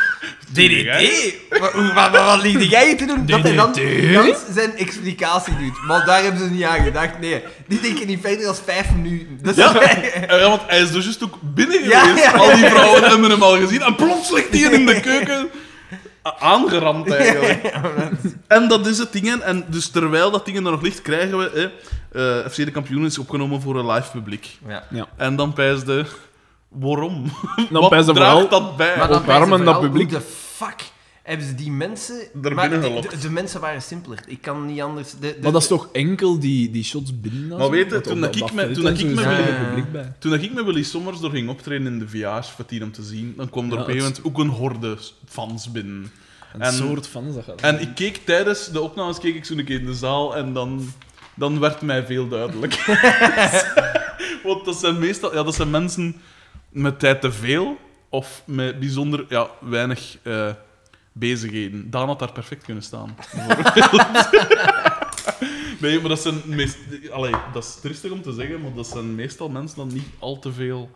S3: DDT? Wat, wat, wat, wat ligt jij te doen? Dat hij dan gans zijn explicatie doet. Maar daar hebben ze niet aan gedacht. Nee, die denken niet verder dan vijf minuten. Dat is
S2: Ja. ja, want hij is dus juist ook binnen
S3: Ja,
S2: geweest.
S3: ja, ja.
S2: Al die vrouwen hebben hem al gezien. En plots ligt hij in de keuken. a- Aangeramd eigenlijk. En dat is het ding. hè. En dus terwijl dat ding er nog ligt, krijgen we... Hè, eh, FC de kampioen is opgenomen voor een live publiek.
S3: Ja.
S2: En dan pijsde... Waarom?
S1: Dan
S2: Wat
S1: pijsde
S2: draagt
S1: Nou, vooral-
S2: dat bij?
S3: Maar dan
S1: Opwarmen
S3: opwarmen
S1: dat
S3: dat
S1: publiek.
S3: publiek. Hoe de fuck hebben ze die mensen...
S2: binnen
S3: maar de-
S2: gelokt.
S3: De, de mensen waren simpeler. Ik kan niet anders... De, de-
S1: Maar dat is
S3: de-
S1: toch enkel die, die shots binnen? dan
S2: Maar
S1: zo?
S2: weet je,
S1: Want
S2: toen
S1: dat-
S2: dat ik
S1: dat
S2: me-
S1: feit
S2: toen dat
S1: is
S2: ik me
S1: een
S3: wil-
S1: zielig publiek bij.
S2: Toen ik met Willy Sommers door ging optreden in de VA's, voor het hier om te zien, dan kwam er
S1: Ja,
S2: op een gegeven
S1: het-
S2: moment ook een horde fans binnen.
S1: Een
S2: En-
S1: soort fans dat gaat.
S2: En ik keek tijdens de opnames keek ik zo een keer in de zaal en dan, dan werd mij veel duidelijk. Want dat zijn meestal ja, dat zijn mensen met tijd te veel of met bijzonder ja, weinig eh, bezigheden. Daan had daar perfect kunnen staan. bijvoorbeeld. nee, maar dat zijn meest, allee, dat is tristig om te zeggen, maar dat zijn meestal mensen die niet al te veel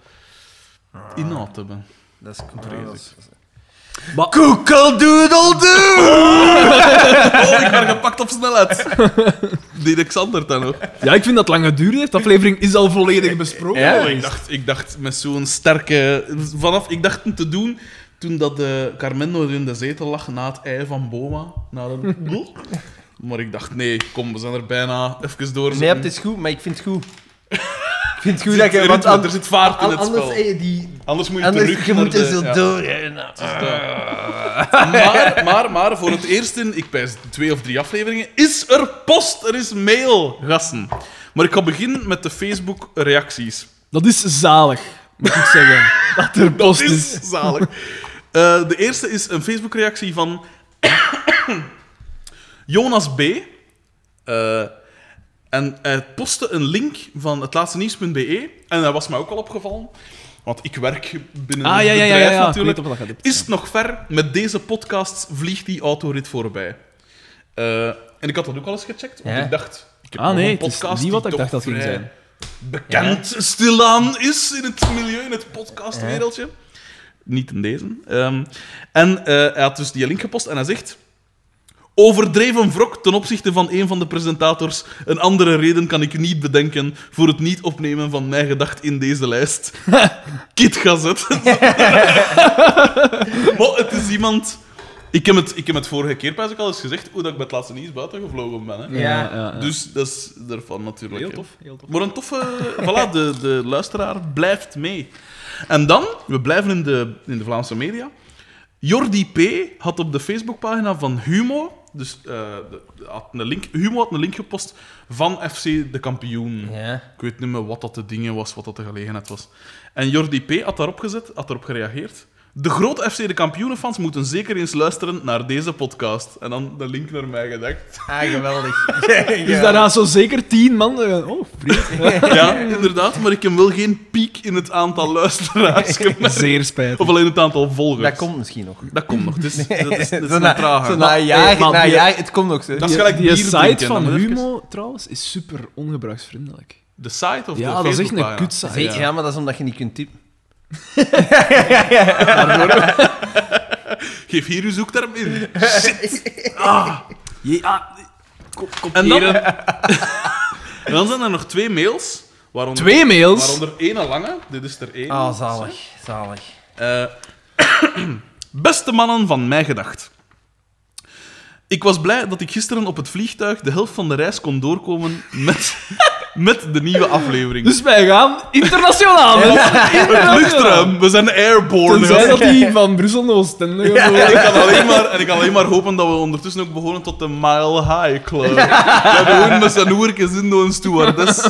S2: inhoud hebben.
S3: Dat is
S2: Vrees
S3: controversieel.
S2: ik.
S3: Google Doodle Doo!
S2: Oh, ik ben gepakt op snelheid. Die Alexander dan ook.
S1: Ja, ik vind dat het lang geduurd heeft. De aflevering is al volledig besproken.
S2: Ja, Oh, ik, dacht, ik dacht met zo'n sterke. Vanaf, ik dacht het te doen toen dat de Carmen nog in de zetel lag na het ei van Boma. Naar een... maar ik dacht, nee, kom, we zijn er bijna. Even door.
S3: Nee, het is goed, maar ik vind het goed. Ik vind het goed
S2: Zit
S3: dat je...
S2: ritme,
S3: Want
S2: er
S3: anders,
S2: zit vaart in het
S3: anders,
S2: spel.
S3: heb je die,
S2: Anders moet je terug
S3: anders je
S2: naar
S3: moet
S2: de-
S3: er zo
S2: ja.
S3: door. hè, nou.
S2: maar, maar, maar, voor het eerst in, ik pijs twee of drie afleveringen, is er post, er is mail, gasten. Maar ik ga beginnen met de Facebook-reacties.
S1: Dat is zalig, moet ik zeggen. dat er post
S2: Het
S1: is.
S2: is zalig. Eh, de eerste is een Facebook-reactie van Jonas B. Eh, en hij postte een link van het laatste nieuws.be. E. En dat was mij ook al opgevallen. Want ik werk binnen
S1: Ah,
S2: een
S1: ja, ja, ja,
S2: bedrijf
S1: ja, ja. Ik
S2: natuurlijk.
S1: weet op wat dat gaat.
S2: Is het nog ver? Met deze podcast vliegt die autorit voorbij. Eh, en ik had dat ook al eens gecheckt, want
S3: Ja.
S2: ik dacht... Ik heb
S1: Ah,
S2: nog
S1: nee,
S2: een
S1: het is niet
S2: podcast die
S1: wat ik
S2: toch
S1: dacht dat ging
S2: vrij
S1: zijn.
S2: Bekend stilaan is in het milieu, in het podcastwereldje. Niet in deze. Ehm, en eh, hij had dus die link gepost en hij zegt... Overdreven wrok ten opzichte van een van de presentators. Een andere reden kan ik niet bedenken voor het niet opnemen van mijn gedacht in deze lijst. Kit Gazet. maar het is iemand... Ik heb het, ik heb het vorige keer pas ook al eens gezegd, hoe dat ik bij het laatste nieuws buiten gevlogen ben. Hè.
S3: Ja.
S2: Dus dat is daarvan natuurlijk.
S1: Heel
S2: hè.
S1: tof, heel tof.
S2: Maar een toffe... voilà, de, de luisteraar blijft mee. En dan, we blijven in de, in de Vlaamse media. Jordi P. had op de Facebookpagina van Humo... Dus eh, de- de- had een link, Humo had een link gepost van FC De Kampioen.
S3: Ja.
S2: Ik weet niet meer wat dat de dingen was, wat dat de gelegenheid was. En Jordi P. had daarop gezet, had daarop gereageerd. De grote FC De Kampioenenfans moeten zeker eens luisteren naar deze podcast. En dan de link naar mij gedacht.
S3: Ah, geweldig.
S1: Dus daarna zo zeker tien man. eh, Oh, vriend.
S2: Ja, inderdaad, maar ik heb wel geen piek in het aantal luisteraars gemerkt.
S1: Zeer spijtig.
S2: Of alleen het aantal volgers.
S3: Dat komt misschien nog.
S2: Dat komt nog. Het is, dat is, dat is
S3: Zo
S2: een trager.
S3: zo na een jaar,
S1: Hey, maar
S3: na een
S1: die-
S3: jaar, het komt nog. Zo.
S2: Dat is
S1: Die-
S2: gelijk
S1: die
S2: bier
S1: site
S2: drinken,
S1: van
S2: dan moet je
S1: Humo, trouwens, is super ongebruiksvriendelijk.
S2: De site of
S1: Ja,
S2: de
S1: dat is echt een
S2: Facebookpagina?
S1: kutsite.
S3: Zeker, ja. maar dat is omdat je niet kunt typen.
S2: Geef hier uw zoekterm in.
S1: Ja,
S2: En dan, en dan zijn er nog twee mails. Waaronder,
S1: Twee mails.
S2: Waaronder één lange. Dit is er één.
S3: Ah, zalig. Zalig.
S2: Eh, beste mannen van mij gedacht. Ik was blij dat ik gisteren op het vliegtuig de helft van de reis kon doorkomen met, met de nieuwe aflevering.
S1: Dus wij gaan internationaal. mensen.
S2: Het
S1: Internationaal.
S2: luchtruim, we zijn airborne.
S1: Dus- Tenzij dat die van Brussel naar Oostende gaan
S2: En
S1: worden.
S2: ik, kan alleen maar, en ik kan alleen maar hopen dat we ondertussen ook begonnen tot de Mile High Club. Dat gewoon met zijn oerkes in door een stewardess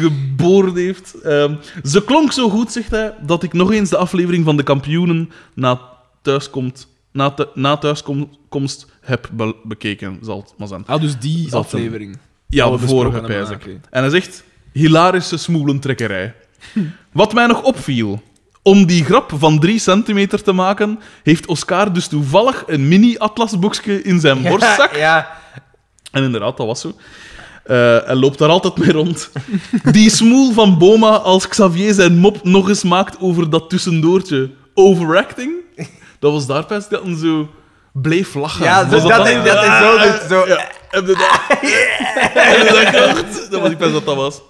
S2: geboord heeft. Ehm, ze klonk zo goed, zegt hij, dat ik nog eens de aflevering van de kampioenen na thuiskomt, na, thu- na thuiskomst heb be- bekeken. Zal het maar zijn.
S1: Ah, dus die
S2: Zat hem.
S1: aflevering.
S2: Ja,
S1: Dat
S2: de
S1: we
S2: vorige
S1: besproken hebben,
S2: pijs ik.
S1: oké.
S2: En hij zegt, hilarische smoelentrekkerij. Wat mij nog opviel, om die grap van drie centimeter te maken, heeft Oscar dus toevallig een mini-atlasboekje in zijn borstzak.
S3: Ja.
S2: En inderdaad, dat was zo. Eh en loopt daar altijd mee rond. Die smoel van Boma als Xavier zijn mop nog eens maakt over dat tussendoortje. Overacting. Dat was daar pas dat een zo bleef lachen.
S3: Ja,
S2: Was
S3: dus dat,
S2: dan?
S3: is, dat is zo. dus zo.
S2: Ja, heb je dat? heb je dat gehoord? Dat was ik best wat dat was.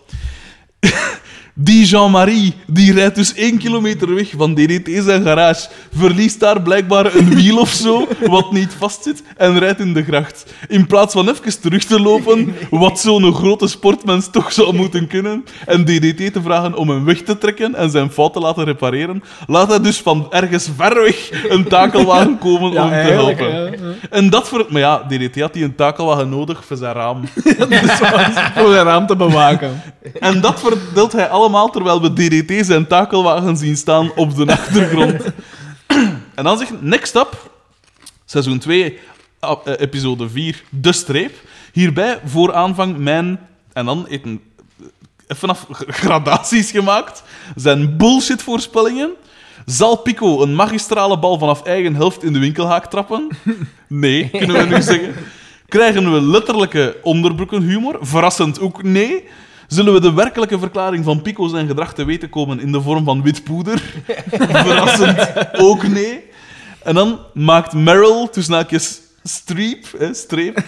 S2: Die Jean-Marie, die rijdt dus één kilometer weg van DDT zijn garage, verliest daar blijkbaar een wiel of zo, wat niet vastzit, en rijdt in de gracht. In plaats van even terug te lopen, wat zo'n grote sportmens toch zou moeten kunnen, en DDT te vragen om hem weg te trekken en zijn fout te laten repareren, laat hij dus van ergens ver weg een takelwagen komen om hem te
S1: eigenlijk,
S2: helpen. En dat voor... Maar ja, DDT had hij een takelwagen nodig voor zijn raam. Dus
S1: ja. Om zijn raam te bewaken.
S2: En dat verdeelt hij allemaal terwijl we DDT zijn takelwagen zien staan op de achtergrond. en dan zegt Next Up, seizoen 2, ap- eh, episode 4, De Streep. Hierbij voor aanvang mijn... En dan heeft een- eh, vanaf g- gradaties gemaakt. Zijn bullshit-voorspellingen. Zal Pico een magistrale bal vanaf eigen helft in de winkelhaak trappen? Nee, kunnen we nu zeggen. Krijgen we letterlijke onderbroekenhumor? Verrassend ook nee. Zullen we de werkelijke verklaring van Pico zijn gedrag te weten komen in de vorm van wit poeder? Verrassend ook nee. En dan maakt Meryl, tussen haakjes, streep, hè, streep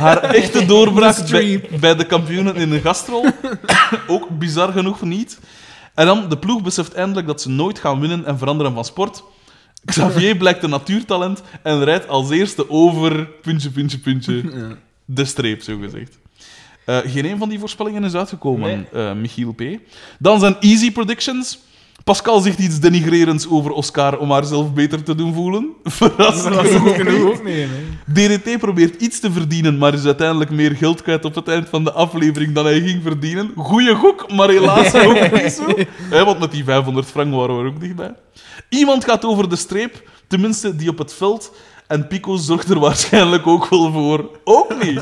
S2: haar echte doorbraak bij, bij de kampioenen in een gastrol. ook bizar genoeg niet. En dan, de ploeg beseft eindelijk dat ze nooit gaan winnen en veranderen van sport. Xavier blijkt een natuurtalent en rijdt als eerste over puntje, puntje, puntje. De streep, zo gezegd. Eh, geen een van die voorspellingen is uitgekomen, eh, Michiel P. Dan zijn easy predictions. Pascal zegt iets denigrerends over Oscar om haar zelf beter te doen voelen. Verrassend
S1: Dat is
S2: genoeg.
S1: goed genoeg ook niet. hè.
S2: DDT probeert iets te verdienen, maar is uiteindelijk meer geld kwijt op het eind van de aflevering dan hij ging verdienen. Goeie gok, maar helaas ook niet zo. Hè, want met die 500 frank waren we er ook dichtbij. Iemand gaat over de streep, tenminste die op het veld. En Pico zorgt er waarschijnlijk ook wel voor. Ook niet.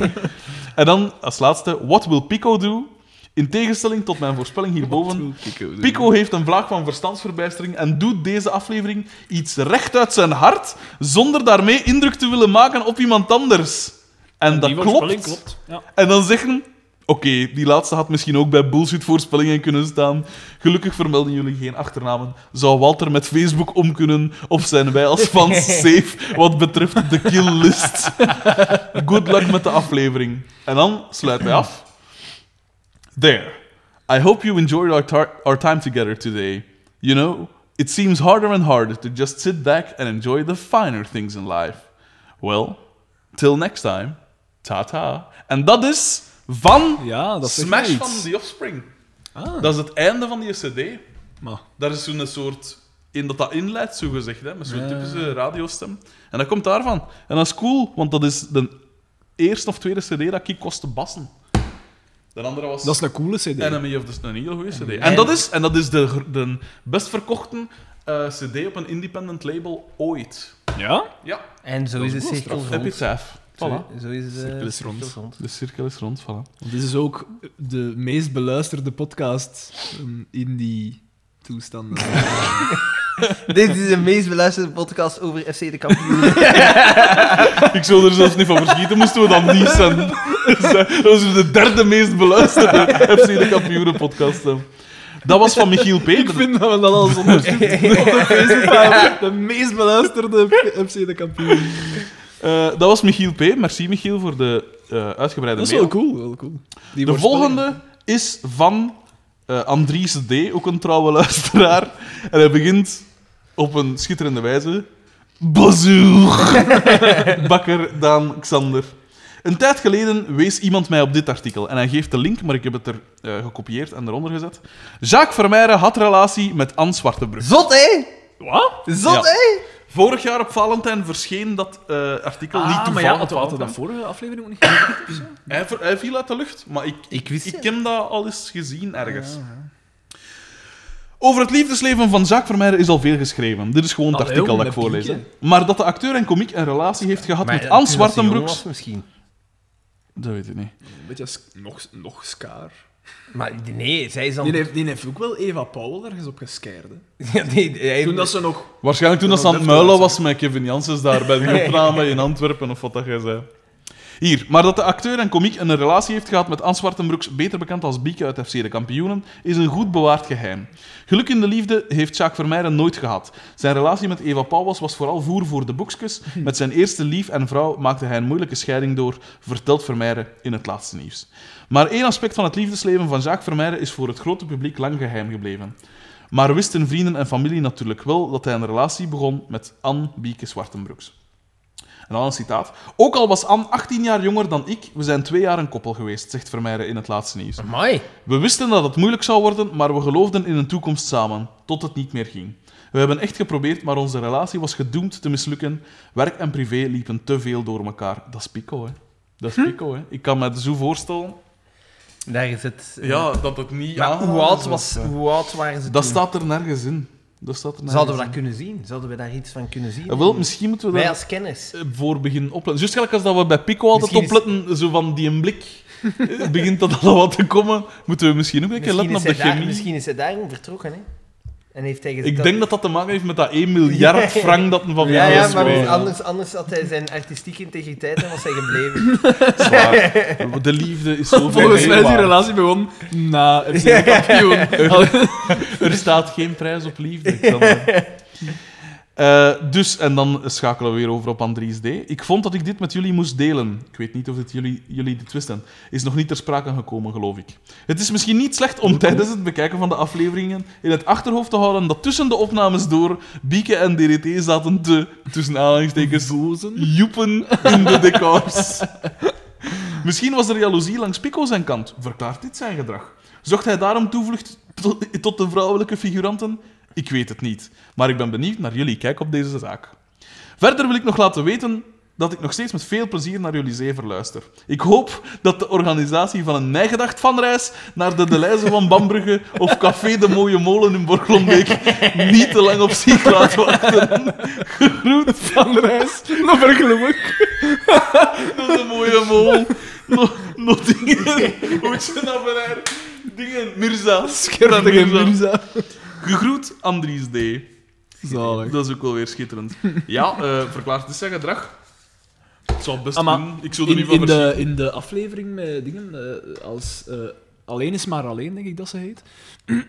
S2: En dan als laatste, wat wil Pico doen? In tegenstelling tot mijn voorspelling hierboven, Pico heeft een vlaag van verstandsverbijstering en doet deze aflevering iets recht uit zijn hart, zonder daarmee indruk te willen maken op iemand anders. En, dat
S6: Die
S2: klopt.
S6: voorspelling klopt. Ja.
S2: En dan zeggen, oké, die laatste had misschien ook bij bullshit voorspellingen kunnen staan. Gelukkig vermelden jullie geen achternamen. Zou Walter met Facebook om kunnen? Of zijn wij als fans safe wat betreft de kill list? Good luck met de aflevering. En dan sluit hij af. There. I hope you enjoyed our, tar- our time together today. You know, it seems harder and harder to just sit back and enjoy the finer things in life. Well, till next time. Tata. En dat is van
S1: Ja, dat zegt
S2: Smash
S1: mij
S2: van
S1: iets.
S2: The Offspring.
S1: Ah.
S2: Dat is het einde van die CD.
S1: Maar.
S2: Daar is zo'n soort... In dat dat inleidt, zo gezegd, hè, met zo'n typische radiostem. En dat komt daarvan. En dat is cool, want dat is de eerste of tweede CD dat ik kostte bassen. De andere was...
S1: Dat is een coole CD.
S2: Enemy of the Sun, een heel goede CD. En dat is, en dat is de, gr- de best verkochte eh, CD op een independent label ooit.
S1: Ja?
S2: Ja,
S3: En zo is de cirkel
S2: Epic
S3: rond.
S2: Saaf. Voilà.
S3: Zo, zo is eh, de
S2: Cirkel is
S3: cirkel
S2: rond. De cirkel is rond, voilà.
S1: Want dit is ook de meest beluisterde podcast ehm, in die toestanden.
S3: Dit is de meest beluisterde podcast over FC de kampioen.
S2: Ik zou er zelfs niet van verschieten, moesten we dan niet zijn. Dus, eh, Dat was de derde meest beluisterde FC de Kampioenen podcast. hè. Dat was van Michiel P.
S1: Ik vind dat we dat al zonder op de Facebookpagina. De meest beluisterde FC de kampioen.
S2: Eh, dat was Michiel P. Merci Michiel voor de eh, uitgebreide
S1: Dat is
S2: mail.
S1: wel cool, wel cool. Die
S2: De
S1: voorspelling.
S2: volgende is van eh Andries D., ook een trouwe luisteraar. En hij begint op een schitterende wijze. Bazoer! Bakker, Daan, Xander. Een tijd geleden wees iemand mij op dit artikel. En hij geeft de link, maar ik heb het er eh, gekopieerd en eronder gezet. Jacques Vermeijren had relatie met Anne Zwartebrug.
S3: Zot, hè?
S1: Wat?
S3: Zot,
S2: Ja.
S3: hè?
S2: Vorig jaar op Valentijn verscheen dat eh, artikel niet
S1: Ah, maar
S2: toevallig.
S1: ja,
S2: op
S1: want we hadden
S2: Valentijn.
S1: dat vorige aflevering ook niet gedaan.
S2: Hij, ver- hij viel uit de lucht, maar ik,
S3: Ik wist
S2: ik
S3: het.
S2: heb dat al eens gezien ergens. Over het liefdesleven van Jacques Vermeijden is al veel geschreven. Dit is gewoon het
S1: Allee,
S2: artikel
S1: jong,
S2: dat ik
S1: met
S2: voorlees. hè.
S1: Pietje.
S2: Maar dat de acteur en komiek een relatie heeft gehad
S3: Maar
S2: met
S3: ja,
S2: Anne
S3: toen was hij jong
S2: Zwartenbroeks...
S3: was misschien.
S2: Dat weet ik niet.
S1: Een beetje als- nog, nog scaar.
S3: Maar nee, zij is dan...
S1: Die heeft, die heeft ook wel Eva Powell ergens op gescaard. hè.
S3: Ja, nee, hij-
S1: Toen dat ze nog...
S2: Waarschijnlijk toen dat ze aan het
S1: Dat
S2: muilen
S1: was,
S2: was met Kevin Janssens daar bij die opname in Antwerpen of wat dat jij zei. Hier, maar dat de acteur en komiek een relatie heeft gehad met Anne Zwartenbroeks, beter bekend als Bieke uit FC De Kampioenen, is een goed bewaard geheim. Geluk in de liefde heeft Jacques Vermeijden nooit gehad. Zijn relatie met Eva Pauwels was vooral voer voor de boekjes. Met zijn eerste lief en vrouw maakte hij een moeilijke scheiding door, vertelt Vermeijden in het laatste nieuws. Maar één aspect van het liefdesleven van Jacques Vermeijden is voor het grote publiek lang geheim gebleven. Maar wisten vrienden en familie natuurlijk wel dat hij een relatie begon met Anne Bieke Zwartenbroeks. En dan een citaat. Ook al was Anne 18 jaar jonger dan ik, we zijn twee jaar een koppel geweest, zegt Vermeijden in het laatste nieuws.
S3: Amai.
S2: We wisten dat het moeilijk zou worden, maar we geloofden in een toekomst samen, tot het niet meer ging. We hebben echt geprobeerd, maar onze relatie was gedoemd te mislukken. Werk en privé liepen te veel door elkaar. Dat is pico, hè. Dat
S3: Hm?
S2: is pico, hè. Ik kan me zo voorstellen
S3: Daar is het. eh.
S2: ja, dat het niet...
S3: Maar
S2: aangehouden
S3: hoe, oud
S2: is.
S3: was, hoe oud waren ze
S2: eh, Dat
S3: toen?
S2: staat er nergens in. Dat staat er nergens
S3: Zouden we
S2: in.
S3: dat kunnen zien? Zouden we daar iets van kunnen zien?
S2: Eh, wel, misschien moeten we
S3: Wij
S2: daar
S3: als kenners.
S2: eh, voor beginnen opletten. Juist gelijk als dat we bij Pico altijd
S3: Misschien is-
S2: opletten, zo van die een blik, eh, begint dat al wat te komen, moeten we misschien ook een keer
S3: Misschien
S2: letten
S3: is,
S2: op de
S3: hij daar,
S2: chemie.
S3: misschien is hij daarom vertrokken, hè? En heeft hij gezegd
S2: Ik denk dat dat te maken heeft met dat 1 miljard
S3: Ja.
S2: frank dat een van
S3: Ja,
S2: mij
S3: ja,
S2: is.
S3: maar
S2: geweest.
S3: anders, anders had hij zijn artistieke integriteit en was hij gebleven.
S2: Zwaar. De liefde is zo
S1: Volgens mij is die
S2: verdeelbaar.
S1: relatie begon na FC de kampioen. Al-
S2: Er staat geen prijs op liefde. Ik kan dat- Eh, dus, en dan schakelen we weer over op Andries D. Ik vond dat ik dit met jullie moest delen. Ik weet niet of dit jullie, jullie dit wisten. Is nog niet ter sprake gekomen, geloof ik. Het is misschien niet slecht om tijdens het bekijken van de afleveringen in het achterhoofd te houden dat tussen de opnames door Bieke en DDT zaten te, tussen aanhalingstekens, joepen in de decors. Misschien was er jaloezie langs Pico zijn kant, verklaart dit zijn gedrag. Zocht hij daarom toevlucht tot, tot de vrouwelijke figuranten? Ik weet het niet, maar ik ben benieuwd naar jullie kijk op deze zaak. Verder wil ik nog laten weten dat ik nog steeds met veel plezier naar jullie zever luister. Ik hoop dat de organisatie van een nijgedacht van reis naar de Deleize van Bambrugge of Café de Mooie Molen in Borglombeek niet te lang op zich laat wachten. Groet van reis
S1: Nog vergloeien.
S2: dat is een mooie mol. Nog no, dingen. Hoe is het nou van haar? Dingen. Mirza.
S1: Scherptige
S2: Mirza.
S1: Mirza.
S2: Gegroet, Andries D.
S1: Zalig.
S2: Dat is ook wel weer schitterend. Ja, eh, verklaart dus zijn gedrag. Het zou best
S1: Ah, maar
S2: doen. Ik zou er niet
S1: In,
S2: van
S1: in,
S2: verschieten.
S1: de, in de aflevering met dingen eh, als eh, Alleen is maar alleen, denk ik dat ze heet.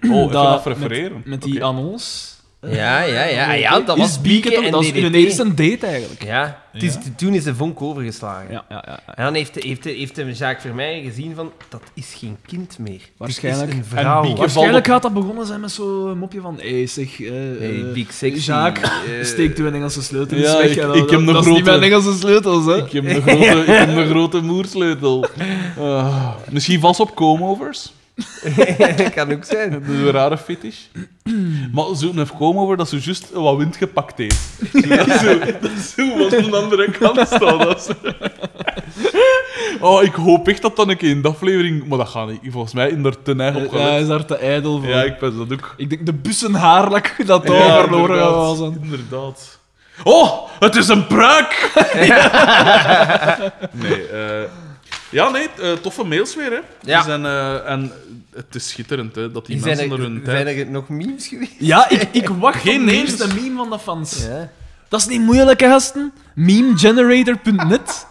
S2: Oh, even
S1: dat-
S2: af refereren.
S1: Met die
S2: Oké.
S1: annons.
S3: Ja, ja, ja. Ah, ja dat
S1: Is
S3: was
S1: Bieke
S3: Bieke
S1: toch-
S3: en
S1: Dat is
S3: DDT.
S1: hun eerste date eigenlijk.
S3: Ja, het is, toen is de vonk overgeslagen.
S1: Ja, ja, ja.
S3: En dan heeft, heeft, heeft hem Jacques Vermeijen gezien van, dat is geen kind meer.
S1: Waarschijnlijk.
S3: Dit is een vrouw.
S2: En Bieke-
S1: Waarschijnlijk gaat dat begonnen zijn met zo'n mopje van... Hé, hey, zeg... eh,
S3: Hey,
S1: eh,
S3: big sexy.
S1: Jacques,
S3: eh,
S1: steekt uw Engelse sleutels
S2: Ja,
S1: weg.
S2: ik-
S1: En
S2: ik
S1: dat-
S2: heb een
S1: dat is niet
S2: grote-
S1: mijn Engelse sleutels, hè.
S2: Ik heb een grote, ik heb een grote moersleutel. Ah, misschien vast op comeovers.
S3: kan ook zijn.
S2: Dat is een rare fetish. Maar zo'n over dat ze juist wat wind gepakt heeft. Dat is zo, dat is zo wat aan de andere kant staat. Dat is- Oh, ik hoop echt dat dan een keer in de aflevering... Maar dat gaat niet. Volgens mij in er te neig op
S1: Eh, Hij
S2: gelet.
S1: is daar te ijdel voor.
S2: Ja, ik ben dat ook.
S1: Ik denk de bussen haarlak dat daar
S2: Ja,
S1: verloren
S2: inderdaad.
S1: was.
S2: Inderdaad. Oh, het is een pruik! nee, eh, ja, nee, eh, toffe mails weer, hè.
S3: Ja.
S2: Die zijn, eh, en het is schitterend, hè, dat die,
S3: zijn
S2: mensen
S3: er,
S2: er hun tijd...
S3: zijn er nog memes geweest?
S1: Ja, ik, ik wacht op
S2: Geen
S1: de
S2: memes.
S1: eerste meme van de fans.
S3: Ja.
S1: Dat is niet moeilijk, hè, gasten. Memegenerator.net.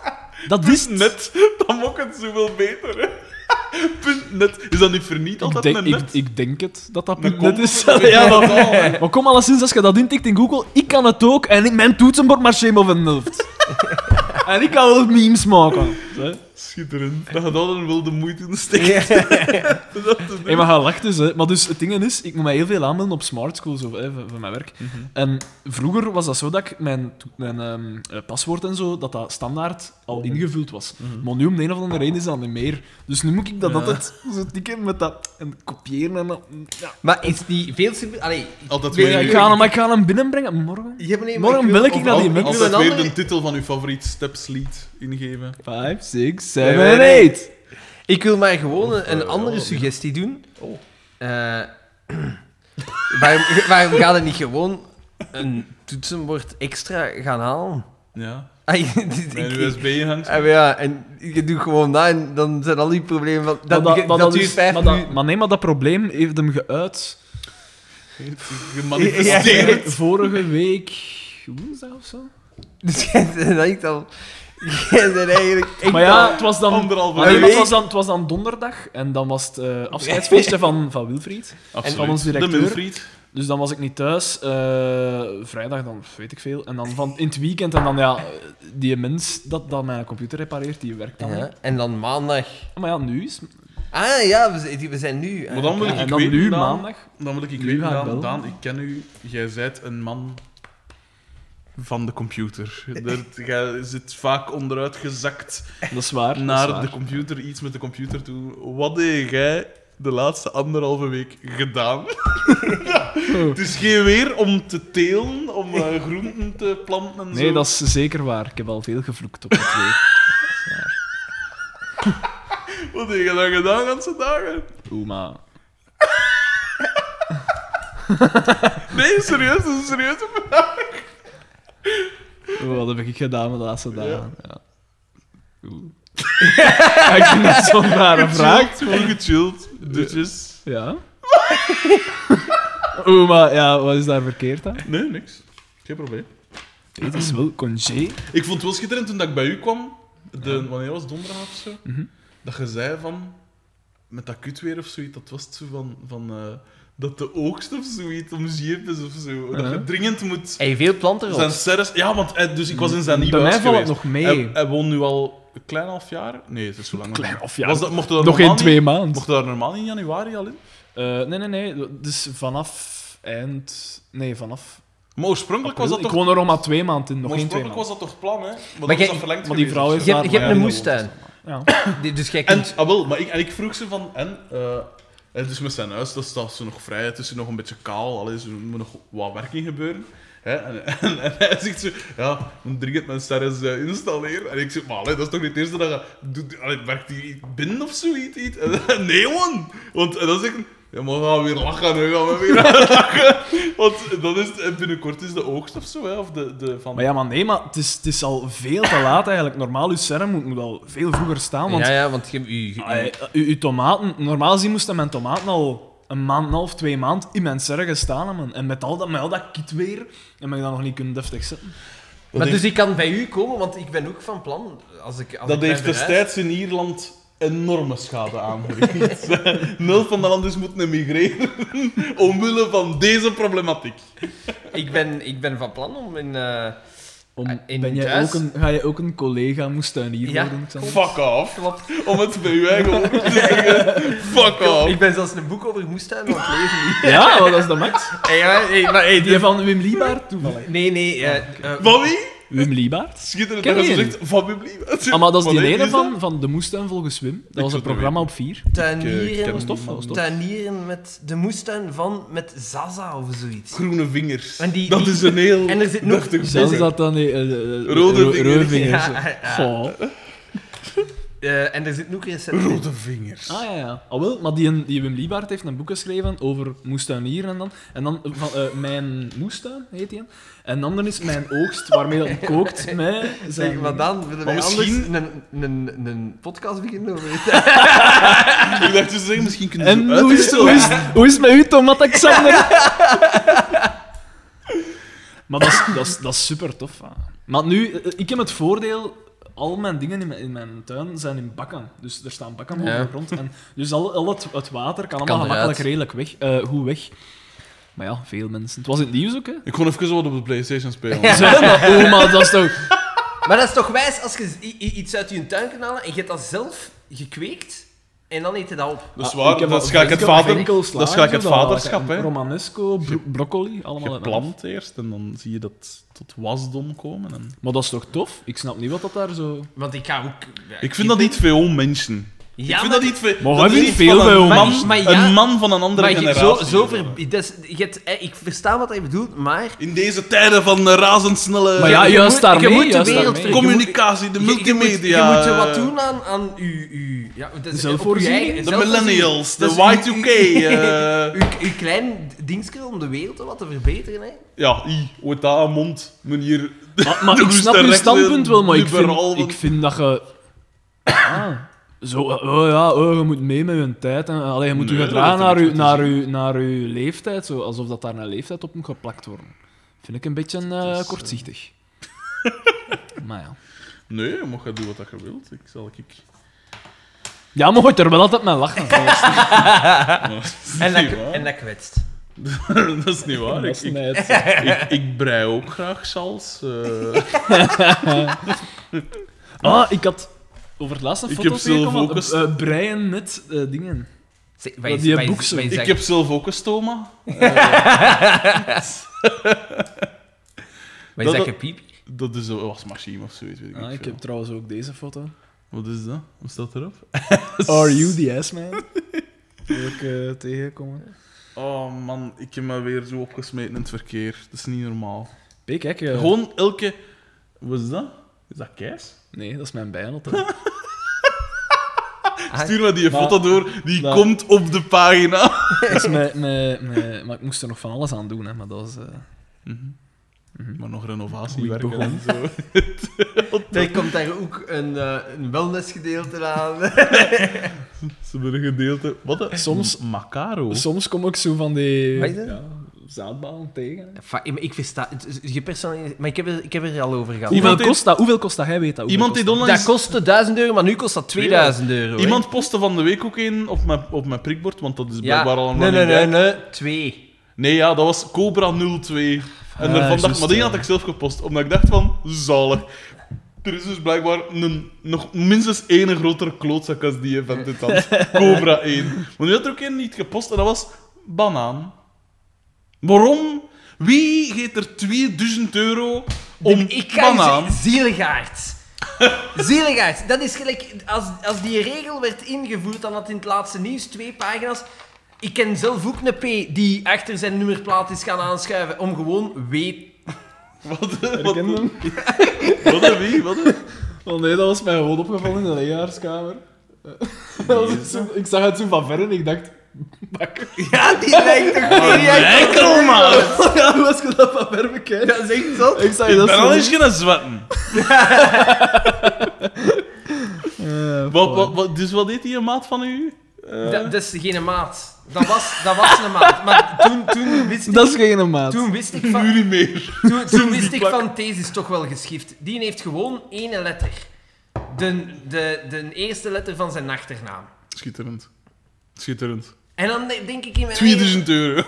S1: Dat is het.
S2: net, dan mok het zoveel beter. Hè. Punt net. Is dat niet verniet
S1: Ik
S2: altijd
S1: denk,
S2: met
S1: ik,
S2: net?
S1: ik denk het, dat dat
S2: Dan
S1: punt net
S2: komt
S1: is.
S2: het.
S1: Ja, maar, maar kom alleszins, als je dat intikt in Google, ik kan het ook. En ik, mijn toetsenbord maar shame of een helft. en ik kan wel memes maken.
S2: Schitterend. Dat je daar dan wel de moeite in steekt. om dat te doen.
S1: Hey, maar ga lachen dus, hè. Maar dus, het ding is, ik moet mij heel veel aanmelden op smart schools of, hè, van, van mijn werk.
S3: Mhm.
S1: En vroeger was dat zo dat ik mijn, to- mijn ehm, eh, paswoord en zo, dat dat standaard al
S3: Mhm.
S1: ingevuld was. Maar nu om de een of andere reden is dat niet meer. Dus nu moet ik dat altijd zo tikken met dat en kopiëren en dat. Ja.
S3: Maar is die veel super... Allee,
S2: Altijd
S3: Nee,
S2: weer,
S1: Ik ga hem, maar ik ga hem binnenbrengen morgen.
S3: je hebt nee, maar
S1: Morgen
S3: wil-
S1: bel ik naar die
S3: wil
S1: mensen.
S2: altijd
S3: een
S2: weer
S3: andere-
S2: de titel van uw favoriet Steps-lied ingeven.
S1: 5, 6,
S3: Nee,
S1: 7,
S3: nee,
S1: 8.
S3: Ik wil maar gewoon een,
S1: eh,
S3: een andere
S1: oh,
S3: suggestie doen. Eh, waarom, waarom gaat het niet gewoon een toetsenbord extra gaan halen?
S2: Ja.
S3: Ah, je- dit-
S2: Mijn
S3: ik-
S2: USB hangt.
S3: Ah, maar ja, en je doet gewoon na en dan zijn al die problemen van... Dat,
S1: Maar
S3: dat,
S1: maar
S3: duurt
S1: is-
S3: vijf
S1: maar dat-
S3: minuten.
S1: Maar nee, maar dat probleem heeft hem geuit.
S2: Gemanifesteerd.
S1: Vorige week woensdag of zo.
S3: Dus dat ik dan... Jij bent eigenlijk echt
S1: Maar ja, het was dan,
S2: Anderhalve
S1: Ah, nee,
S3: week.
S1: maar het was dan, het was dan donderdag en dan was het eh, afscheidsfeestje van, van Wilfried.
S2: Absoluut.
S1: van ons directeur.
S2: De Milfried.
S1: Dus dan was ik niet thuis. eh, vrijdag dan, weet ik veel. En dan van, in het weekend en dan ja, die mens dat dan mijn computer repareert, die werkt dan.
S3: Ja,
S1: niet.
S3: en dan maandag.
S1: Maar ja, nu is
S3: Ah ja, we, z- we zijn nu. eh,
S2: Maar dan wil ik
S1: En dan
S2: weten,
S1: nu
S2: Daan,
S1: maandag.
S2: Dan wil ik, ik
S1: Nu
S2: weten,
S1: ga ik
S2: Daan,
S1: bellen.
S2: Daan, ik ken u. Jij bent een man van de computer. Dat- Jij zit vaak onderuit gezakt
S1: Dat is waar. dat is
S2: naar
S1: waar.
S2: de computer, iets met de computer doen. Wat heb jij de laatste anderhalve week gedaan? Het is geen weer om te telen, om eh, groenten te planten en zo.
S1: Nee, dat is zeker waar. Ik heb al veel gevloekt op het weer.
S2: Wat heb je dan gedaan de ganse dagen?
S1: Oeh, maar...
S2: Nee, serieus, dat is een serieuze vraag.
S1: Oeh, wat heb ik gedaan de laatste dagen? Ja. Oeh. Ja, ik vind dat zo'n rare vraag.
S2: Gechilled, Gewoon gechilled, dutjes.
S1: Ja. Oeh, maar ja, wat is daar verkeerd aan?
S2: Nee, niks. Geen probleem.
S1: Het is wel congé.
S2: Ik vond het wel schitterend toen dat ik bij u kwam, de, wanneer was het, donderdag of zo,
S1: Mhm.
S2: dat je zei van, met dat kut weer of zoiets, dat was het zo van, van eh, dat de oogst of zoiets om zeep is of zo. Dat je
S1: Ja.
S2: dringend moet...
S3: Hey, veel planten
S2: Zijn
S3: rond.
S2: serres... Ja, want eh, dus ik was in zijn nieuwe
S1: Bij mij
S2: huis
S1: valt het
S2: geweest.
S1: nog mee.
S2: Hij, hij woont nu al een klein half jaar. Nee, het is zo lang.
S1: Klein
S2: nog niet.
S1: half jaar.
S2: Was dat, mocht dat
S1: Nog
S2: normaal
S1: geen twee
S2: niet-
S1: maanden.
S2: Mocht dat daar normaal in januari al in?
S1: Eh, nee, nee, nee. Dus vanaf eind... Nee, vanaf...
S2: Maar oorspronkelijk was dat
S1: Ik
S2: toch...
S1: woon er nog maar twee maanden in. Nog geen twee
S2: oorspronkelijk was
S1: maanden.
S2: dat toch plan, hè? Maar, dan
S3: jij-
S2: is dat verlengd
S1: maar die
S2: geweest dus
S1: vrouw
S2: of
S1: heeft-
S2: zo.
S3: Je hebt, je
S1: Ja,
S3: hebt een
S1: ja,
S3: moestuin.
S1: Ja.
S3: Die- Dus jij
S2: En,
S3: kunt.
S2: ah, wel, maar ik, en ik vroeg ze van... En, eh, het is met zijn huis, dat staat ze nog vrij. Het is hier nog een beetje kaal. Allee, er moet nog wat werk in gebeuren. Hè? En, en, en hij zegt zo... Ja, moet dringend mijn sterren eh, installeren. En ik zeg... Maar allee, dat is toch niet het eerste dat je... doet? Allee, werkt die binnen of zoiets? iets? En, nee, man! Want en dan zeg ik... Ja, maar we gaan weer lachen, hè. Gaan we weer lachen. Want dan is het, eh, binnenkort is de oogst of zo, hè. Of de, de, van...
S1: Maar ja, maar nee, maar het is, het is al veel te laat eigenlijk. Normaal, uw serum moet, moet al veel vroeger staan, want...
S3: ja, ja, want je, je- je-
S1: Ai, u- uw tomaten, normaal gezien moesten mijn tomaten al een maand, en een half, twee maand in mijn serre gestaan hebben. En met al dat, met al dat kit weer, heb ik dat nog niet kunnen deftig zetten.
S3: Maar
S2: denk-
S3: dus ik kan bij u komen, want ik ben ook van plan. Als ik, als ik
S2: Dat
S3: mij
S2: heeft
S3: verhuis-
S2: destijds in Ierland enorme schade aangericht. Nul van de landers moeten emigreren omwille van deze problematiek.
S3: Ik ben, ik ben van plan om in. eh Ah, in
S1: ben jij
S3: thuis?
S1: ook een, ga je ook een collega moestuinier
S3: Ja.
S1: worden? Xander?
S2: Fuck off.
S3: klopt.
S2: Om het bij uw eigen woorden te zeggen. Fuck off.
S3: Ik ben zelfs een boek over moestuin aan het lezen. nu.
S1: Ja, wat is dat max?
S3: Hey, ja, hey, maar, hey,
S1: Die van Wim Liebaert toevallig.
S3: Nee, nee. eh, eh,
S2: Van wie?
S1: Wim Liebaert?
S2: Schitterend
S1: Ken
S2: dat je
S1: je
S2: zo
S1: die?
S2: zegt van publiek.
S1: Ah, maar dat is die
S2: nee,
S1: ene
S2: is
S1: van, van De Moestuin volgens Wim. Dat was
S2: zou
S1: een
S2: het niet
S1: programma op vier.
S2: Ik, eh, ken
S3: tuinieren,
S2: hem.
S1: Stof, stof.
S3: tuinieren met de moestuin van met Zaza of zoiets.
S2: Groene vingers.
S3: En die-
S2: dat
S3: die-
S2: is een heel
S3: en er zit nog-
S2: deftig
S1: Zelfs
S2: boek.
S1: dat dan... eh, eh, eh,
S2: Rode
S1: ro-
S2: vingers.
S1: rode vingers.
S3: Ja, ja, ja.
S1: Goh.
S3: Eh, en er zit nog recent.
S2: Rode vingers.
S1: Ah ja, ja. Al wel, maar die, die Wim Liebaert heeft een boek geschreven over moestuinieren en dan. En dan van eh, Mijn Moestuin heet die. En dan er is Mijn Oogst, waarmee dat kookt met
S3: Zeg,
S1: zijn.
S3: maar dan willen wij
S2: Maar misschien-
S3: anders een, een, een podcast beginnen over het.
S2: Ik dacht dus zeggen, misschien kunnen ze
S1: Ah. En
S2: zo
S1: hoe is,
S2: uitwisselen.
S1: hoe, is, hoe is het met u, Tomat Xander? maar dat is, dat, is, dat is super tof. hè. Maar nu, eh, ik heb het voordeel. Al mijn dingen in mijn, in mijn tuin zijn in bakken. Dus er staan bakken op
S3: Ja.
S1: de grond. En, dus al, al het, het water kan allemaal
S3: eruit.
S1: gemakkelijk redelijk weg, eh, goed weg. Maar ja, veel mensen. Het was in het nieuws ook, hè?
S2: Ik kon even wat op de Playstation spelen.
S1: Zeg maar, oh, maar dat is toch...
S3: Maar dat is toch wijs als je i- i- iets uit je tuin kan halen en je hebt dat zelf gekweekt en dan eet je dat op.
S2: Dat is
S1: Ah,
S2: waar,
S1: heb
S2: dat
S1: al-
S2: is ga ik
S1: ik
S2: het
S1: heb al
S2: vader...
S1: enkel
S2: Dat is
S1: slagen,
S2: ga ik het
S1: zo, dat-
S2: vaderschap, hè.
S1: Romanesco, bro- broccoli, allemaal. uit mijn hoofd.
S2: geplant eerst en dan zie je dat tot wasdom komen. En...
S1: Maar dat is toch tof? Ik snap niet wat dat daar zo...
S3: Want ik ga ook... ja,
S2: Ik vind dat niet veel mensen.
S3: Ja,
S2: ik vind
S3: maar-
S2: dat niet veel.
S1: Maar
S2: dat
S1: hebben
S2: is
S1: niet
S2: iets
S1: veel
S2: van een
S1: bij
S2: man,
S1: ons.
S3: Maar- maar ja-
S2: een man van een andere
S3: Maar je,
S2: generatie.
S3: zo, zo ver, dat is- je hebt- eh, ik versta wat hij bedoelt, maar...
S2: In deze tijden van eh, razendsnelle
S1: Maar ja, juist
S3: moet-
S1: daarmee,
S3: je moet de
S1: juist
S3: wereld
S1: daarmee.
S3: ver-
S2: communicatie, de
S3: Je- je moet-
S2: multimedia.
S3: Je moet er wat doen aan, aan uw, uw, ja, dat is, op uw
S1: Zelfvoorziening?
S3: eigen-
S2: De
S3: zelfvoorziening.
S2: millennials, de
S3: Dat is uw-
S2: Y2K. eh,
S3: Uw, uw klein dingetje om de wereld wat te verbeteren, hè.
S2: ja, i, hoe dat aan mond, meneer.
S1: Maar, maar
S2: De
S1: ik snap
S2: woeste
S1: je
S2: rechtse
S1: standpunt wel, maar ik
S2: liberalen.
S1: vind, ik vind dat je... Ah, zo, eh, oh ja, oh, je moet mee met je tijd. En, allee, je moet
S2: Nee,
S1: je
S2: dat
S1: gedragen
S2: heeft er
S1: naar
S2: niks
S1: je,
S2: mee
S1: naar,
S2: te zien.
S1: uw naar uw leeftijd, zo, alsof dat daar een leeftijd op moet geplakt worden. Vind ik een beetje eh,
S2: is, eh,
S1: kortzichtig. maar ja.
S2: Nee, je mag gaan doen wat dat je wilt. Ik zal ik...
S1: Ja, maar gooit er wel altijd mee lachen.
S3: En
S2: dat,
S3: dat,
S2: is niet
S3: k-
S2: waar.
S3: en dat kwetst.
S2: dat is niet waar. Ik, ik, ik, ik brei ook graag sals. eh.
S1: Ah, ik had over het laatste
S2: Ik
S1: foto
S2: heb zelf ook eens-
S1: eh breien met eh, dingen.
S3: Zeg, wat
S1: Dat
S3: is-
S1: die
S3: wat is-
S1: boeksen.
S3: wat is
S2: ik
S3: dat-
S2: heb zelf ook een stoma.
S3: wat is
S2: dat-
S3: dat gepiep?
S2: Dat is een wasmachine of zoiets, weet ik
S1: Ah,
S2: niet
S1: ik
S2: veel.
S1: heb trouwens ook deze foto.
S2: Wat is dat? Wat staat erop?
S1: Are you the ass man? Wil ik eh, tegenkomen.
S2: Oh man, ik heb me weer zo opgesmeten in het verkeer. Dat is niet normaal.
S1: P, kijk. eh,
S2: Gewoon elke... Wat is dat? Is dat keis?
S1: Nee, dat is mijn bijnaam. hè.
S2: Stuur me die
S1: Ah. Maar- Nou.
S2: foto door, die
S1: maar-
S2: komt op de pagina.
S1: Dat is mijn- mijn- mijn- maar ik moest er nog van alles aan doen, hè, maar dat was... eh,
S2: Maar nog renovatie
S1: Hoe ik
S2: werken en zo.
S5: Er komt daar ook een, eh een wellnessgedeelte aan.
S2: Ze hebben een gedeelte... Wat? een-
S1: Soms-
S2: M- Macaro.
S1: Soms kom ik zo van die...
S3: Wat is dat?
S1: Ja, zaadbalen tegen.
S3: Fa- ik- maar Ik versta... het is- Je personeel... Maar ik heb, er, ik heb er al over gehad.
S1: Hoeveel
S2: Iemand heeft-
S1: kost dat? Hoeveel kost dat? Hij weet dat.
S2: Iemand die online...
S3: Dat kostte 1000 euro, maar nu kost dat 2000 euro. hè.
S2: Iemand postte van de week ook een op mijn, op mijn prikbord, want dat is
S3: Ja.
S2: blijkbaal al een
S3: Nee, nee,
S2: running
S3: nee,
S2: gag.
S3: nee. Twee.
S2: Nee, ja, dat was Cobra 02. En
S1: Ah,
S2: daarvan dacht,
S1: juist,
S2: maar die
S1: ja.
S2: had ik zelf gepost, omdat ik dacht van, zalig. Er is dus blijkbaar een, nog minstens één grotere klootzak als die van dit had. Cobra 1. Maar nu had er ook één niet gepost en dat was banaan. Waarom? Wie geeft er 2000 euro om
S3: ik ga je
S2: banaan?
S3: zeggen, zieligaard. zieligaard. Dat is gelijk... Als, als die regel werd ingevoerd, dan had in het laatste nieuws twee pagina's... Ik ken zelf ook een P die achter zijn nummerplaat is gaan aanschuiven om gewoon weet...
S2: Wat, wat, wat,
S1: Herkende hem?
S2: een wie? Wat een...
S1: Oh nee, dat was mij gewoon opgevallen in de leraarskamer. Eh, dat was zo- ik zag het zo van ver en ik dacht... Bakker.
S5: Ja, die lijkt toch
S2: Eikel, Oh, man!
S1: Oh ja, hoe was ik dat van ver bekijken?
S5: Dat is echt zo.
S1: Ik zag
S2: Ik
S1: dat
S2: ben
S1: zo...
S2: al eens gaan zwetten.
S1: Eh,
S2: Wat, wat, wat- dus wat deed die een maat van u? Eh,
S3: Dat, dat is geen maat. Dat was, dat was een maat. Maar toen, toen wist ik...
S1: Dat is geen maat.
S3: Toen wist ik
S2: nu
S3: van...
S2: niet meer.
S3: Toen, toen
S2: die
S3: wist ik
S2: plak-
S3: van deze is toch wel geschift. Die heeft gewoon één letter. De, de, de eerste letter van zijn achternaam.
S2: Schitterend. Schitterend.
S3: En dan de- denk ik in mijn... eigen- Eh,
S2: 2000 euro.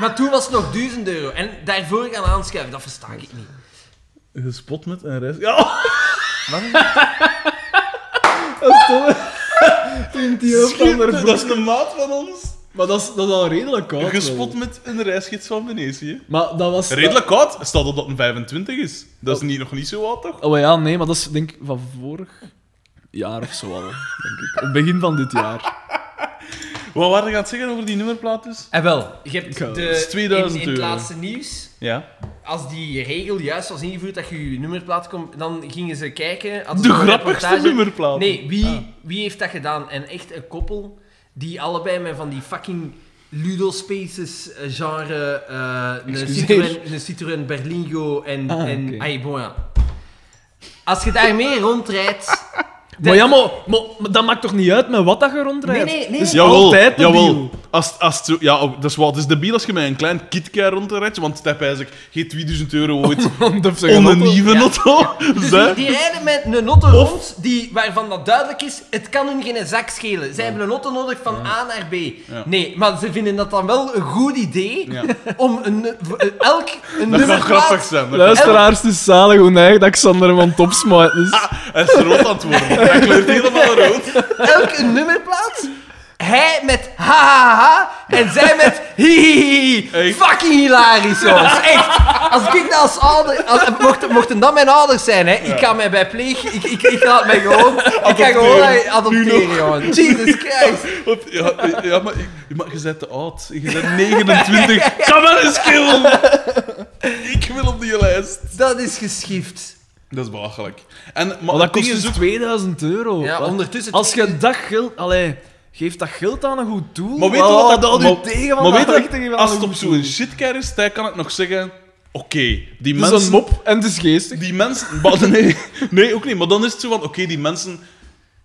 S3: Maar toen was het nog 1000 euro. En daarvoor gaan aanschuiven, dat versta ik niet.
S2: Gespot met een rest. Ja,
S1: die ook van
S2: schitterend.
S1: haar
S2: dat is de maat van ons.
S1: Maar dat is, dat is al redelijk koud. wel.
S2: Gespot met een reisgids van Venetië.
S1: Maar dat was...
S2: Redelijk koud. Staat dat dat een 25 is. Dat is niet, nog niet zo oud, toch?
S1: Oh ja, nee, maar dat is denk ik van vorig jaar of zo al, denk ik. Op begin van dit jaar.
S2: Wat waren we gaan zeggen over die nummerplaat dus?
S3: En wel, je hebt
S1: Goh,
S3: de,
S2: dat is 2000
S3: in, in het
S2: euro.
S3: laatste nieuws,
S2: Ja.
S3: als die regel juist was ingevoerd dat je je nummerplaat kon, dan gingen ze kijken... hadden
S2: De
S3: ze een
S2: grappigste
S3: reportage.
S2: nummerplaat.
S3: Nee, wie,
S1: Ah.
S3: wie heeft dat gedaan? En echt een koppel die allebei met van die fucking Ludo Spaces eh, genre eh een,
S1: Excuseer.
S3: Citroën, een Citroën Berlingo en...
S1: Ah,
S3: en
S1: oké.
S3: Ai, bon, ja. Als je daarmee rondrijdt...
S1: Maar ja, maar, maar, maar dat maakt toch niet uit met wat dat je rondrijdt?
S3: Nee, nee, nee.
S1: Dat is
S2: Jawel,
S1: altijd de
S2: jawel.
S1: deal.
S2: Als, als het zo- ja, oh, dat is wel, het is debiel als je met een klein kitkai rondrijdt, want step eigenlijk geen 2000 euro ooit
S1: Omdat ze
S2: om
S1: gaan
S2: een
S1: auto-
S2: nieuwe
S3: Ja.
S2: auto.
S3: Dus
S2: Zij-
S3: die, die rijden met een auto rond die, waarvan dat duidelijk is, het kan hun geen zak schelen. Zij hebben een auto nodig van A naar B. Nee, maar ze vinden dat dan wel een goed idee
S2: Ja.
S3: om een, voor elk een
S2: Dat gaat
S3: nummerplaat-
S2: grappig zijn. Dat
S1: Luisteraars, het is zalig hoe neig dat Xander hem aan het opsmijten is.
S2: Hij is rood aan het worden. Hij kleurt helemaal rood.
S3: elk een nummerplaat. Hij met ha ha ha en zij met hi hi hi.
S2: Hey.
S3: Fucking hilarisch, jongens. Echt. Als ik dat als ouder... Als, mochten, mochten dat mijn ouders zijn, hè. Ik ga mij bij pleeg... Ik, ik, ik laat mij gewoon... Ik ga gewoon
S2: Adopteren. Nu
S3: adopteren,
S2: nog.
S3: jongen. Jesus Christ.
S2: Op- Ja, ja, maar, ik- maar je bent te oud. Je bent 29. Kan maar eens killen. Ik wil op die lijst.
S3: Dat is geschift.
S2: Dat is belachelijk. En, maar
S1: Maar
S2: het
S1: dat
S2: ding
S1: kost
S2: is
S1: dus
S2: ook-
S1: 2000 euro.
S3: Ja,
S1: Wat?
S3: ondertussen-
S1: Als je dat geld... Allee, geef dat geld aan een goed doel.
S2: Maar weet je wat dat-
S1: houdt u
S2: maar-
S1: tegen van dat
S2: maar weet je,
S1: geld te geven aan
S2: als
S1: een
S2: het op
S1: goed
S2: zo'n
S1: doel?
S2: shitcar is, dan kan ik nog zeggen... Oké, die
S1: Het is een
S2: mensen...
S1: mop en het is geestig.
S2: Die mensen... maar nee, nee, ook niet. Maar dan is het zo van... Oké, die mensen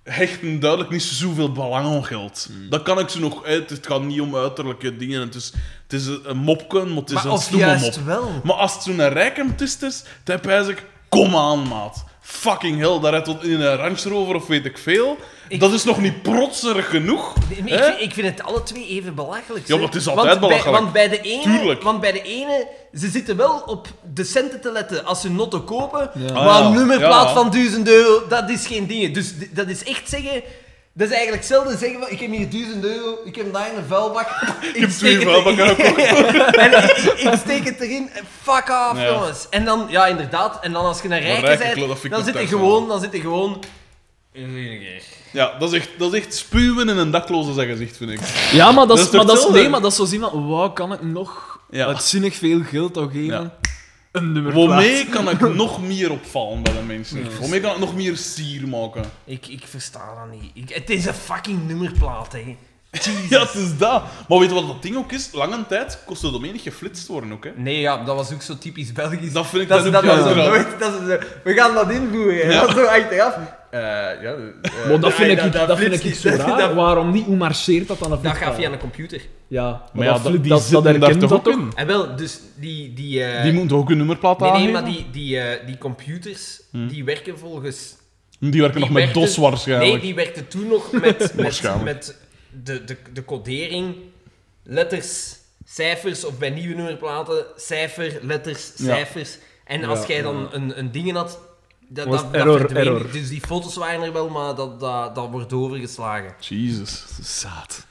S2: hechten duidelijk niet zoveel belang aan geld. Dat kan ik ze nog uit. Het gaat niet om uiterlijke dingen. Het is, het is een mopje, maar het is
S3: Maar
S2: een
S3: of
S2: stomme mop.
S3: juist wel.
S2: Maar als het zo'n rijke tist is, dan pijs ik... Kom aan, maat. Fucking hell, daar rijdt tot in een Range Rover of weet ik veel. Dat is nog niet protserig genoeg.
S3: Nee, maar
S2: Hè?
S3: Ik, vind, ik vind het alle twee even
S2: Ja,
S3: belachelijk. zeg.
S2: maar het is altijd
S3: want
S2: belachelijk.
S3: Bij, want, bij de ene,
S2: Tuurlijk.
S3: want bij de ene, ze zitten wel op de centen te letten als ze noten kopen, maar
S2: Ah, ja.
S3: een nummerplaat
S2: Ja.
S3: van 1000 euro, dat is geen ding. Dus d- dat is echt zeggen... Dat is eigenlijk hetzelfde zeggen van, ik heb hier 1000 euro, ik heb daar in een vuilbak.
S2: heb
S3: Ik,
S2: twee
S3: steek het
S2: vuilbakken
S3: erin. en ik, ik steek het erin, fuck off,
S2: Ja.
S3: jongens. En dan, ja, inderdaad, en dan als je naar
S2: rijke
S3: rijken
S2: kleur, dat vind
S3: bent,
S2: ik
S3: dan
S2: ook
S3: zit je
S2: thuis,
S3: gewoon, dan zit je gewoon...
S2: Ja, dat is echt, dat is echt spuwen in een dakloze zijn gezicht, vind ik.
S1: Ja, maar dat
S2: Dat
S1: is,
S2: is
S1: maar dat is,
S2: hetzelfde.
S1: nee, maar dat is zo zien van, wauw, kan ik nog
S2: Ja.
S1: uitzinnig veel geld al geven?
S2: Ja.
S1: Een nummer
S2: Waarmee kan ik nog meer opvallen bij de mensen? Waarmee kan ik nog meer sier maken?
S3: Ik, ik versta dat niet. Ik- het is een fucking nummerplaat, hè.
S2: Ja, het is dat. Maar weet je wat dat ding ook is? Lange tijd kostte dat menig geflitst worden ook, hè.
S3: Nee, ja, dat was ook zo typisch Belgisch.
S2: Dat vind ik
S3: dat ze
S2: dan ook
S3: dat
S2: wel
S3: dan zo
S2: raar.
S3: nooit... Dat ze zo, we gaan dat invoeren.
S2: Ja.
S3: Dat zo achteraf. Eh ja, eh,
S1: Maar dat vind
S3: nee,
S1: ik, dat vind
S3: flitst
S1: ik
S3: niet.
S1: zo raar.
S3: Dat,
S1: Waarom niet? Hoe marcheert dat dan? een
S3: dat gaat
S1: vliegtuig?
S3: via een computer.
S1: Ja,
S2: Maar ja,
S1: dat,
S2: dat-
S1: dat,
S2: die
S1: dat
S2: zitten daar
S1: herkent
S2: toch
S1: dat
S2: ook
S1: toch?
S2: in?
S3: En wel, dus die... Die, eh,
S2: Die moet ook een nummerplaat
S3: Nee, nee,
S2: aangeven?
S3: maar die, die, eh, die computers,
S1: Hmm.
S3: die werken volgens...
S2: Die werken
S3: die
S2: nog met
S3: werkten-
S2: DOS waarschijnlijk.
S3: Nee, die werkten toen nog met, met,
S2: Waarschijnlijk.
S3: met de, de, de codering letters, cijfers, of bij nieuwe nummerplaten cijfer, letters,
S2: Ja.
S3: cijfers. En als
S1: Ja,
S3: jij dan een, een ding had, dat,
S1: Was
S3: dat, dat
S1: error,
S3: verdween.
S1: error.
S3: Dus die foto's waren er wel, maar dat, dat, dat wordt overgeslagen.
S2: Jezus, zaad.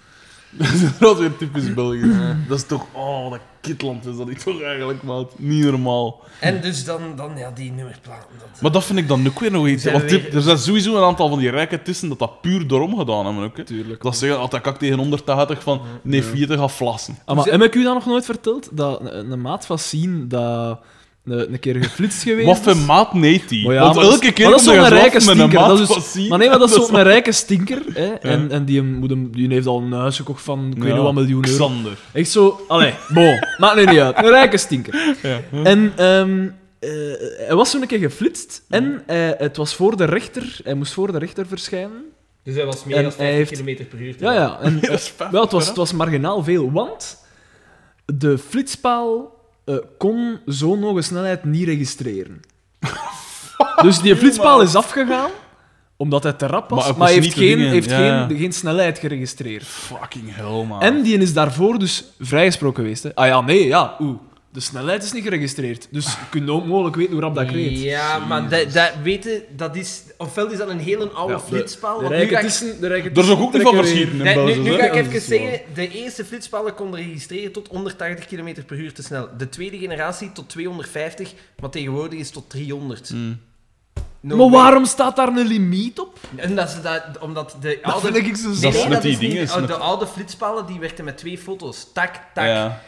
S2: Dat is inderdaad weer typisch België. Dat is toch... Oh, dat kitland is dat niet toch eigenlijk, maat. Niet normaal.
S1: Hm.
S3: En dus dan, dan ja, die nummerplaten. Dat...
S2: Maar dat vind ik dan ook weer nog iets.
S3: Zijn
S2: Want
S3: we
S2: die-
S3: weer-
S2: er zijn sowieso een aantal van die rijke tussen dat dat puur daarom gedaan hebben ook, hè.
S1: Tuurlijk.
S2: Dat zeggen altijd kak tegen 180 van... Nee, 40 gaat flassen.
S1: Ah, maar heb ik u dat nog nooit verteld? Dat een, een maat van Sien dat een, een keer geflitst geweest
S2: Wat voor
S1: is?
S2: maat neemt die?
S1: Maar ja,
S2: Want
S1: maar
S2: elke
S1: dat is- maar
S2: keer
S1: dat is
S2: komt
S1: zo'n
S2: er eens
S1: rijke
S2: af met een
S1: stinker. Dat
S2: maat
S1: is dus-
S2: passie.
S1: Maar nee, maar dat is zo'n rijke stinker. Hè? En, en die, moet hem, die heeft al een huis gekocht van ik weet
S2: Ja,
S1: niet wat miljoen euro.
S2: Xander.
S1: Echt zo, allee, bon, maakt nu niet uit. Een rijke stinker. En ehm, eh, hij was zo'n keer geflitst en eh, het was voor de rechter, hij moest voor de rechter verschijnen.
S3: Dus hij was meer
S1: En
S3: dan
S1: hij
S3: 50
S1: heeft-
S3: km per uur. te
S1: Ja,
S3: gaan.
S1: ja. En,
S2: Dat is vijf
S1: Wel, het was,
S2: hè?
S1: het was marginaal veel, want de flitspaal eh, kon zo'n hoge snelheid niet registreren. dus die flitspaal is afgegaan, omdat hij te rap was,
S2: Maar
S1: maar, hij
S2: ook was
S1: heeft,
S2: niet te
S1: geen,
S2: dingen,
S1: heeft
S2: ja.
S1: geen, geen snelheid geregistreerd.
S2: Fucking hell, man.
S1: En die is daarvoor dus vrijgesproken geweest. Hè. Ah ja, nee, ja, oeh. De snelheid is niet geregistreerd, dus je kunt ook mogelijk weten hoe rap dat kreeg.
S3: Ja, maar dat, dat weten, dat is... Ofwel is dat een hele oude
S1: Ja, de-
S3: flitspaal,
S1: De
S3: want nu ga
S1: rijke
S3: ik
S1: tussen, de rijke
S2: Er is ook niet van
S1: trekken weer-
S2: verschieten in
S3: Nee, nu,
S2: België.
S3: nu
S2: hè?
S3: ga ik even
S1: is waar.
S3: zeggen, de eerste flitspalen konden registreren tot 180 km per uur te snel. De tweede generatie tot 250, maar tegenwoordig is tot 300.
S2: Mm.
S3: No
S1: Maar
S3: way.
S1: waarom staat daar een limiet op?
S3: En dat ze dat, omdat de oude...
S1: vind ik zo zot.
S3: Nee,
S2: Dat is
S3: nee,
S2: met
S3: dat
S2: die
S3: is niet-
S2: dingen, is
S3: oh,
S2: met-
S3: De oude flitspalen die werkten met twee foto's. Tak, tak.
S2: Ja.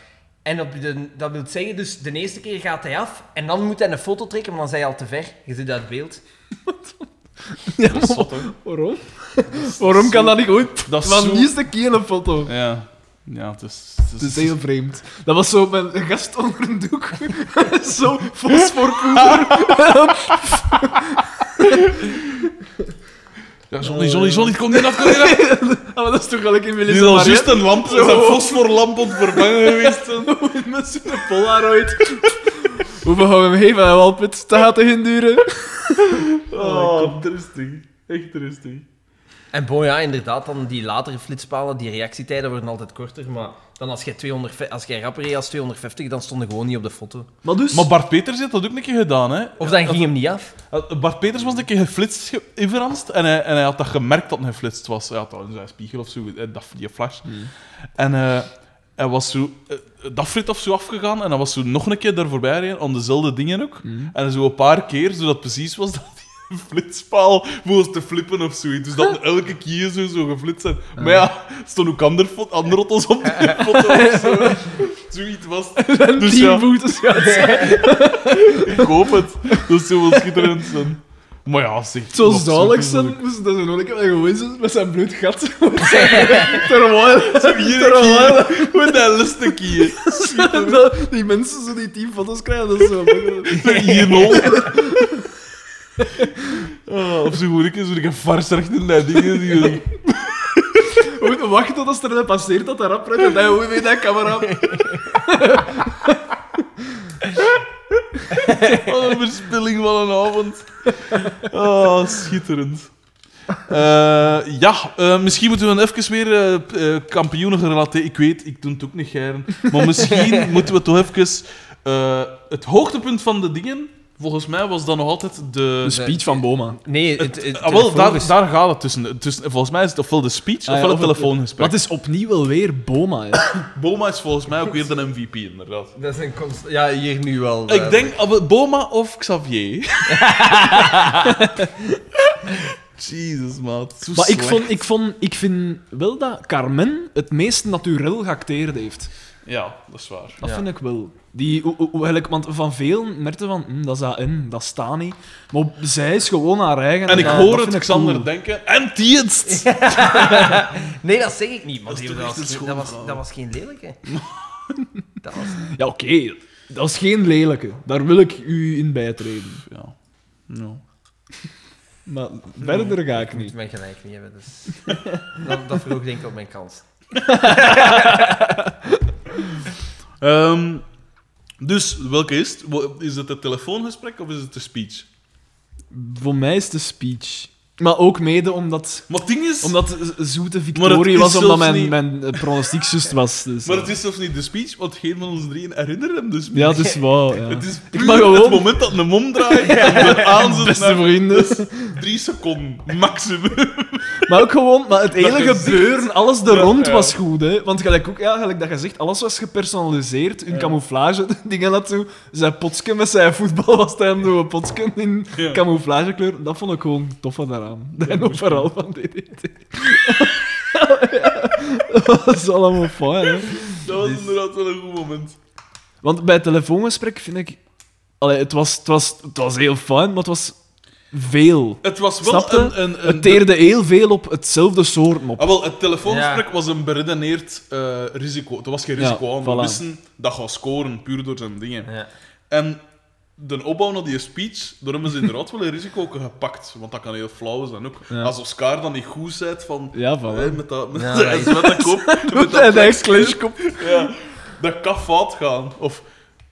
S3: En op de, dat wil zeggen, dus de eerste keer gaat hij af en dan moet hij een foto trekken, maar dan zijn hij al te ver. Je zit uit beeld.
S1: Ja, maar
S2: zot, hè?
S1: waarom? waarom kan dat niet goed?
S2: Dat is
S1: Van
S2: zo-
S1: niet eens een keer een foto.
S2: Ja. Ja, het is...
S1: Het is heel vreemd. Dat was zo met een gast onder een doek. zo fosforpoeder. Ah,
S2: Ja, Johnny, Johnny, Johnny, kom hier af, kom hier af.
S1: Ah, maar dat is toch wel een keer
S2: Die
S1: Melissa
S2: is al
S1: Maria?
S2: juist een lamp, zijn
S1: Oh.
S2: fosforlamp aan het vervangen geweest.
S1: Met zo'n polaroid. Hoeveel gaan we hem geven, hè, Walput? Dat gaat te geen duren.
S2: Oh, tristig. Echt tristig.
S3: En bon, ja, inderdaad, dan die latere flitspalen, die reactietijden worden altijd korter, maar dan als jij, 200, als jij rapper reed als 250, dan stond je gewoon niet op de foto.
S1: Maar dus...
S2: Maar Bart Peters heeft dat ook een keer gedaan, hè.
S3: Of dan ging hem niet af.
S2: Uh, Bart Peters was een keer geflitst ge- inveranst en hij, en hij had dat gemerkt dat hij geflitst was. Hij had dat in zijn spiegel of zo, eh, dat, die flash.
S1: Mm.
S2: En eh, hij was zo eh, dat frit of zo afgegaan en hij was zo nog een keer daar voorbij rijden, aan dezelfde dingen ook.
S1: Mm.
S2: En zo een paar keer, zodat het precies was dat die flitspaal moest te flippen of zoiets. Dus dat elke keer zo, zo geflitst zijn.
S1: Ah.
S2: Maar ja, er stonden ook andere, fo- andere auto's op die foto of zo. Zoiets was het. Dus
S1: tien
S2: ja.
S1: voetjes gaat zijn.
S2: Ik hoop het. Dat is zo wel schitterend zijn. Maar ja, zeg.
S1: Zo
S2: dat is
S1: zalig
S2: zo
S1: zijn.
S2: leuk.
S1: Dus dat is nog een keer gewoon zijn met zijn bloed gat. Terwijl...
S2: Hier een keer. Met dat lustig hier.
S1: dat Die mensen zo die tien foto's krijgen, dat is zo...
S2: Hier nul. Ah, Of zo hoor ik eens, ik vars recht in dat ding. is, hier.
S1: We moeten wachten tot als er een passeert dat hij rap rijdt en dan hoe weet dat camera.
S2: Wat een verspilling van een avond. Oh, schitterend. Eh, ja, eh, misschien moeten we even weer eh, p- eh, kampioenen gerelateerd. Ik weet, ik doe het ook niet gern. Maar misschien moeten we toch even. eh, het hoogtepunt van de dingen, volgens mij, was dan nog altijd de.
S1: De speech van Boma.
S3: Nee, het, het,
S2: Ah, wel, daar,
S3: telefoonges-
S2: daar gaat het tussen. tussen. Volgens mij is het ofwel de speech
S1: Ah,
S2: ofwel
S1: ja,
S2: het
S1: of het-
S2: telefoongesprek.
S1: Wat is opnieuw wel weer Boma? hè.
S2: Boma is volgens mij ook weer de MVP, inderdaad.
S3: Dat is een constant... Ja, hier nu wel. eh,
S2: Ik denk ab- Boma of Xavier. Jesus, maat. Zo
S1: Maar ik,
S2: slecht.
S1: vond, ik, vond, ik vind wel dat Carmen het meest natuurlijk geacteerd heeft.
S2: Ja, dat is waar.
S1: Dat
S3: Ja.
S1: vind ik wel. Die, hoe- hoe- hoe- eigenlijk, want van veel merkte van, hm, dat is dat in, dat staat niet. Maar zij is gewoon haar eigen.
S2: En ik
S1: dat- dat
S2: hoor
S1: vind
S2: het
S1: ik
S2: Xander
S1: cool.
S2: denken. En Tietst!
S3: Nee, dat zeg ik niet. Maar
S2: Dat is
S3: dat,
S2: toch
S3: was,
S2: echt een
S3: geen-
S2: schone
S3: dat, was,
S2: vrouw.
S3: dat was geen lelijke. dat was...
S1: Ja, oké. Dat is geen lelijke. Daar wil ik u in bijtreden.
S2: Ja. No.
S1: Maar verder ga ik
S3: Ik moet
S1: niet.
S3: mijn gelijk niet hebben, dus... dat, dat vroeg denk ik op mijn kans.
S2: Ehm, dus, welke is het? Wo- Is het het telefoongesprek of is het de speech?
S1: Voor mij is de speech. Maar ook mede omdat...
S2: Maar het ding is...
S1: Omdat Zoete
S2: Maar het is
S1: Victorie was, omdat
S2: zelfs
S1: mijn,
S2: niet-
S1: mijn eh, pronostiek zus was. Dus,
S2: Maar het is zelfs niet de speech, want geen van ons drieën herinneren hem dus.
S1: Ja, dus wauw. Ja.
S2: Het is puur
S1: mag gewoon-
S2: het moment dat een mom draait en de aanzet
S1: Beste
S2: naar
S1: vrienden.
S2: drie seconden maximum.
S1: Maar ook gewoon, maar het hele
S2: gezicht.
S1: gebeuren, alles er
S2: Ja,
S1: rond
S2: ja.
S1: was goed, hè. Want gelijk ook, ja, gelijk dat je zegt, alles was gepersonaliseerd. Hun camouflage, dingen naartoe. Zijn potske met zijn voetbal was hij door een potske in
S2: Ja.
S1: camouflagekleur. Dat vond ik gewoon tof aan daaraan. Dat en overal van DDT. dat is allemaal fijn, hè.
S2: Dat was inderdaad wel een goed moment.
S1: Want bij het telefoongesprek vind ik... Allee, het was, het was, het was heel fijn, maar het was veel.
S2: Het was wel
S1: Snap je?
S2: een... een, een
S1: Het teerde heel veel op hetzelfde soort op.
S2: Ah, wel, het telefoongesprek
S3: Ja.
S2: was een beredeneerd eh, risico. Er was geen
S1: Ja,
S2: risico aan. We
S1: voilà.
S2: wisten dat gaat scoren, puur door zijn dingen.
S3: Ja.
S2: En de opbouw naar die speech, daar hebben ze inderdaad wel een risico gepakt. Want dat kan heel flauw zijn ook.
S1: Ja.
S2: Als Oscar dan niet goed zit van...
S1: Ja, voilà.
S2: hè, met dat, met
S3: Ja,
S2: dat
S3: dat
S2: zwette kop, met
S1: En hij
S2: dat
S1: is clashkop.
S2: ja, dat kan fout gaan. Of...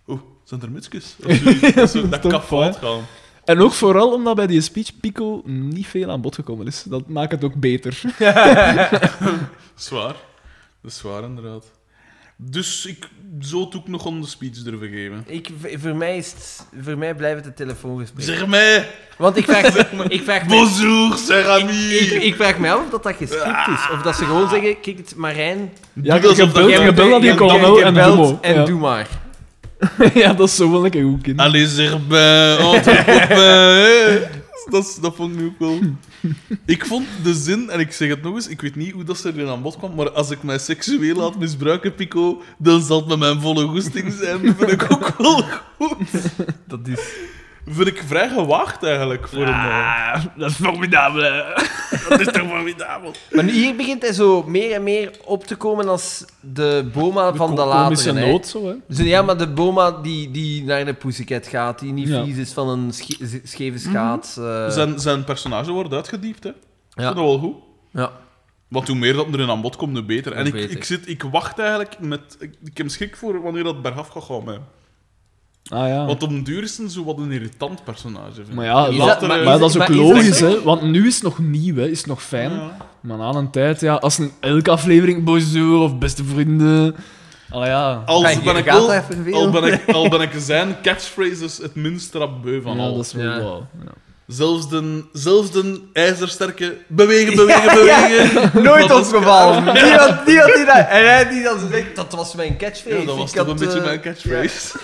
S2: Oeh, zijn er mutsjes? Of zoiets. Dat, zo, dat
S1: Toch
S2: kan
S1: fout.
S2: fout gaan.
S1: En ook vooral omdat bij die speech Pico niet veel aan bod gekomen is. Dat maakt het ook beter.
S2: Zwaar. Dat is zwaar, inderdaad. Dus ik zou het ook nog aan de speech durven geven.
S3: Ik, voor, mij is het, voor mij blijft het een telefoongesprek.
S2: Zeg mij,
S3: Want ik vraag, ik vraag me...
S2: bonjour, cher ami.
S3: Ik, ik vraag me af of dat, dat geschikt is. Of dat ze gewoon zeggen, kijk het, Marijn...
S1: Ja,
S2: alsof dat jij
S1: je belt aan die
S3: jij-
S1: kolonel
S3: jij
S1: en Ah,
S3: belt
S1: Dumo.
S3: en
S1: Ja.
S3: doe maar.
S1: Ja, dat is zo wel lekker goed, kind.
S2: Allee, zeg mij, antwoord op mij. Dat, is- dat vond ik ook wel. Ik vond de zin, en ik zeg het nog eens, ik weet niet hoe dat ze erin aan bod kwam, maar als ik mij seksueel laat misbruiken, Pico, dan zal het met mijn volle goesting zijn. Dat vind ik ook wel goed.
S3: Dat is...
S2: Vind ik vrij gewaagd eigenlijk voor een. eh,
S1: dat is formidabel.
S2: Dat is toch formidabel.
S3: Maar nu, hier begint hij zo meer en meer op te komen als de Boma van de latere. hè.
S1: nood, zo, hè.
S3: Dus ja, maar de Boma die, die naar de Pussycat gaat, die niet
S1: Ja. Mhm.
S3: vies is van een sche- z- scheve schaats. eh,
S2: Zijn, zijn personage wordt uitgediept, hè? Ik
S3: Ja.
S2: vind dat wel goed.
S3: Ja.
S2: Want hoe meer dat erin aan bod komt, hoe beter. En
S3: Hoe
S2: ik,
S3: beter.
S2: Ik, zit, ik wacht eigenlijk met... Ik, ik heb schrik voor wanneer dat bergaf gaat gaan. Mij.
S1: Ah ja.
S2: Want op den duur is het zo wat een irritant personage. Vind. ik.
S1: Maar ja,
S3: Is
S1: la-
S3: dat-
S1: maar,
S3: maar is-
S1: maar dat is ook
S3: Eh, maar is dat
S1: logisch,
S3: zo?
S1: hè. Want nu is het nog nieuw, hè. Is het nog fijn.
S2: Ja.
S1: Maar na een tijd, ja, als een elke aflevering bonjour of beste vrienden... Allee, ja.
S2: Al,
S3: Kijk,
S2: ben
S3: je
S2: ik
S3: gaat
S2: wel-
S3: even veel.
S2: al, ben ik, al ben ik zijn catchphrases het minst rapbeu van
S1: Ja,
S2: al.
S1: dat is wel
S3: Ja.
S1: wauw. Ja.
S2: Zelfs, de, zelfs de ijzersterke bewegen, bewegen, bewegen.
S3: Nooit
S2: Dat is-
S3: opgevallen. Die had die, had die dat. En hij die dan zegt, dat was mijn catchphrase.
S2: Ja, dat was
S3: Ik
S2: toch
S3: had,
S2: een beetje
S3: eh,
S2: mijn catchphrase.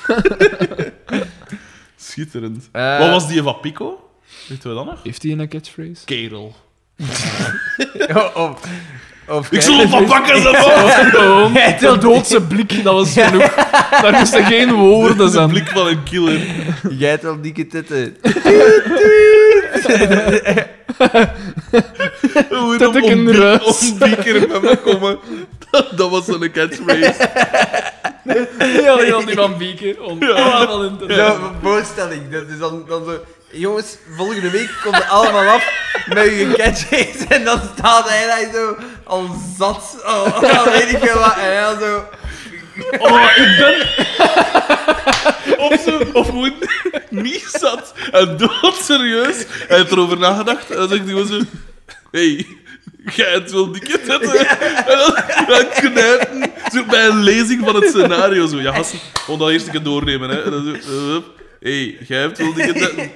S2: Schitterend.
S3: Eh,
S2: Wat was die van Pico? Weten we dat nog?
S1: Heeft hij een catchphrase?
S2: Kerel.
S3: Of, of, of-
S2: Ik zal hem van bakken, ze man!
S1: Gewoon de doodse blik, dat was genoeg. Daar moesten geen woorden
S2: De
S1: zijn.
S2: blik van een killer.
S3: Jij hebt wel dikke titten.
S2: Hoe
S1: Dat ik een ruis.
S2: ontbieker bij me komen. Dat, dat was zo'n catchphrase.
S1: Ja, die van Beaker. Oh,
S3: Ja, voorstelling. Dat is dan, dan zo... Jongens, volgende week komen we allemaal af met uw catchphrase. En dan Oh, staat hij daar zo al zat. Al, al weet ik veel wat. En hij dan zo...
S2: Oh, ik ben... Of, zo, of gewoon niet zat en doodserieus. Hij heeft erover nagedacht en zegt hij zo... Hey, jij het wel dikke tetten. En dan, dan knijpen, zo bij een lezing van het scenario. Zo. Ja, gasten, gewoon dat eerst een keer doornemen. Hè. En dan zo... hup. hey, jij hebt wel dikke tetten.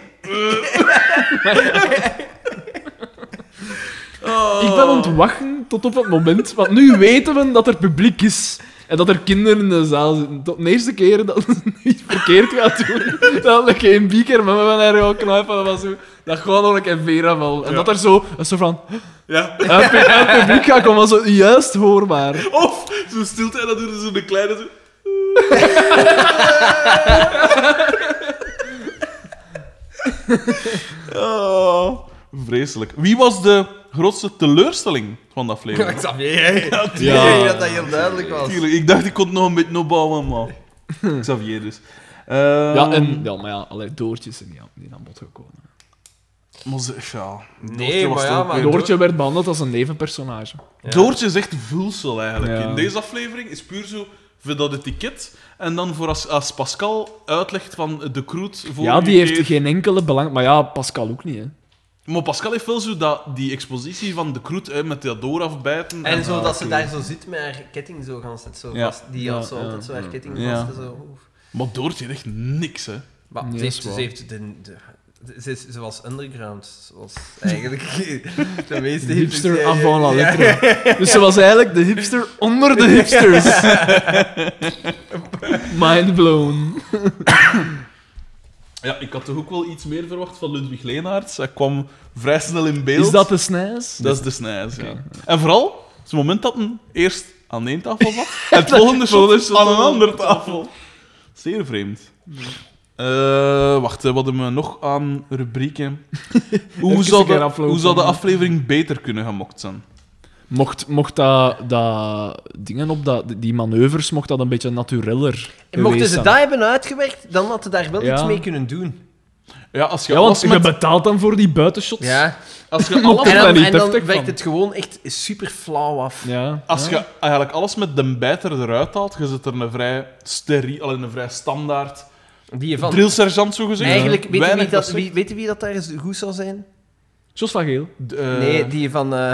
S2: Oh.
S1: Ik ben ontwachten tot op het moment, want nu weten we dat er publiek is. En dat er kinderen in de zaal zitten. Tot de eerste keer dat ze iets verkeerd gaat doen. Dat ik geen beker met me naar jou knijpen. Dat was zo. Dat gewoon nog een keer Vera wel. En
S2: Ja.
S1: dat er zo een soort van.
S2: Ja.
S1: Een, pu- een publiek gaat komen, zo juist hoorbaar.
S2: Of zo stilte en dan doen ze zo'n kleine... Zo... Oh, vreselijk. Wie was de grootste teleurstelling van dat aflevering?
S3: Xavier, ja,
S2: Ja.
S3: dat dat heel duidelijk was.
S2: Tuurlijk, ik dacht ik kon het nog een beetje opbouwen, maar... Xavier dus. Ehm,
S1: Ja, en, ja, maar ja, allerlei doortjes zijn die aan- die aan bod gekomen.
S2: maar ze- ja,
S3: Nee,
S2: Doortje was
S3: maar
S2: het
S3: ja,
S2: ook
S3: maar
S2: weer.
S1: Doortje werd behandeld als een nevenpersonage.
S2: Doortje is echt vulsel eigenlijk.
S1: Ja.
S2: In deze aflevering is puur zo voor dat etiket. En dan voor als, als Pascal uitlegt van de kroet voor
S1: Ja,
S2: u
S1: die heeft
S2: keer-
S1: geen enkele belang. Maar ja, Pascal ook niet, hè.
S2: Maar Pascal heeft wel zo dat, die expositie van de kroet hè, met dat doorafbijten.
S3: En zo dat ze daar zo zit met haar ketting zo gans het zo
S2: Ja.
S3: vast. Die had
S1: Ja,
S3: zo
S1: ja,
S3: altijd zo haar ketting
S2: Ja.
S3: vast. en Zo. oef.
S2: Maar Doortje heeft echt niks, hè.
S3: Maar
S1: Nee, dat
S3: ze
S1: is
S3: heeft, ze
S1: waar.
S3: heeft de, de, ze, is- ze was underground. Ze was eigenlijk de meeste
S1: Hipster
S3: hipsters, ja,
S1: avant la
S3: ja, ja.
S1: lettre. Dus ze was eigenlijk de hipster onder de hipsters. Mind blown.
S2: Ja, ik had toch ook wel iets meer verwacht van Ludwig Leenaerts. Hij kwam vrij snel in beeld.
S1: Is dat de snijs?
S2: Dat is de snijs, ja. En vooral, het moment dat hij eerst aan de ene tafel zat, en het volgende shot aan een andere tafel. Zeer vreemd. Eh, wacht, hè, wat hebben we nog aan rubrieken? hoe,
S1: Even
S2: zou
S1: een keer
S2: de,
S1: aflopen.
S2: hoe zou de aflevering beter kunnen gemokt zijn?
S1: Mocht, mocht dat, dat dingen op dat, die manoeuvres, mocht dat een beetje natureller
S3: En mochten
S1: geweest
S3: ze
S1: zijn?
S3: dat hebben uitgewerkt, dan hadden ze daar wel
S1: Ja.
S3: iets mee kunnen doen.
S2: Ja, als je
S1: Ja, want
S2: alles
S1: je
S2: met...
S1: betaalt dan voor die buitenshots.
S2: Als je,
S1: Mocht
S2: alles,
S3: En
S1: daar
S3: dan,
S1: niet
S3: en dan
S1: heftig
S3: werkt
S1: van.
S3: het gewoon echt super flauw af.
S1: Ja.
S2: als
S1: ja.
S2: je eigenlijk alles met de bijter eruit haalt, je zit er een vrij steriel, alleen een vrij standaard
S3: Die van,
S2: drillsergeant, zo gezegd.
S3: eigenlijk, weet je
S2: Weinig
S3: wie dat,
S2: zegt.
S3: wie, weet je wie dat daar eens goed zou zijn?
S1: Jos van Geel.
S2: D- eh,
S3: nee, die van, eh,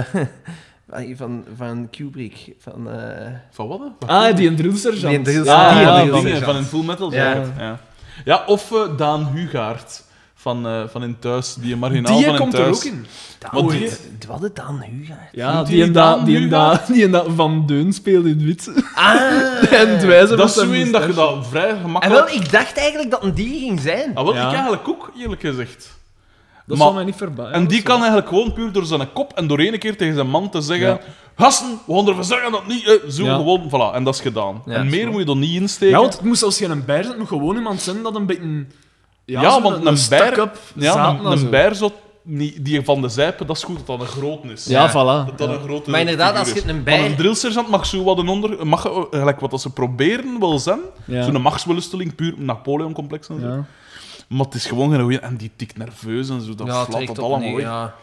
S3: van- die van, van Kubrick. Van, eh,
S2: Van wat? hè?
S1: Ah, die een drillsergeant.
S3: Die een drill-
S1: Ja,
S2: Ah,
S3: Die
S1: ja,
S2: ja,
S3: een
S1: van-
S3: drill-
S2: dingen van in Full Metal.
S3: Ja.
S2: Ja, ja. ja of eh, Daan Hugaard van, eh, van in Thuis, die marginaal
S1: die
S2: van in
S1: komt er
S2: Thuis.
S1: ook in.
S2: Maar
S3: Oei,
S2: die-
S3: d- Wat het dan nu gaat.
S1: Ja,
S2: Moet
S1: die
S2: die
S1: en
S2: Daan
S1: dat- die en
S2: Hugaard?
S1: dat- die en dat Van Deun speelde in het wit.
S3: Ah!
S1: En dwijzen
S2: Dat is zo in dat je dat vrij
S3: En
S2: gemakkelijk...
S3: wel, ik dacht eigenlijk dat een die ging zijn.
S2: Ah, wel,
S1: Ja.
S2: ik eigenlijk ook, eerlijk gezegd.
S1: Dat
S2: Maar-
S1: zal mij niet verbazen.
S2: en
S1: Dat
S2: die
S1: is
S2: kan
S1: wel-
S2: eigenlijk gewoon puur door zijn kop en door één keer tegen zijn man te zeggen...
S1: Ja.
S2: Gasten, we gaan ervan zeggen dat niet... eh, zo
S1: Ja.
S2: gewoon, voilà. En dat is gedaan.
S3: Ja,
S2: en meer moet je dan niet insteken.
S1: Ja, Nou, want het moest als je een bijer bent, moet gewoon iemand zijn dat een beetje...
S2: Ja,
S1: zo
S2: want een bijer-
S1: stuck-up
S2: ja,
S1: zaten
S2: een,
S1: en zo.
S2: een bijr zo- niet- die van de zijpen, dat is goed dat dat een groot is.
S1: Ja, voilà.
S2: Dat dat een grote
S3: Maar inderdaad, als
S2: figuur
S3: je
S2: is.
S3: een
S2: Maar
S3: bij...
S2: een drillsergeant mag zo wat een onder... Mag, eh, gelijk wat dat ze proberen wel zijn.
S1: Ja.
S2: Zo'n machtsbelusteling, puur Napoleon-complex en zo.
S1: Ja.
S2: Maar het is gewoon geen goeie. En die tikt nerveus en zo. Dat
S3: Ja,
S2: flapt
S3: trekt
S2: dat
S3: op
S2: allemaal
S3: neer,
S2: weg.
S3: ja.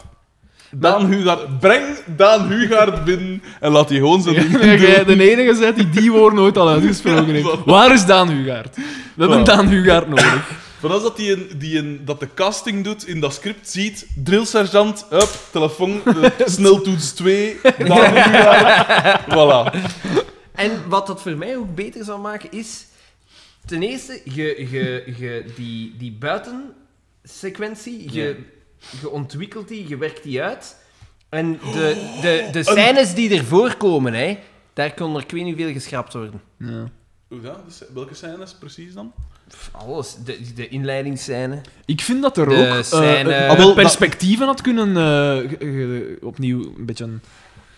S2: Daan Hugaard... Breng Daan Hugaard binnen en laat die gewoon zijn ding
S1: Ja, jij eh, de enige bent die die woord nooit al uitgesproken heeft. Waar is Daan Hugaard? We hebben
S2: Voilà.
S1: Daan Hugaard nodig.
S2: Van als dat, die een, die een, dat de casting doet, in dat script ziet, drillsergeant, up, telefoon, eh, sneltoets 2, Daan Hugaard. Voilà.
S3: En wat dat voor mij ook beter zou maken is. Ten eerste, je, je, je, die, die buitensequentie, je, je ontwikkelt die, je werkt die uit. En de,
S1: Oh.
S3: de, de scènes die ervoor komen, hè, daar kon er ik weet niet hoeveel geschrapt worden.
S1: Ja.
S2: Hoe dat? Dus welke scène is het precies dan?
S3: Pff, Alles, de, de inleidingsscène.
S1: Ik vind dat er
S3: De
S1: ook eh,
S3: scène-
S1: eh,
S2: Ah, wel, dat-
S1: perspectieven had kunnen... eh, ge- ge- opnieuw een beetje een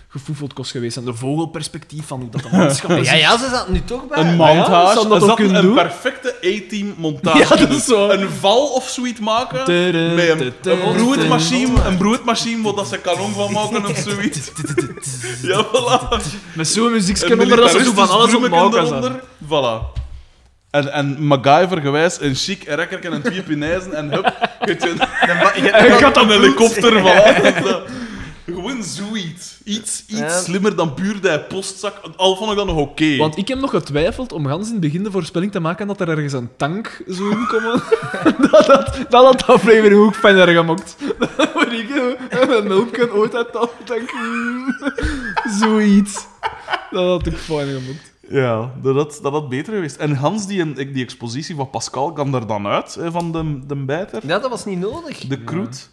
S1: gefoefeld kost geweest. En de vogelperspectief van hoe dat de manschap is.
S3: Ja, ja, ze zat nu toch bij.
S2: Een
S1: maar Ah, ja,
S2: montage.
S1: zou dat
S2: Er
S1: ook
S2: zat
S1: kunnen
S2: een
S1: doen?
S2: perfecte A-team montage.
S1: Ja, dat
S2: in.
S1: is zo.
S2: Een val of zoiets maken. Met een, een broedmachine, een broedmachine waar dat ze kanon van maken of zoiets. Ja, voilà.
S1: Met zo'n muziekje
S2: Een
S1: onder dat ze zo van
S2: militaristisch
S1: alles op
S2: broemmeken
S1: elkaar zetten.
S2: eronder. Voilà. En, en MacGyver gewijs, een chic rekkerken en twee pinijzen en hup, je hebt een-
S3: Je hebt
S2: je hebt een helikopter. Voilà. Dat is dat. Gewoon zoiets. Iets, iets
S3: Ja.
S2: slimmer dan puur die postzak. Al vond ik dat nog oké.
S1: Want ik heb nog getwijfeld om gans in het begin de voorspelling te maken dat er ergens een tank zou inkomen. dat dat, dat had de aflevering ook fijner gemokt. Dat moet ik eh, een melkje ooit uit de tank. Mm, Zoiets. Dat had ik fijner gemokt.
S2: Ja, dat had, dat had beter geweest. En Hans, die, een- die expositie van Pascal, kan er dan uit, hè, van de, de bijter.
S3: Ja, dat was niet nodig.
S2: De kroet.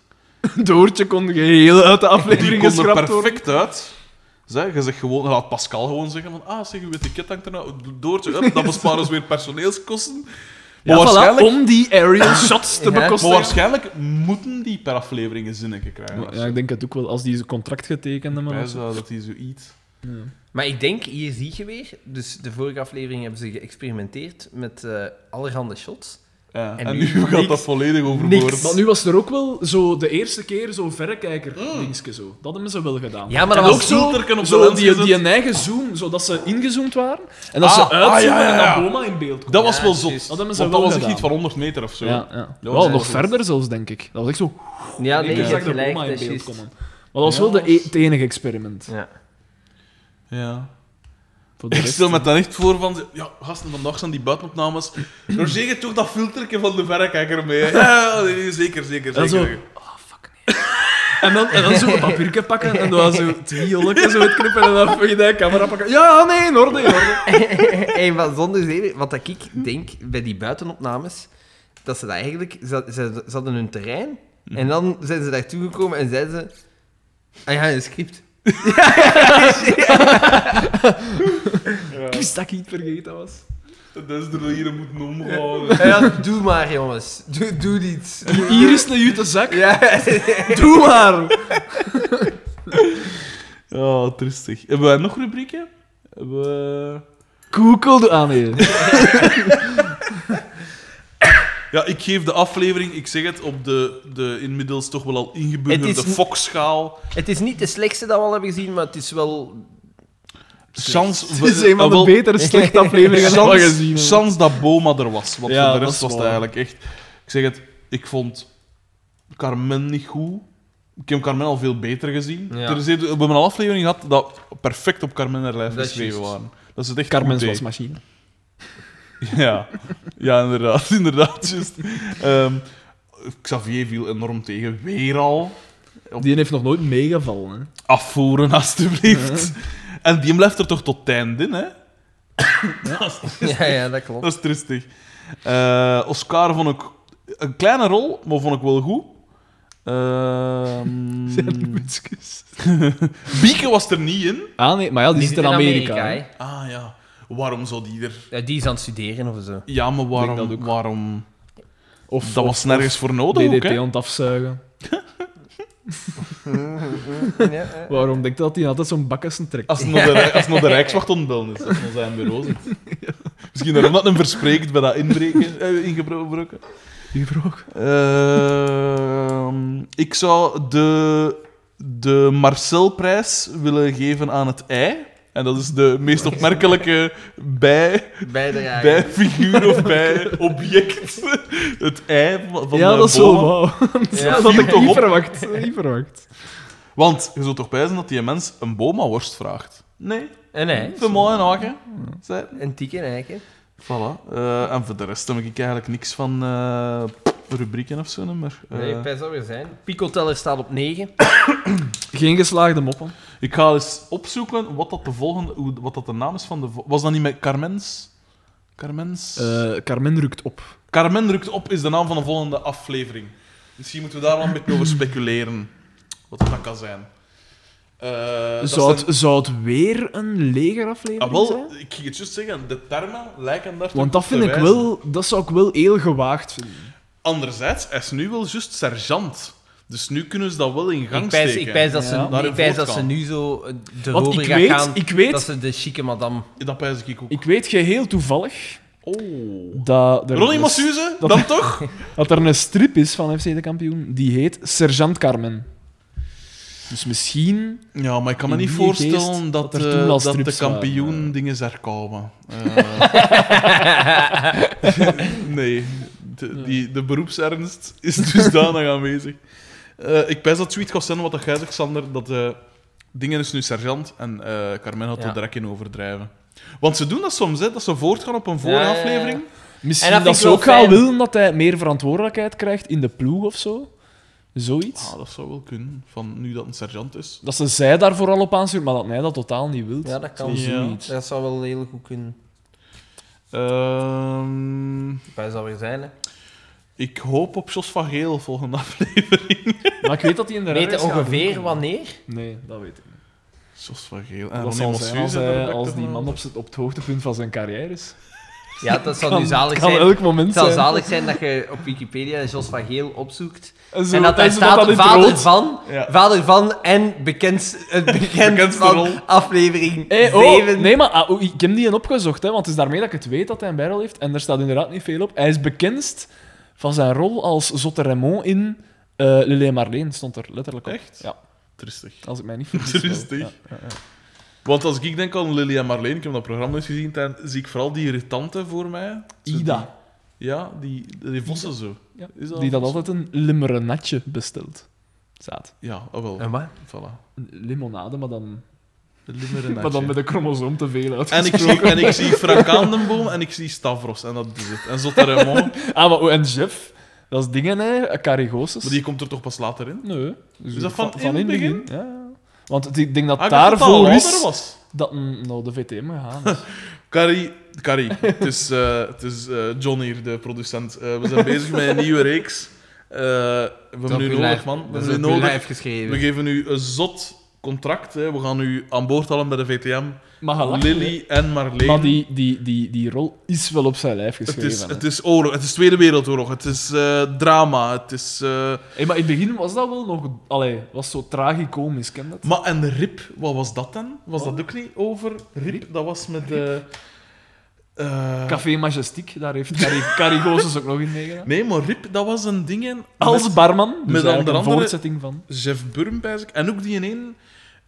S1: Doortje kon geheel uit de
S2: Die
S1: aflevering
S2: kon er
S1: geschrapt worden.
S2: perfect uit. Zeg, je zegt gewoon, laat Pascal gewoon zeggen van, ah, zeg, uw etiket hangt er nou doortje up, dan besparen ze weer personeelskosten. Maar,
S1: Ja, voilà,
S2: waarschijnlijk,
S1: om die aerial shots te
S3: Ja.
S2: maar
S1: bekostigen.
S2: waarschijnlijk moeten die per aflevering een zinnetje krijgen.
S1: Ja, ik denk het ook wel. Als die zijn contract getekend hebben.
S2: Wij
S1: of zo.
S2: zouden dat hij zoiets...
S3: Maar ik denk, hier zie je weer, dus de vorige aflevering hebben ze geëxperimenteerd met eh, allerhande shots.
S2: Ja.
S3: En
S2: En,
S3: nu
S2: nu, gaat dat
S3: niks.
S2: volledig overboord.
S1: Maar nu was er ook wel zo de eerste keer zo verrekijker
S2: Mm.
S1: dingetje zo. Dat hebben ze wel gedaan.
S3: Ja, maar
S1: En
S3: dat
S1: ook
S3: was
S1: zo,
S2: filterken op de
S1: zo
S2: lens
S1: die,
S2: gezet.
S1: die een eigen zoom, zodat ze ingezoomd waren. En dat
S2: Ah,
S1: ze uitzoomen
S2: ah, ja, ja, ja.
S1: en dan Boma in beeld kwam.
S2: Dat was
S3: Ja,
S2: wel
S3: juist.
S2: zot.
S1: Oh, Dat hebben ze
S2: want dat
S1: wel
S2: was echt
S1: gedaan.
S2: iets van 100 meter of zo.
S1: Ja, ja.
S2: Dat
S1: Wel,
S2: was
S1: nog
S2: echt
S1: verder zelfs, denk ik. Dat was echt zo...
S3: Ja, nee,
S1: Ik
S3: je
S1: zag
S3: hebt
S1: de
S3: gelijk.
S1: Boma
S3: dat
S1: in
S3: is
S1: beeld
S3: juist.
S1: komen. Maar dat was
S2: Ja,
S1: wel de
S2: dat was-
S1: e- het enige experiment.
S3: Ja.
S2: Ja.
S1: Voor de
S2: Ik
S1: rest,
S2: stel me dan echt voor van... Ja, gasten, vandaag zijn die buitenopnames. Daar zeg je toch dat filterke van de verrekijker mee. hè? Ja, nee, nee, zeker, zeker,
S1: En
S2: zeker.
S1: zo- Ah, En dan, en dan zo een papiertje pakken en dan zo twee jolletjes zo knippen en dan voor je de camera pakken. Ja, nee, in orde, in orde.
S3: Hey, maar zonder zeven, wat dat ik denk bij die buitenopnames, dat ze dat eigenlijk... Ze, ze, ze hadden hun terrein,
S1: Mhm.
S3: en dan zijn ze daartoe gekomen en zeiden ze... Ah ja, een script.
S1: Ik wist dat ik iets vergeten was.
S2: Dat is er hier moeten omhouden.
S3: Ah ja, doe maar, jongens. Doe, doe iets.
S1: Hier is een jute zak.
S3: Ja.
S1: Doe maar!
S2: Ja, tristig. Hebben wij nog rubrieken? Hebben we...
S1: Google Ah, aan je.
S2: Ja, ik geef de aflevering, ik zeg het, op de, de inmiddels toch wel al ingeburgerde
S3: Het is-
S2: fokschaal.
S3: Het is niet de slechtste dat we al hebben gezien, maar het is wel...
S2: Sans,
S1: Het is een van de
S2: Ah, wel-
S1: betere slechte afleveringen die we al gezien
S2: Sans,
S1: hebben.
S2: sans dat Boma er was. Want
S1: Ja,
S2: voor de
S1: dat
S2: rest
S1: is
S2: was het
S1: waar.
S2: eigenlijk echt... Ik zeg het, ik vond Carmen niet goed. Ik heb Carmen al veel beter gezien.
S3: Ja.
S2: Er is, we hebben een aflevering gehad dat perfect op Carmen haar lijf
S3: Dat is
S2: geschreven
S3: juist.
S2: waren. Dat is het echt
S1: Carmen's
S2: goed deed.
S1: wasmachine.
S2: Ja, ja inderdaad. inderdaad juist. Ehm, Xavier viel enorm tegen. Weer al.
S1: Die heeft nog nooit meegevallen. Hè.
S2: Afvoeren, alstublieft. En die blijft er toch tot het einde in, hè?
S3: Ja, ja, dat klopt.
S2: Dat is tristig. Eh, Oscar vond ik een kleine rol, maar vond ik wel goed. Ehm, Bieke was er niet in.
S1: Ah nee, maar ja, die, zit in Amerika. hè.
S2: Ah ja, waarom zou die er.
S3: hè. Ja, die is aan het studeren of zo.
S2: Ja, maar waarom?
S1: Ik denk
S2: Dat,
S1: dat ook.
S2: waarom...
S1: Of
S2: dat was nergens voor nodig. Ook,
S1: DDT
S2: hè?
S1: aan het afzuigen.
S3: Ja,
S1: Waarom denk je dat hij altijd zo'n bakken trekt?
S2: Als het nog de, Rij- als het nog de Rijkswacht ontbellen is, als het nog zijn bureau zit. Misschien daarom dat hem verspreekt bij dat inbreken, eh, ingebroken.
S1: Die vroeg.
S2: Ehm, ik zou de, de Marcelprijs willen geven aan het ei. En dat is de meest opmerkelijke bij,
S3: Bijdrage.
S2: bij figuur of bij object. Het ei van van
S1: Ja,
S2: de
S1: dat is wel
S2: boa.
S1: wauw.
S3: Ja.
S1: dat had
S2: Viel
S1: ik
S2: toch
S1: niet
S2: op?
S1: verwacht. Niet verwacht.
S2: Want je zult toch bij zijn dat die mens een boma-worst vraagt? Nee,
S3: En hij.
S2: voor mij een haken. zei het.
S3: Eh, Een tikken eigenlijk.
S2: Voilà. Eh, en voor de rest heb ik eigenlijk niks van eh, rubrieken of zo. hè, Maar, eh,
S3: Nee, bij zou er zijn. Picoteller staat op 9.
S1: Geen geslaagde moppen.
S2: Ik ga eens opzoeken wat dat de volgende, hoe- wat dat de naam is van de. vo- Was dat niet met Carmens? Carmens.
S1: Eh, Carmen rukt op.
S2: Carmen rukt op is de naam van de volgende aflevering. Misschien moeten we daar wel een beetje over speculeren. Wat dat kan zijn. Eh, dat
S1: zou, het,
S2: zijn-
S1: zou het weer een legeraflevering
S2: Ah, wel,
S1: zijn?
S2: ik ging het juist zeggen, de termen lijken daar toch
S1: Want dat
S2: op
S1: vind
S2: te
S1: ik
S2: wijzen.
S1: wel... Dat zou ik wel heel gewaagd vinden.
S2: Anderzijds, hij is nu wel juist sergeant. Dus nu kunnen ze dat wel in gang
S3: Ik pijs,
S2: steken.
S3: ik pijs dat, ze,
S1: Ja.
S2: Naar
S3: ik
S2: hun
S3: pijs dat ze
S2: voortgang.
S3: nu zo eh,
S1: Want
S3: erover
S1: ik
S3: gaan
S1: weet-
S3: gaan
S1: ik weet-
S3: dat ze de chique madame...
S2: Dat pijs ik ook.
S1: Ik weet geheel toevallig
S2: Oh.
S1: dat er,
S2: Ronnie
S1: een,
S2: Massuze,
S1: dat-
S2: dan toch?
S1: dat er een strip is van FC de kampioen die heet Sergeant Carmen. Dus misschien.
S2: Ja, maar ik kan me
S1: In
S2: niet
S1: die
S2: voorstellen
S1: geest
S2: dat,
S1: dat er
S2: eh,
S1: toen al
S2: dat de
S1: strips waren,
S2: kampioen
S1: eh.
S2: dingen Eh, zerkomen. nee, de, die, de beroepsernst is dusdanig dus aanwezig. Eh, ik pijs dat zoiets gaat zijn wat dat jij zegt, Sander, dat eh, Dingen is nu sergeant en eh, Carmen had
S6: Ja.
S2: er direct in overdrijven. Want ze doen dat soms, hè, dat ze voortgaan op een vorige
S6: Ja, ja, ja.
S2: aflevering.
S1: Misschien
S6: En dat
S1: dat,
S6: vind ik
S1: ze
S6: wel
S1: ook
S6: fijn.
S1: gaan willen dat hij meer verantwoordelijkheid krijgt in de ploeg of zo. Zoiets.
S2: Ah, dat zou wel kunnen, van nu dat een sergeant is.
S1: Dat ze zij daar vooral op aanstuurt, maar dat hij dat totaal niet wil.
S5: Ja, dat kan.
S2: Ja.
S1: Zoiets.
S5: Dat zou wel heel goed kunnen.
S2: Ehm,
S5: Wij zou weer zijn, hè.
S2: ik hoop op Jos van Geel volgende aflevering.
S1: Maar ik weet dat hij in de
S5: Weet je
S1: rij is gaan
S5: ongeveer
S1: doen.
S5: wanneer?
S1: Nee, dat weet ik niet.
S2: Jos Ah, van Geel. En
S1: Dat
S2: Ronnie
S1: zal zijn
S2: Mossuus
S1: als,
S2: en de
S1: hij-
S2: Rebecca
S1: als die
S2: van-
S1: man op, z'n- op het hoogtepunt van zijn carrière is.
S5: Ja, dat zou
S1: Kan-
S5: nu zalig
S1: kan
S5: zijn.
S1: elk
S5: Het
S1: moment
S5: zou
S1: zijn.
S5: zalig zijn dat je op Wikipedia Jos van Geel opzoekt.
S1: zo,
S5: en dat hij
S1: en ze
S5: staat
S1: dat dan in het
S5: vader
S1: rood.
S5: van,
S2: Ja.
S5: vader van en bekend, het bekend
S2: Bekendste
S5: van
S2: rol.
S5: aflevering
S1: Hey,
S5: 7.
S1: oh, nee, maar ah, oh, ik heb die een opgezocht, hè, want het is daarmee dat ik het weet dat hij een bijrol heeft. En daar staat inderdaad niet veel op. Hij is bekendst van zijn rol als Zotte Raymond in eh Lili en Marleen, stond er letterlijk op.
S2: Echt?
S1: Ja,
S2: Tristig.
S1: als ik mij niet vergis. wel.
S2: Tristig.
S1: Ja.
S2: Want als ik denk aan Lily en Marleen, ik heb dat programma eens gezien, dan zie ik vooral die irritante voor mij. Zo die-
S1: Ida,
S2: ja, die, die vossen zo.
S1: Ja.
S2: Is
S1: die dat
S2: een vos?
S1: altijd een limerenatje bestelt. Zaad.
S2: Ja, oh wel.
S5: En wat?
S2: Voilà.
S1: Een Limonade, maar dan,
S2: De limmerenatje.
S1: maar dan met een chromosoom te veel uit.
S2: En ik zie, en ik zie Frank Aandenboom en ik zie Stavros. En dat is het. En Zotte Raymond,
S1: Ah, maar, oh, en Jeff, dat is dingen, hè? Carigosus.
S2: maar die komt er toch pas later in?
S1: Nee.
S2: Is dat van in het begin?
S1: Ja, ja. Want het- ik denk dat
S2: Ah, ik dacht dat dat al
S1: daarvoor
S2: later
S1: is
S2: was.
S1: dat mm, nou, de VTM gegaan is.
S2: Carrie, Carrie het is, eh, het is eh, John hier, de producent. Eh, we zijn bezig met een nieuwe reeks. Eh, we hebben nu nodig, man. We
S5: Dat is
S2: hebben
S5: op
S2: nu
S5: uw
S2: nodig.
S5: lijf geschreven.
S2: We geven u een zot contract. Hè. We gaan u aan boord halen bij de VTM.
S1: Maar gelachen,
S2: Lily en
S1: hè.
S2: Marleen.
S1: Maar die, die, die, die rol is wel op zijn lijf
S2: het,
S1: geschreven.
S2: is,
S1: hè.
S2: het is oorlog, het is Tweede Wereldoorlog, het is eh, drama, het is... eh,
S1: Hey, maar in het begin was dat wel nog... Allee, was zo tragicomisch, ken dat?
S2: Maar en Rip, wat was dat dan? Was
S1: Oh.
S2: dat ook niet over Rip? Dat was met... eh eh,
S1: Café Majestic, daar heeft Cari- Carigosus ook nog in meegedaan.
S2: Nee, maar Rip, dat was een ding in...
S1: Als
S2: met
S1: barman, dus
S2: onder
S1: eigenlijk een
S2: andere-
S1: voortzetting van.
S2: Jeff Burm, bij zich. En ook die in één...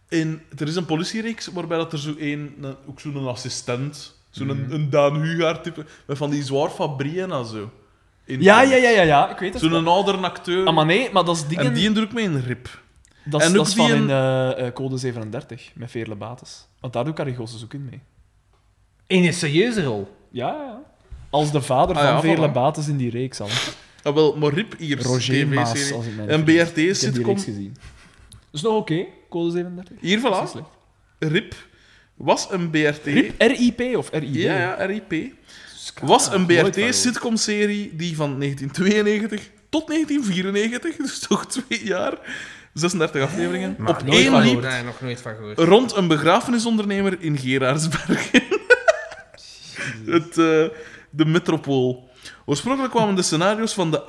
S2: In, er is een politiereeks waarbij dat er zo één... een- Ook zo'n assistent, zo'n
S1: Mhm.
S2: een Daan Hugaard-type, met van die zwaar fabrieën en zo. In-
S1: Ja, ja, ja, ja, ja, ik weet het.
S2: Zo'n oudere acteur.
S1: Ah, maar nee, maar dat is dingen...
S2: en die druk mee in Rip.
S1: Dat is,
S2: en
S1: dat
S2: ook
S1: is van
S2: die
S1: in
S2: een-
S1: eh, eh, code 37, met Veerle Bates. Want daar doet Carigosus ook in mee.
S5: In een serieuze rol.
S1: Ja, ja. Als de vader
S2: Ah,
S1: van
S2: ja,
S1: Veerle
S2: voilà.
S1: Bates in die reeks al.
S2: Ah, wel, maar Rip hier,
S1: Roger Maas,
S2: tv-serie.
S1: als ik mij niet
S2: Een
S1: vergis. Ik heb die
S2: BRT-sitcom.
S1: reeks gezien. Dus nog oké, code 37.
S2: Hier,
S1: Dat is niet
S2: voilà.
S1: slecht.
S2: Rip was een BRT...
S1: RIP of RIB?
S2: Ja, ja, RIP. Was een
S1: nooit van
S2: BRT-sitcom-serie die van 1992 tot 1994, dus toch twee jaar, 36 afleveringen, op
S5: nooit
S2: één
S5: van
S2: liep
S5: gehoord. Nee, nog nooit van gehoord.
S2: rond een begrafenisondernemer in Gerardsbergen. Het, eh, de metropool. Oorspronkelijk kwamen de scenario's van de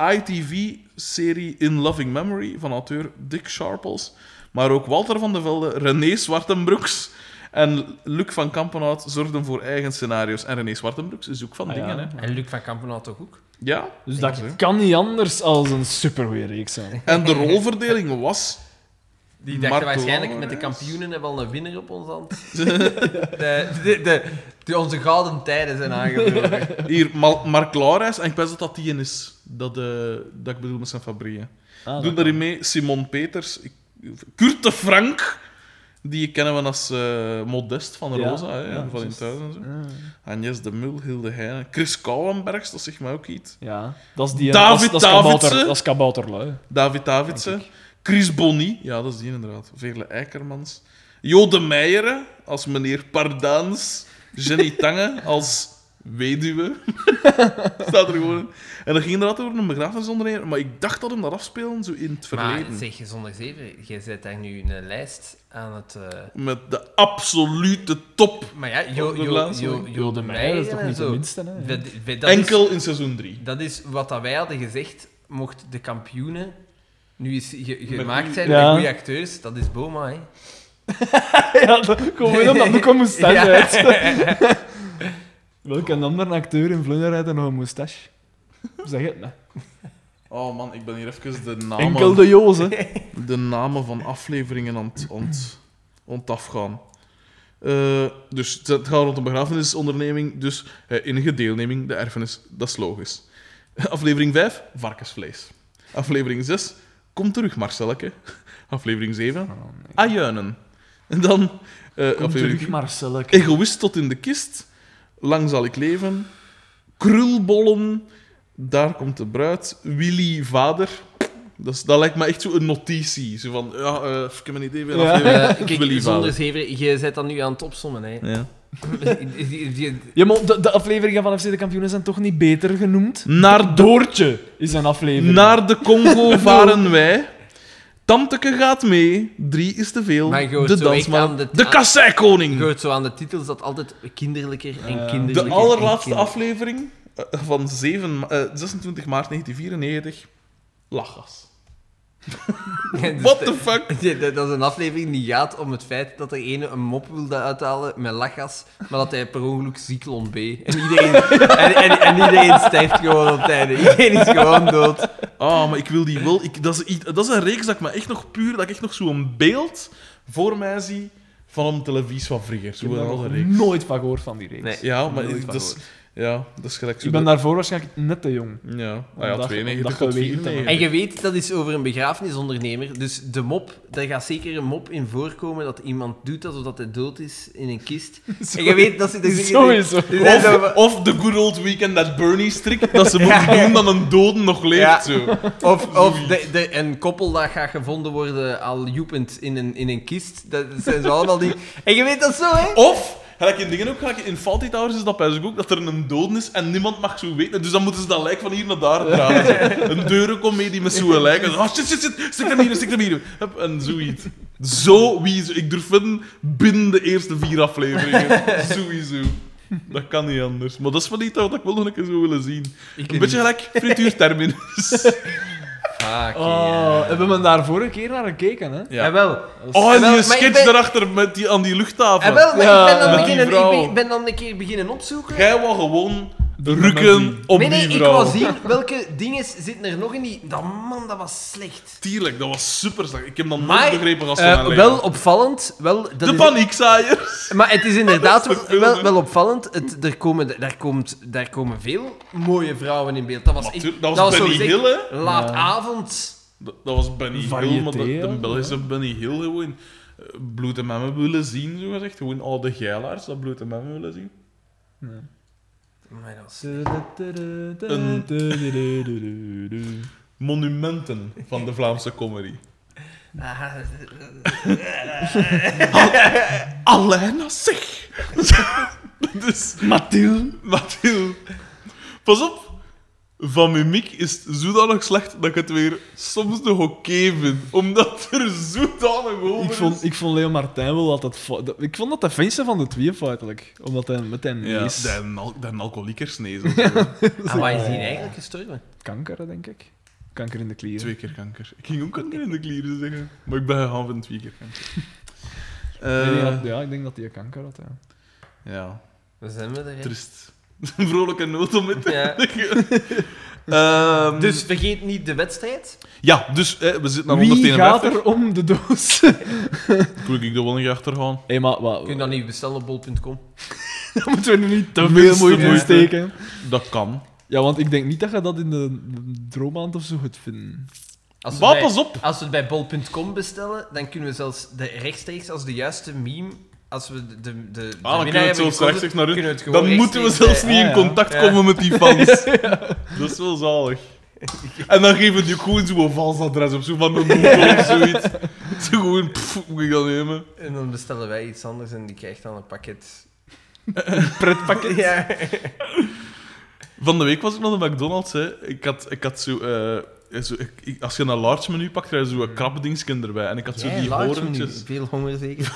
S2: ITV-serie In Loving Memory van auteur Dick Sharples, maar ook Walter van de Velde, René Zwartenbroeks en Luc van Kampenhout zorgden voor eigen scenario's. En René Zwartenbroeks is ook van
S1: Ah, ja.
S2: dingen, hè.
S5: En Luc van Kampenhout toch ook?
S2: Ja.
S1: Dus dat kan niet anders als een supergoeie reeks zijn.
S2: En de rolverdeling was...
S5: Die dachten
S2: Marco
S5: waarschijnlijk met de
S2: Laurens.
S5: kampioenen hebben we al een winnaar op ons hand. de, de, de, de- onze gouden tijden zijn aangebroken.
S2: Hier, Mal- Mark Laurijs, en ik weet dat dat die een is. Dat, eh, dat ik bedoel met zijn fabrieën.
S1: Ah,
S2: Doen
S1: dat
S2: daarin mee Simon Peters, ik, Kurt de Frank, die kennen we als eh, modest van
S1: Ja,
S2: Rosa, hè,
S1: ja,
S2: en van in
S1: juist.
S2: thuis en zo.
S1: kan. Ah.
S2: Agnes de Mul, Hilde Heijnen, Chris Kouwenbergs, dat zegt mij ook iets.
S1: Ja, dat is die... eh,
S2: David
S1: dat is, dat is kabouter-
S2: Davidsen.
S1: Dat is kabouterlui.
S2: David Davidsen, Chris Bonny, ja, dat is die inderdaad. Verle Eikermans, Jo de Meijeren als meneer Pardaans, Jenny Tange als weduwe. Staat er gewoon in. En dat ging inderdaad over een begrafenisondernemer, maar ik dacht dat hem dat afspelen, zo in het
S5: Maar
S2: verleden.
S5: zeg, zonder zeven, jij zet daar nu een lijst aan het... eh,
S2: Met de absolute top.
S5: Maar ja, Jo,
S2: De
S5: jo, jo,
S2: laatste,
S5: jo,
S1: Jo de Meijer is toch
S5: en
S1: niet de
S5: zo.
S1: minste, hè?
S5: Dat, dat
S2: Enkel in seizoen 3.
S5: Is, dat is wat dat wij hadden gezegd, mocht de kampioenen nu eens ge- gemaakt
S2: u-
S5: zijn
S1: Ja.
S5: met goede acteurs, dat is Boma, hè.
S1: ja, dat, gewoon omdat Luca moustache
S5: Ja.
S1: uit. Welke andere acteur in Vlunder rijdt er nog een moustache? Zeg het nou.
S2: Oh man, ik ben hier even de namen,
S1: Enkel de Joze.
S2: de namen van afleveringen aan het ont, ontafgaan. Eh, dus het gaat rond een begrafenisonderneming, dus eh, enige deelneming, de erfenis, dat is logisch. Aflevering 5, varkensvlees. Aflevering 6, Kom terug, Marcelke. Aflevering 7. Ajuinen. En dan... eh, aflevering
S1: Natuurlijk, Marcel.
S2: Egoïst tot in de kist. Lang zal ik leven. Krulbollen. Daar komt de bruid. Willy vader. Dat, is- dat lijkt me echt zo een notitie. Zo van, ja, eh, ik heb een idee weer
S1: Ja.
S2: aflevering. Willy
S3: Eh, kijk, zonder
S2: vader.
S3: zeven, je zet dat nu aan het opsommen. Hè.
S2: Ja.
S3: Die- die- die-
S1: Ja, maar de, de afleveringen van FC de Kampioenen zijn toch niet beter genoemd?
S2: Naar, de,
S1: Doortje is een aflevering.
S2: naar de Congo varen wij. Tanteke gaat mee. Drie is te veel.
S3: Maar je hoort
S2: De
S3: zo echt
S2: dansman.
S3: aan
S2: De,
S3: de-
S2: de kasseikoning.
S3: Je hoort zo aan de titels dat altijd kinderlijker en kinderlijker.
S2: De
S3: en
S2: allerlaatste
S3: kinderlijker.
S2: aflevering eh, van 7, ma- eh, 26 maart 1994. Lachgas.
S3: Ja, dus
S2: What
S3: de-
S2: the fuck?
S3: Ja, dat dat is een aflevering die gaat om het feit dat er ene een mop wilde uithalen met lachgas, maar dat hij per ongeluk cyclon B. En iedereen, en, en, en iedereen sterft gewoon op het einde. Iedereen is gewoon dood.
S2: Ah, maar ik wil die wel. Ik, dat, is, iets- dat is een reeks dat ik me echt nog puur, dat ik echt nog zo'n beeld voor mij zie van een televisie van vroeger.
S1: Ik heb
S2: Zo'n
S1: daar
S2: oude
S1: nog
S2: reeks.
S1: nooit van gehoord van die reeks.
S3: Nee.
S2: Ja, maar
S1: Nooit
S2: ik-
S1: van
S2: dat is, ja, dat is gelijk zo.
S1: Ik ben
S2: de-
S1: daarvoor waarschijnlijk net te jong.
S2: Ja, ah, ja
S1: Omdat-
S2: 92
S1: omdat
S2: tot
S1: je weet dat-
S2: 94.
S3: En je weet, dat is over een begrafenisondernemer. Dus de mop, daar gaat zeker een mop in voorkomen dat iemand doet alsof hij dood is in een kist. En je weet dat ze... dat ze-
S1: Sowieso.
S3: dat ze- dat ze-
S2: Of The Good Old Weekend at Bernie strik, dat ze moeten doen dat een dode nog leeft.
S3: Ja.
S2: Zo.
S3: Of, of de, de, een koppel dat gaat gevonden worden al joepend in een, in een kist. Dat zijn zo allemaal die... En je weet dat zo, hè?
S2: Of, gelijk in dingen ook, gelijk in Fawlty Towers is dat bij ook, dat er een doden is en niemand mag zo weten. Dus dan moeten ze dat lijk van hier naar daar dragen. een deurencomedie met zo'n lijk. En, dan, oh, shit, shit, shit, stik hem hier, stik hem hier. Hup, en zoiets. Zo, wie zo- ik durf wedden, binnen de eerste vier afleveringen. Sowieso. Dat kan niet anders. Maar dat is wel iets wat ik wel nog een keer zou willen zien. een beetje gelijk frituurterminus.
S3: Fuck,
S1: Oh, hebben we daar vorige keer naar gekeken, hè?
S2: Ja.
S3: Ja. wel.
S2: Oh, en
S3: Wel,
S2: die
S3: maar
S2: sketch
S3: ik ben-
S2: daarachter met die, aan die luchthaven.
S3: En wel, maar ik ben dan,
S1: Ja,
S2: met die
S3: beginnen, ik
S2: vrouw.
S3: ben, ik ben dan een keer beginnen opzoeken.
S2: Jij wou gewoon rukken op
S3: nee, nee,
S2: die
S3: ik
S2: vrouw.
S3: wou zien welke dingen zitten er nog in die... Dat man, dat was slecht.
S2: Tuurlijk, dat was super slecht. Ik heb dat nooit
S3: Maar,
S2: begrepen als
S3: eh,
S2: van mijn
S3: wel
S2: leven.
S3: opvallend, wel... Dat
S2: De
S3: is-
S2: paniekzaaiers.
S3: Maar het is inderdaad
S2: Dat is
S3: wel,
S2: vervelend,
S3: wel,
S2: hè?
S3: wel opvallend. Het, er komen, daar, komt, daar komen veel mooie vrouwen in beeld. Dat was, echt,
S2: Natuurlijk, dat was Benny
S3: sowieso
S2: Hill, hè?
S3: Laat avond.
S2: Dat, dat was Benny Hill,
S1: Variété,
S2: maar de, de
S1: hè?
S2: Belgische Benny Hill gewoon. eh, Bloed en memmen willen zien, zo gezegd. Gewoon al de geilaars dat bloed en memmen willen zien.
S3: Maar dat was-
S1: Een...
S2: Monumenten van de Vlaamse comedy.
S3: Ah,
S2: Alleen als zich. dus,
S1: Mathilde.
S2: Mathilde. Pas op. Van mimiek is het zodanig slecht dat ik het weer soms nog oké vind. Omdat er zodanig over
S1: Ik
S2: is.
S1: vond, ik vond Leo Martijn wel altijd... fo- dat- Ik vond dat de feinste van de twee, feitelijk. Omdat hij met een
S2: Ja,
S1: neus...
S2: dat een al- dat een alcoholiekersnees. of zo.
S3: ah, maar is die eigenlijk gestorven?
S1: Kanker, denk ik. Kanker in de klieren.
S2: Twee keer kanker. Ik ging ook kanker in de klieren zeggen. Maar ik ben gegaan van twee keer kanker.
S1: Ik denk
S2: Eh,
S1: dat- ja, ik denk dat hij kanker had, ja.
S2: ja,
S3: Dan zijn we er. hè.
S2: trist. Een vrolijke noot om het te
S3: Ja.
S2: eindigen. Ehm,
S3: Dus vergeet niet de wedstrijd.
S2: Ja, dus eh, we zitten naar
S1: Wie gaat
S2: 151.
S1: er om de doos?
S2: Wil ik er wel niet achter gaan?
S1: Hé, maar
S3: Kun je
S1: wat,
S3: dat niet bestellen op bol.com?
S1: dat moeten we nu niet te
S2: Minste
S1: veel moeite in
S2: moeite.
S1: steken.
S2: Dat kan.
S1: Ja, want ik denk niet dat je dat in de droomand of zo gaat vinden.
S3: Als we
S2: Maar
S3: bij-
S2: pas op.
S3: Als we het bij bol.com bestellen, dan kunnen we zelfs de rechtstreeks als de juiste meme. Als we de, de, de, de
S2: Ah, dan kunnen
S3: winnaar
S2: we het zo
S3: hebben gekozen,
S2: rechtstreeks naar hun.
S3: kunnen we het gewoon
S2: Dan moeten we
S3: rechtstreeks
S2: zelfs
S3: bij-
S2: niet in
S1: Ah, ja.
S2: contact
S3: Ja.
S2: komen met die fans. Dat is wel zalig. En dan geven die ook gewoon zo'n vals adres op, zo van een hoek of zoiets. Zo gewoon, pff, moet ik dat nemen?
S3: En dan bestellen wij iets anders en die krijgt dan een pakket.
S1: Pretpakket?
S3: Ja.
S2: Van de week was ik naar de McDonald's. Hè. Ik, had, ik had zo. eh, zo ik- ik- als je een large menu pakt, krijg je zo'n krabdingsken erbij. En ik had zo
S3: Jij
S2: die
S3: laat je nu
S2: horentjes.
S3: Veel honger zeker.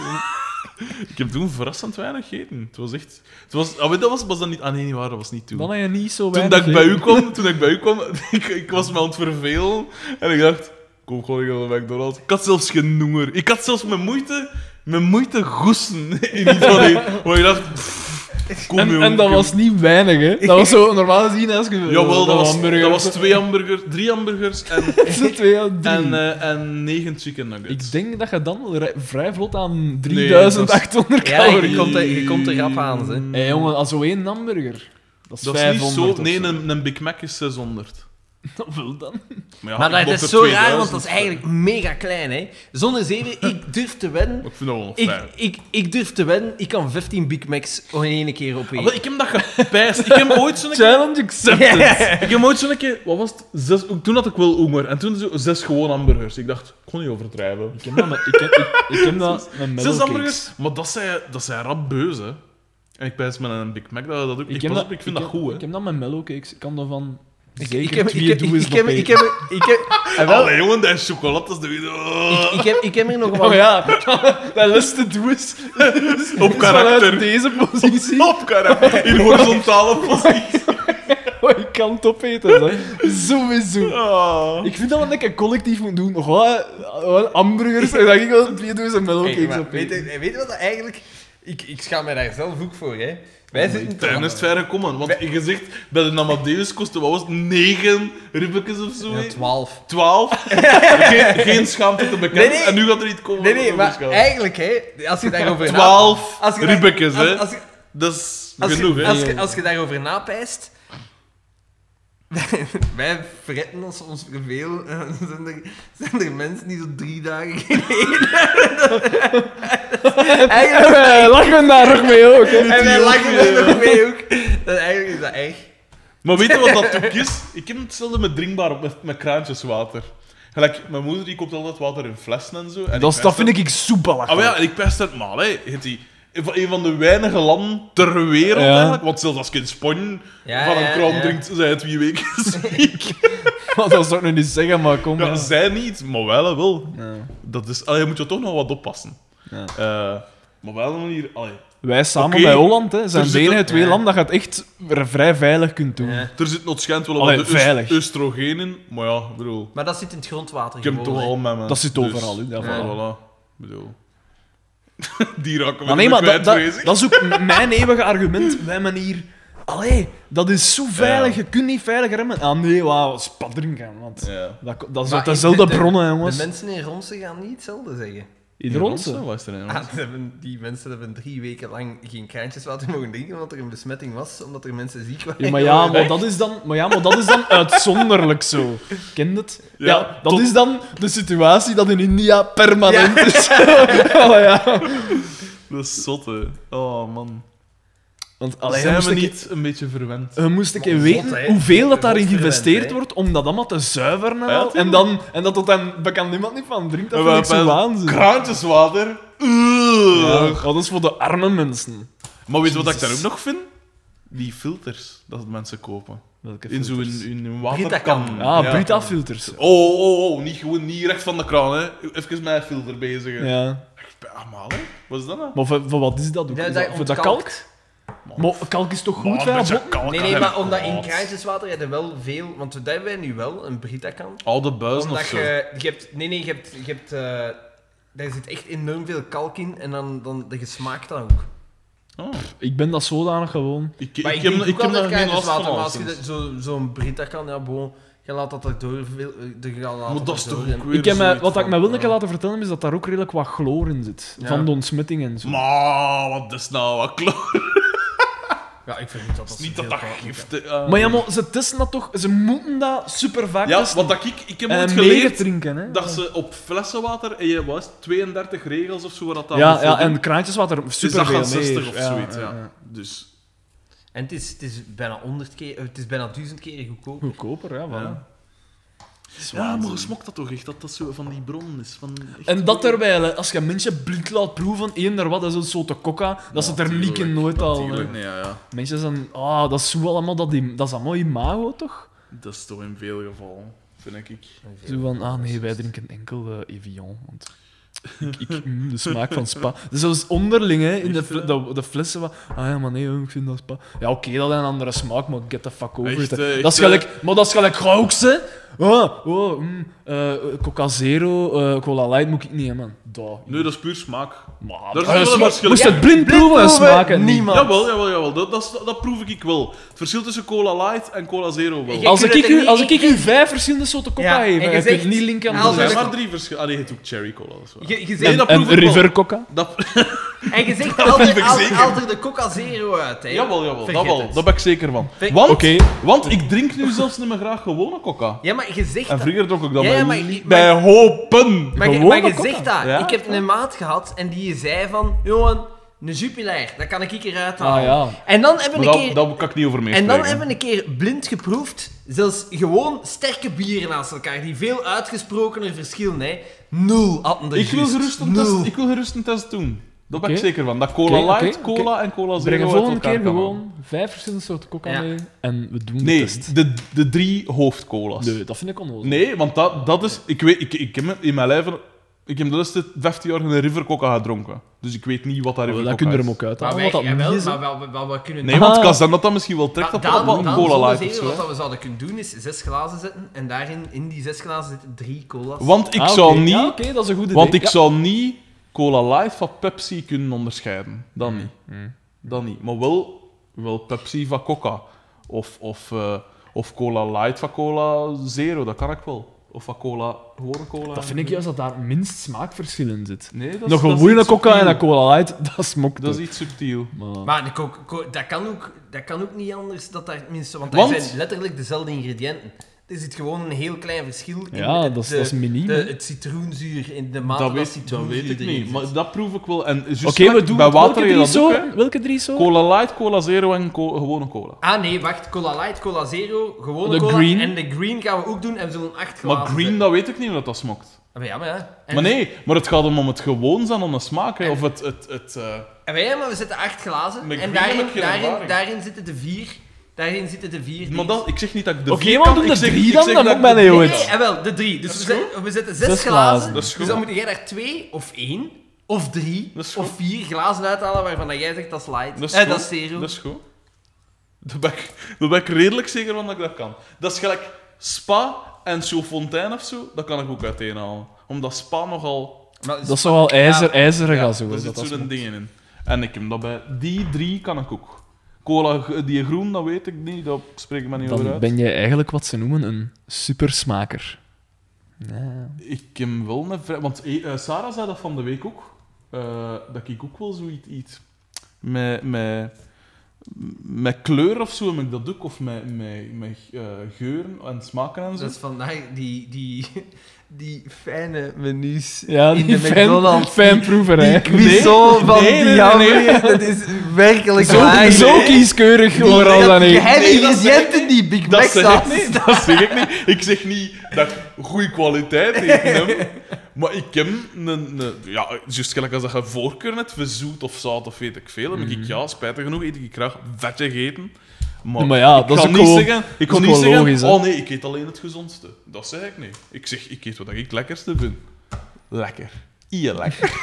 S2: Ik heb toen verrassend weinig gegeten. Het was echt. Het was, ah, weet, dat was, was dat niet. Ah nee, niet waar, dat was niet toen.
S1: Dan heb je niet zo
S2: toen
S1: weinig...
S2: dat ik bij u
S1: hè.
S2: kwam, toen ik bij u kwam, ik, ik was me aan het vervelen. En ik dacht, kom gewoon ik ga naar McDonald's. Ik had zelfs geen honger. Ik had zelfs mijn moeite, mijn moeite goesten in iets van die- waar ik dacht, pff, kom
S1: En,
S2: jong,
S1: en dat
S2: kom.
S1: was niet weinig, hè? Dat was zo normaal gezien als je...
S2: Jawel, dat was,
S1: hamburger.
S2: dat was twee hamburgers, drie hamburgers en,
S1: Zo twee aan drie.
S2: en, eh, en negen chicken nuggets.
S1: Ik denk dat je dan wel rij- vrij vlot aan
S2: 3800
S1: 3800
S3: Ja,
S1: calorieën...
S3: je komt er- je komt er rap aan, ze.
S1: Hé jongen, als zo één hamburger. Dat is
S2: Dat is niet
S1: 500
S2: zo...
S1: of
S2: Nee,
S1: zo.
S2: een, een Big Mac is 600.
S1: Dat wil dan.
S2: Maar, ja,
S3: Maar
S2: ik
S3: dat
S2: blok
S3: is
S2: er
S3: zo raar,
S2: 2000,
S3: want dat is eigenlijk mega klein, hè. Zonder zeven, ik durf te wedden...
S2: maar Ik vind dat wel
S3: Ik,
S2: fijn.
S3: ik, ik durf te wedden, ik kan 15 Big Macs in één keer opeten.
S2: Wel, ik heb dat gepijst. Ik heb ooit zo'n keer...
S1: Challenge accepted.
S2: Ik heb ooit zo'n keer... Wat was het? Zes, toen had ik wel honger. En toen zo zes gewoon hamburgers. Ik dacht, ik kon niet overdrijven.
S1: Ik heb dat met, ik heb, ik, ik heb dat met
S2: Zes
S1: metalcakes.
S2: hamburgers? Maar dat zijn, dat zijn rap beuze. hè. En ik pijs met een Big Mac. Dat, dat ook. Ik,
S1: heb
S2: pas op, ik vind
S1: ik
S2: dat
S1: heb-
S2: goed, hè.
S1: Ik heb dat met mellowcakes. Ik kan daarvan
S3: Ik-
S1: zeker
S3: ik heb-
S1: twee
S3: ik heb-
S1: doe eens
S3: ik heb-
S1: nog
S3: ik
S1: eten.
S3: heb- ik heb-
S1: En wel-
S2: Allee, jongen, dat is chocolade. Dat is de... Oh,
S3: ik heb- Ik heb er nog wel
S1: Oh ja, dat laatste doe is
S2: op
S1: vanuit
S2: karakter.
S1: deze positie.
S2: Op karakter. In horizontale positie.
S1: Oh, ik kan het opeten, hè. Sowieso.
S2: Ah.
S1: Ik vind dat we een keer collectief moeten doen. Gewoon gewoon hamburgers en dan ik wel twee dozen
S3: Hey,
S1: mellowcakes
S3: maar weet,
S1: opeten.
S3: je- weet je wat dat eigenlijk... Ik, ik schaam me daar zelf ook voor, hè. Wij zitten
S2: Tuin is het verre komen, want je zegt bij de Amadeus kostte wat was het, negen ribbekjes of zo?
S3: Ja,
S2: hè?
S3: 12.
S2: Twaalf? geen, geen schaamte te bekennen.
S3: Nee, nee.
S2: En nu gaat er iets komen.
S3: Nee,
S2: wat
S3: nee,
S2: er
S3: maar
S2: schaamte.
S3: eigenlijk, hè, als je daarover na-
S2: Twaalf
S3: als je daar-
S2: ribbekjes,
S3: als-
S2: hè?
S3: Als, je-
S2: Dat is
S3: als, je-
S2: genoeg, hè?
S3: als, je- als je daarover napijst... Wij, wij fretten ons soms veel. eh, Zijn er, zijn er mensen die zo drie dagen geleden...
S1: En
S3: eigenlijk,
S1: wij lachen daar ook mee ook, hè.
S3: en wij lachen
S2: eh.
S3: er nog mee ook. Dat, eigenlijk is dat echt...
S2: Maar weet je wat dat ook is? Ik heb hetzelfde met drinkbaar op met, met kraantjes water. Gelijk, mijn moeder die koopt altijd water in flessen en zo. En
S1: Dat, dat vind ik
S2: pest
S1: ik soepelachtig.
S2: Ah maar ja, en ik pest het maar, hè. Heet die... Van een van de weinige landen ter wereld,
S1: Ja.
S2: eigenlijk. Want zelfs als je in Spanje
S3: Ja,
S2: van een
S3: ja,
S2: kraan
S3: ja.
S2: drinkt, zijn het wie weken Dus
S1: Maar dat zou ik nog niet zeggen, maar kom.
S2: Ja,
S1: hè.
S2: zij niet, maar wel hè, wel.
S1: Ja.
S2: Dat is, allee, moet je toch nog wat oppassen.
S1: Ja.
S2: Eh, maar wel een manier. Allee.
S1: Wij samen
S2: Oké.
S1: bij Holland hè, zijn
S2: Er
S1: de
S2: zit
S1: enige
S2: ook-
S1: twee
S3: Ja.
S1: landen dat je het echt r- vrij veilig kunt doen.
S3: Ja.
S2: Er zit nog schijnt wel
S1: Allee,
S2: wat de
S1: veilig.
S2: oest- oestrogeen in, maar ja, ik bedoel,
S3: Maar dat zit in het grondwater
S2: ik heb het
S3: gewoon,
S2: toch
S3: hè.
S2: al met me.
S1: Dat zit overal, hè, dat
S2: ja, voilà. Ik bedoel. Die raken we
S1: Maar nee, maar dat, dat,
S2: bezig.
S1: dat is ook m- mijn eeuwige argument. Wij manier. Allee, dat is zo veilig, je kunt niet veilig remmen. Ah nee, wauw, spat drinken. Want
S2: Ja.
S1: dat, ko- dat is
S3: Maar
S1: uit
S3: is
S1: dezelfde
S3: de- de-
S1: bronnen,
S3: De
S1: jongens.
S3: mensen in Ronsen gaan niet hetzelfde zeggen.
S1: Ieder
S2: Ja,
S1: onze.
S2: wat is er nou? in
S3: Ah, ze hebben- die mensen hebben drie weken lang geen kraantjeswater mogen drinken omdat er een besmetting was, omdat er mensen ziek waren.
S1: Ja, maar, ja, maar, dat is dan, maar ja, maar dat is dan uitzonderlijk zo. Kent het? Ja,
S2: Ja,
S1: dat
S2: tot-
S1: is dan de situatie dat in India permanent is. oh, ja.
S2: Dat is zot, hè. Oh man.
S1: Want, allee,
S2: Zijn
S1: moest
S2: we
S1: ik-
S2: niet een beetje verwend?
S1: Je moest ik
S3: Maar
S1: weten
S3: zot, hè.
S1: hoeveel dat daarin
S3: Zot verwend,
S1: geïnvesteerd
S3: hè.
S1: wordt om dat allemaal te zuiveren en,
S2: Ah, Ja,
S1: al. en,
S2: tuurlijk.
S1: dan, en dat tot dan bekend niemand niet van drinkt, dat
S2: En
S1: vind
S2: we
S1: ik zo
S2: hebben
S1: waanzin.
S2: Kraantjeswater.
S1: Ja,
S2: Ugh.
S1: dat is voor de arme mensen.
S2: Maar weet je wat ik daar
S1: Jezus.
S2: ook nog vind? Die filters dat mensen kopen.
S1: Welke
S2: In zo'n
S1: filters?
S2: in een
S3: Brita-kan.
S2: waterkan.
S1: Ah, Brita-filters.
S2: Oh, oh, oh, niet gewoon niet recht van de kraan, hè. Even mijn filter bezig. hè.
S1: Ja.
S2: Ah, maar, hè. Wat is dat nou?
S1: Maar voor, voor wat is dat ook?
S3: Ja,
S1: Is
S3: dat
S1: dat- voor dat kalk?
S3: ontkalkt.
S1: Maar kalk is toch goed,
S2: Maar,
S1: hè?
S2: Ah, een beetje
S1: Bob?
S2: kalk Oh,
S3: Nee,
S2: had
S3: nee,
S2: hij
S3: maar
S2: nog
S3: omdat in
S2: gehad.
S3: kraantjeswater heb je wel veel, want dat hebben wij nu wel, een Brita-kan.
S2: Oude buizen of
S3: Omdat
S2: zo.
S3: je, je hebt, nee, nee, je hebt, je hebt, eh, daar zit echt enorm veel kalk in en dan, dan de gesmaakt dan ook.
S2: Oh.
S1: Ik ben dat zodanig gewoon.
S2: Ik, ik,
S3: Maar
S2: ik,
S3: drink
S2: heb,
S3: ook
S2: ik heb
S3: altijd
S2: daar geen last
S3: kraantjeswater,
S2: van.
S3: maar als je
S2: alleszins.
S3: dat- zo- zo'n Brita-kan, ja, bon, je laat dat erdoor, veel- eh, je laat
S2: Maar dat is
S3: erdoor
S2: toch
S3: en-
S2: ook weer
S1: Ik heb mij,
S2: zoiets
S1: wat ik
S2: van,
S1: me wilde
S2: eh,
S1: laten vertellen is dat daar ook redelijk wat chloor in zit.
S3: Ja.
S1: Van de ontsmetting en zo.
S2: Maar, wat is nou wat klopt?
S3: Ja, ik vind niet dat dat
S2: Niet dat
S3: zoveel
S2: dat
S3: kalk moet
S2: giftig... eh.
S1: Maar ja, maar ze testen dat toch? Ze moeten dat super vaak
S2: Ja,
S1: testen.
S2: want dat ik... Ik heb
S1: En
S2: ooit
S1: meegetrinken,
S2: geleerd
S1: drinken, hè?
S2: dat ze op flessenwater... En je wat is het, 32 regels of zo, waar dat aan
S1: ja,
S2: moet
S1: ja,
S2: voldoen.
S1: en kraantjeswater
S2: Dus dat
S1: super
S2: gaan
S1: veel
S2: 60
S1: meer.
S2: of
S1: Ja,
S2: zoiets,
S1: ja,
S2: ja.
S1: ja.
S2: Dus...
S3: En het is, het is bijna 100 keer, eh, het is bijna duizend keer goedkoop.
S1: Goedkoper, ja, voilà.
S2: Ja. Ja, maar je smokt dat toch echt, dat dat zo van die bron is. Van echt
S1: En dat terwijl, hè, als je mensen blind laat proeven, één daar wat, dat is een soort kokka, dat ze er niet in nooit al. hè.
S2: Natuurlijk, nee, ja, ja.
S1: Mensen zijn, ah, dat is zo allemaal, dat, im- dat is allemaal imago, toch?
S2: Dat is toch in veel gevallen, vind ik.
S1: Zo van, ah nee, wij drinken enkel eh, Evian, want ik, ik, mm, de smaak van spa. Dus zelfs onderling, hè, in de, fle- de, de flessen, van, ah ja, maar nee, hoor, ik vind dat spa. Ja, oké, dat is een andere smaak, maar get the fuck over it.
S2: Echt,
S1: hè.
S2: eh, echt,
S1: dat is
S2: eh.
S1: gelijk, maar dat is gelijk Gauks, hè. Oh, oh, mm, eh, Coca Zero, eh, Cola Light moet ik niet, hè, man. Daar.
S2: Nee, dat is puur smaak.
S1: Maar dat
S2: Daar zit wel
S1: is
S2: een
S1: maar-
S2: verschil
S1: Moest
S2: in.
S1: het blind proeven en smaken? Niemand.
S2: Jawel, jawel, jawel. Dat, dat, is- dat proef ik wel. Het verschil tussen Cola Light en Cola Zero wel.
S3: Ik-
S2: Er
S1: Als
S3: kunt
S1: ik,
S3: het
S1: u,
S3: niet-
S1: als ik,
S3: ik-
S1: u vijf verschillende soorten coca
S3: Ja,
S1: geef,
S3: en
S1: en
S3: je
S1: je
S3: zegt-
S1: kunt niet linken aan
S3: als
S1: elkaar.
S2: zijn
S3: ik-
S2: maar drie verschillen. Ah, nee, je hebt ook Cherry Cola. Dat is waar.
S3: Je, je
S2: Nee,
S3: zegt-
S2: dat
S1: En
S2: proef ik wel.
S1: river coca?
S2: Dat,
S3: En je zegt altijd,
S2: ik
S3: altijd,
S2: zeker.
S3: altijd de Coca Zero uit, hè?
S2: Jawel, jawel.
S3: Vergeet
S2: Dat wel.
S3: het.
S2: Daar ben ik zeker van.
S3: Ver-
S2: Want,
S7: Oké.
S2: want ik drink nu zelfs niet meer graag gewone coca.
S3: Ja, maar je zegt
S2: En
S3: dat.
S2: vroeger dronk ik dat
S3: Ja,
S2: bij,
S3: ja, maar-
S2: li-
S3: maar-
S2: bij hopen.
S3: Maar je,
S2: Gewone
S3: maar je
S2: coca.
S3: zegt dat.
S2: Ja.
S3: Ik heb een maat gehad en die zei van... Johan, een Jupiler, dat kan ik eruit
S7: Ah
S3: halen.
S7: ja.
S3: En dan
S2: Maar
S3: hebben we
S2: dat-
S3: een keer...
S2: daar kan ik niet over
S3: En
S2: meespreken.
S3: dan hebben we een keer blind geproefd, zelfs gewoon sterke bieren naast elkaar, die veel uitgesprokener verschillen. Hè. Nul hadden er
S2: ik, wil
S3: juist.
S2: gerust een
S3: Nul.
S2: test, ik wil gerust een test doen. Daar ben ik
S1: Oké.
S2: zeker van. Dat cola
S1: Oké, oké,
S2: light,
S1: oké.
S2: cola en cola zero
S1: Breng de
S2: uit
S1: volgende
S2: elkaar
S1: keer
S2: kan
S1: gewoon
S2: halen.
S1: vijf verschillende soorten coca
S3: Ja.
S1: mee en we doen de
S2: Nee,
S1: test.
S2: de, de drie hoofdcolas.
S1: Nee, dat vind ik onnodig.
S2: Nee, want dat, dat is... Ik, weet, ik, ik heb in mijn lijf... Ik heb de laatste 15 jaar een River Coca gedronken. Dus ik weet niet wat daar River
S1: Oh,
S2: Coca
S1: dat kun je
S2: is.
S1: er hem ook
S3: Maar
S1: uithalen.
S3: wij,
S1: Wat dat
S3: jawel,
S1: niet is, hè.
S3: maar wel, wel, wel, wel kunnen
S2: Nee, want
S1: Ah.
S2: Kazan dat dat misschien wel trekt
S3: Maar
S2: op
S3: dan,
S2: op een
S3: dan
S2: cola
S3: zullen
S2: light
S3: ze
S2: of zo,
S3: wat
S2: hè.
S3: dat we zouden kunnen doen, is zes glazen zetten en daarin, in die zes glazen zitten drie colas.
S2: Want ik
S1: Ah,
S2: zou
S1: oké.
S2: niet...
S1: Ja, oké, dat is een goede
S2: Want
S1: idee.
S2: ik zou niet Cola Light van Pepsi kunnen onderscheiden. Dat
S1: Mm.
S2: niet. Dat niet. Maar wel, wel Pepsi van Coca. Of, of, eh, of Cola Light van Cola Zero, dat kan ik wel. Of van Cola, gewone cola.
S1: Dat vind ik juist dat daar minst smaakverschil in zit.
S2: Nee, dat is,
S1: Nog
S2: dat
S1: een
S2: is
S1: gewone
S2: iets
S1: coca en
S2: subtiel.
S1: een cola light, dat smokt.
S2: Dat is iets subtiel.
S1: Maar...
S3: Maar de co- co- dat, kan ook, dat kan ook niet anders, dat daar, minstens, want,
S2: Want-
S3: dat zijn letterlijk dezelfde ingrediënten. Er zit gewoon een heel klein verschil in
S1: Ja,
S3: het-
S1: dat is,
S3: de-
S1: dat is miniem.
S3: de-
S1: hè.
S3: het citroenzuur, in de mate
S2: dat,
S3: dat,
S2: weet, dat
S3: citroenzuur
S2: weet ik
S3: erin
S2: niet.
S3: zit.
S2: Maar dat proef ik wel. En juist
S1: Oké,
S2: gelijk
S1: we doen
S2: bij water
S1: welke
S2: je
S1: drie
S2: dat ook,
S1: soorten?
S2: hè.
S1: Welke drie soorten?
S2: Cola Light, Cola Zero en co- gewone cola.
S3: Ah nee, wacht. Cola Light, Cola Zero, gewone
S1: De
S3: cola.
S1: green.
S3: En de green gaan we ook doen en we zullen acht glazen
S2: Maar green,
S3: zetten.
S2: dat weet ik niet hoe dat, dat smokt.
S3: Ah, maar Ja, maar ja. En-
S2: Maar nee, maar het gaat hem om het gewoon zijn, om de smaak. Hè. Of het... het, het eh,
S3: Ah, maar ja, maar we zetten acht glazen.
S2: Met
S3: en
S2: green
S3: daarin,
S2: heb je
S3: daarin,
S2: ervaring.
S3: daarin zitten de vier. Daarin zitten de vier.
S2: Maar
S3: dingen.
S2: dat, ik zeg niet dat ik de
S1: Oké,
S2: vier
S1: maar
S2: kan,
S1: doen
S2: ik
S1: de
S2: zeg-
S1: drie
S2: ik
S1: dan,
S2: zeg
S1: dan
S2: dat
S1: moet
S2: ik
S1: men
S2: de-
S1: heel
S3: Nee,
S1: het.
S3: ah, wel, de drie. Dus we
S2: is
S3: zetten, we zetten zes,
S1: Zes
S3: glazen.
S1: glazen.
S2: Dat is
S3: Dus
S2: goed.
S3: dan moet jij daar twee of één of drie
S2: Dat is
S3: of
S2: goed.
S3: vier glazen uithalen waarvan dat jij zegt dat is light.
S2: Dat is,
S3: Eh,
S2: goed.
S3: dat is zero.
S2: Dat is goed. Daar ben, ik, daar ben ik redelijk zeker van dat ik dat kan. Dat is gelijk Spa en Chaufontaine of zo, dat kan ik ook uiteenhalen. Omdat Spa nogal...
S3: Maar dus, is-
S1: Dat is toch wel ijzer, ijzeren
S2: Ja,
S1: gas hoor.
S2: daar
S1: dat
S2: zitten
S1: dat
S2: zo'n
S1: smokt.
S2: dingen in. En ik heb dat bij die drie kan ik ook. Cola, g- die groen, dat weet ik niet, dat spreek ik me niet over
S1: Dan
S2: uit.
S1: ben je eigenlijk wat ze noemen een supersmaker. Nee.
S2: Ik heb wel een vrij... Want eh, eh, Sarah zei dat van de week ook. eh, dat ik ook wel zoiets eet. Met, met, met kleur of zo heb ik dat ook. Of met, met, met eh, geuren en smaken en zo.
S3: dat is dus vandaag die, die, die fijne menus
S1: Ja,
S3: in
S1: die
S3: de
S1: fan,
S3: McDonald's.
S1: fanproeverij.
S3: Wieso van
S2: nee,
S3: die
S2: nee,
S3: jammer?
S2: nee.
S3: Dat is werkelijk
S1: Zo,
S3: waar.
S1: zo kieskeurig overal dan
S3: Die
S1: heen.
S3: geheime
S2: Nee, dat
S3: ingrediënten die Big Mac
S2: Dat zeg ik
S3: saus.
S2: niet. Dat zeg ik niet. Ik zeg niet dat ik goede kwaliteit eet. hè. Maar ik heb een... een- ja, juist gelijk als dat je voorkeur net verzoet of zout of weet ik veel. Dan denk
S1: Mhm.
S2: ik, ja, spijtig genoeg eet ik graag vetje eten. Maar,
S1: Maar ja,
S2: ik
S1: dat is
S2: kan
S1: ook
S2: niet
S1: gewoon-
S2: zeggen,
S1: dat
S2: ik kan
S1: is
S2: niet
S1: gewoon
S2: zeggen,
S1: logisch, hè.
S2: oh nee, ik eet alleen het gezondste. Dat zeg ik niet. Ik zeg, ik eet wat ik het lekkerste vind. Lekker. Ie lekker.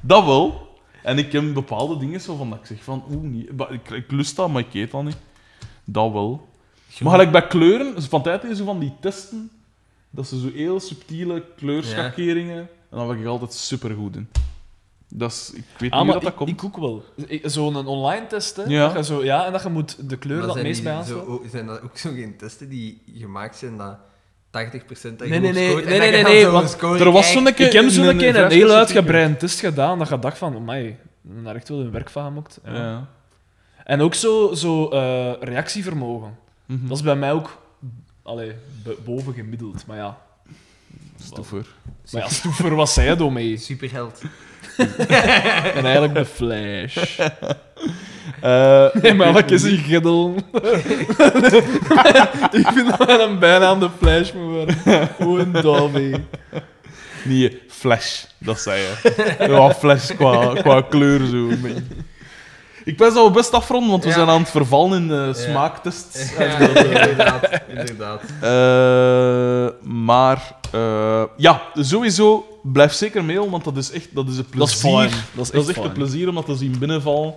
S2: dat wel. En ik heb bepaalde dingen zo van dat ik zeg van, oeh, nee, maar ik, ik lust dat, maar ik eet dat niet. Dat wel. Maar gelijk bij kleuren, van tijd in zo van die testen, dat ze zo heel subtiele kleurschakeringen, en dan ben ik altijd supergoed in. Dat is, ik weet
S1: Ah,
S2: niet
S1: maar
S2: hoe dat, dat
S1: ik,
S2: komt.
S1: ik ook wel. Ik- Zo'n online test, hè.
S2: Ja.
S1: Dat je zo, ja, en dat je moet de kleur dat meest bij aanstaat.
S8: Zijn dat ook zo geen testen die gemaakt zijn dat 80% dat
S1: Nee, nee, nee, nee, nee, nee, want
S2: er was zo'n keer...
S1: Ik heb zo'n
S2: een- eh,
S1: keer een
S2: vrij
S1: heel
S2: specifieke-
S1: uitgebreid test gedaan, dat je dacht van, mij daar heb ik wel een werk van gemaakt. Ja.
S2: Ja.
S1: En ook zo, zo eh, reactievermogen.
S3: Hm.
S2: Mhm.
S1: Dat is bij mij ook allee, be- boven gemiddeld, maar ja.
S2: Stoever.
S1: Maar ja, stoever was zij door mee.
S3: Superheld.
S1: En eigenlijk de Flash.
S2: Eh,
S1: Nee, maar wat is een giddel? ik vind dat wij een bijnaam de Flash moet worden. Hoe een Dolby.
S2: nee, Flash, dat zei je. Ja, Flash qua, qua kleur zo. een beetje. Ik ben zo best afronden, want we
S3: Ja.
S2: zijn aan het vervallen in de smaaktests.
S3: Ja,
S8: inderdaad, inderdaad.
S2: Eh, maar eh, ja, sowieso blijf zeker mailen, want dat is echt dat is een
S1: Dat is
S2: plezier.
S1: fijn. Dat is
S2: Dat
S1: echt,
S2: is echt een
S1: fijn.
S2: plezier om dat te zien binnenvallen.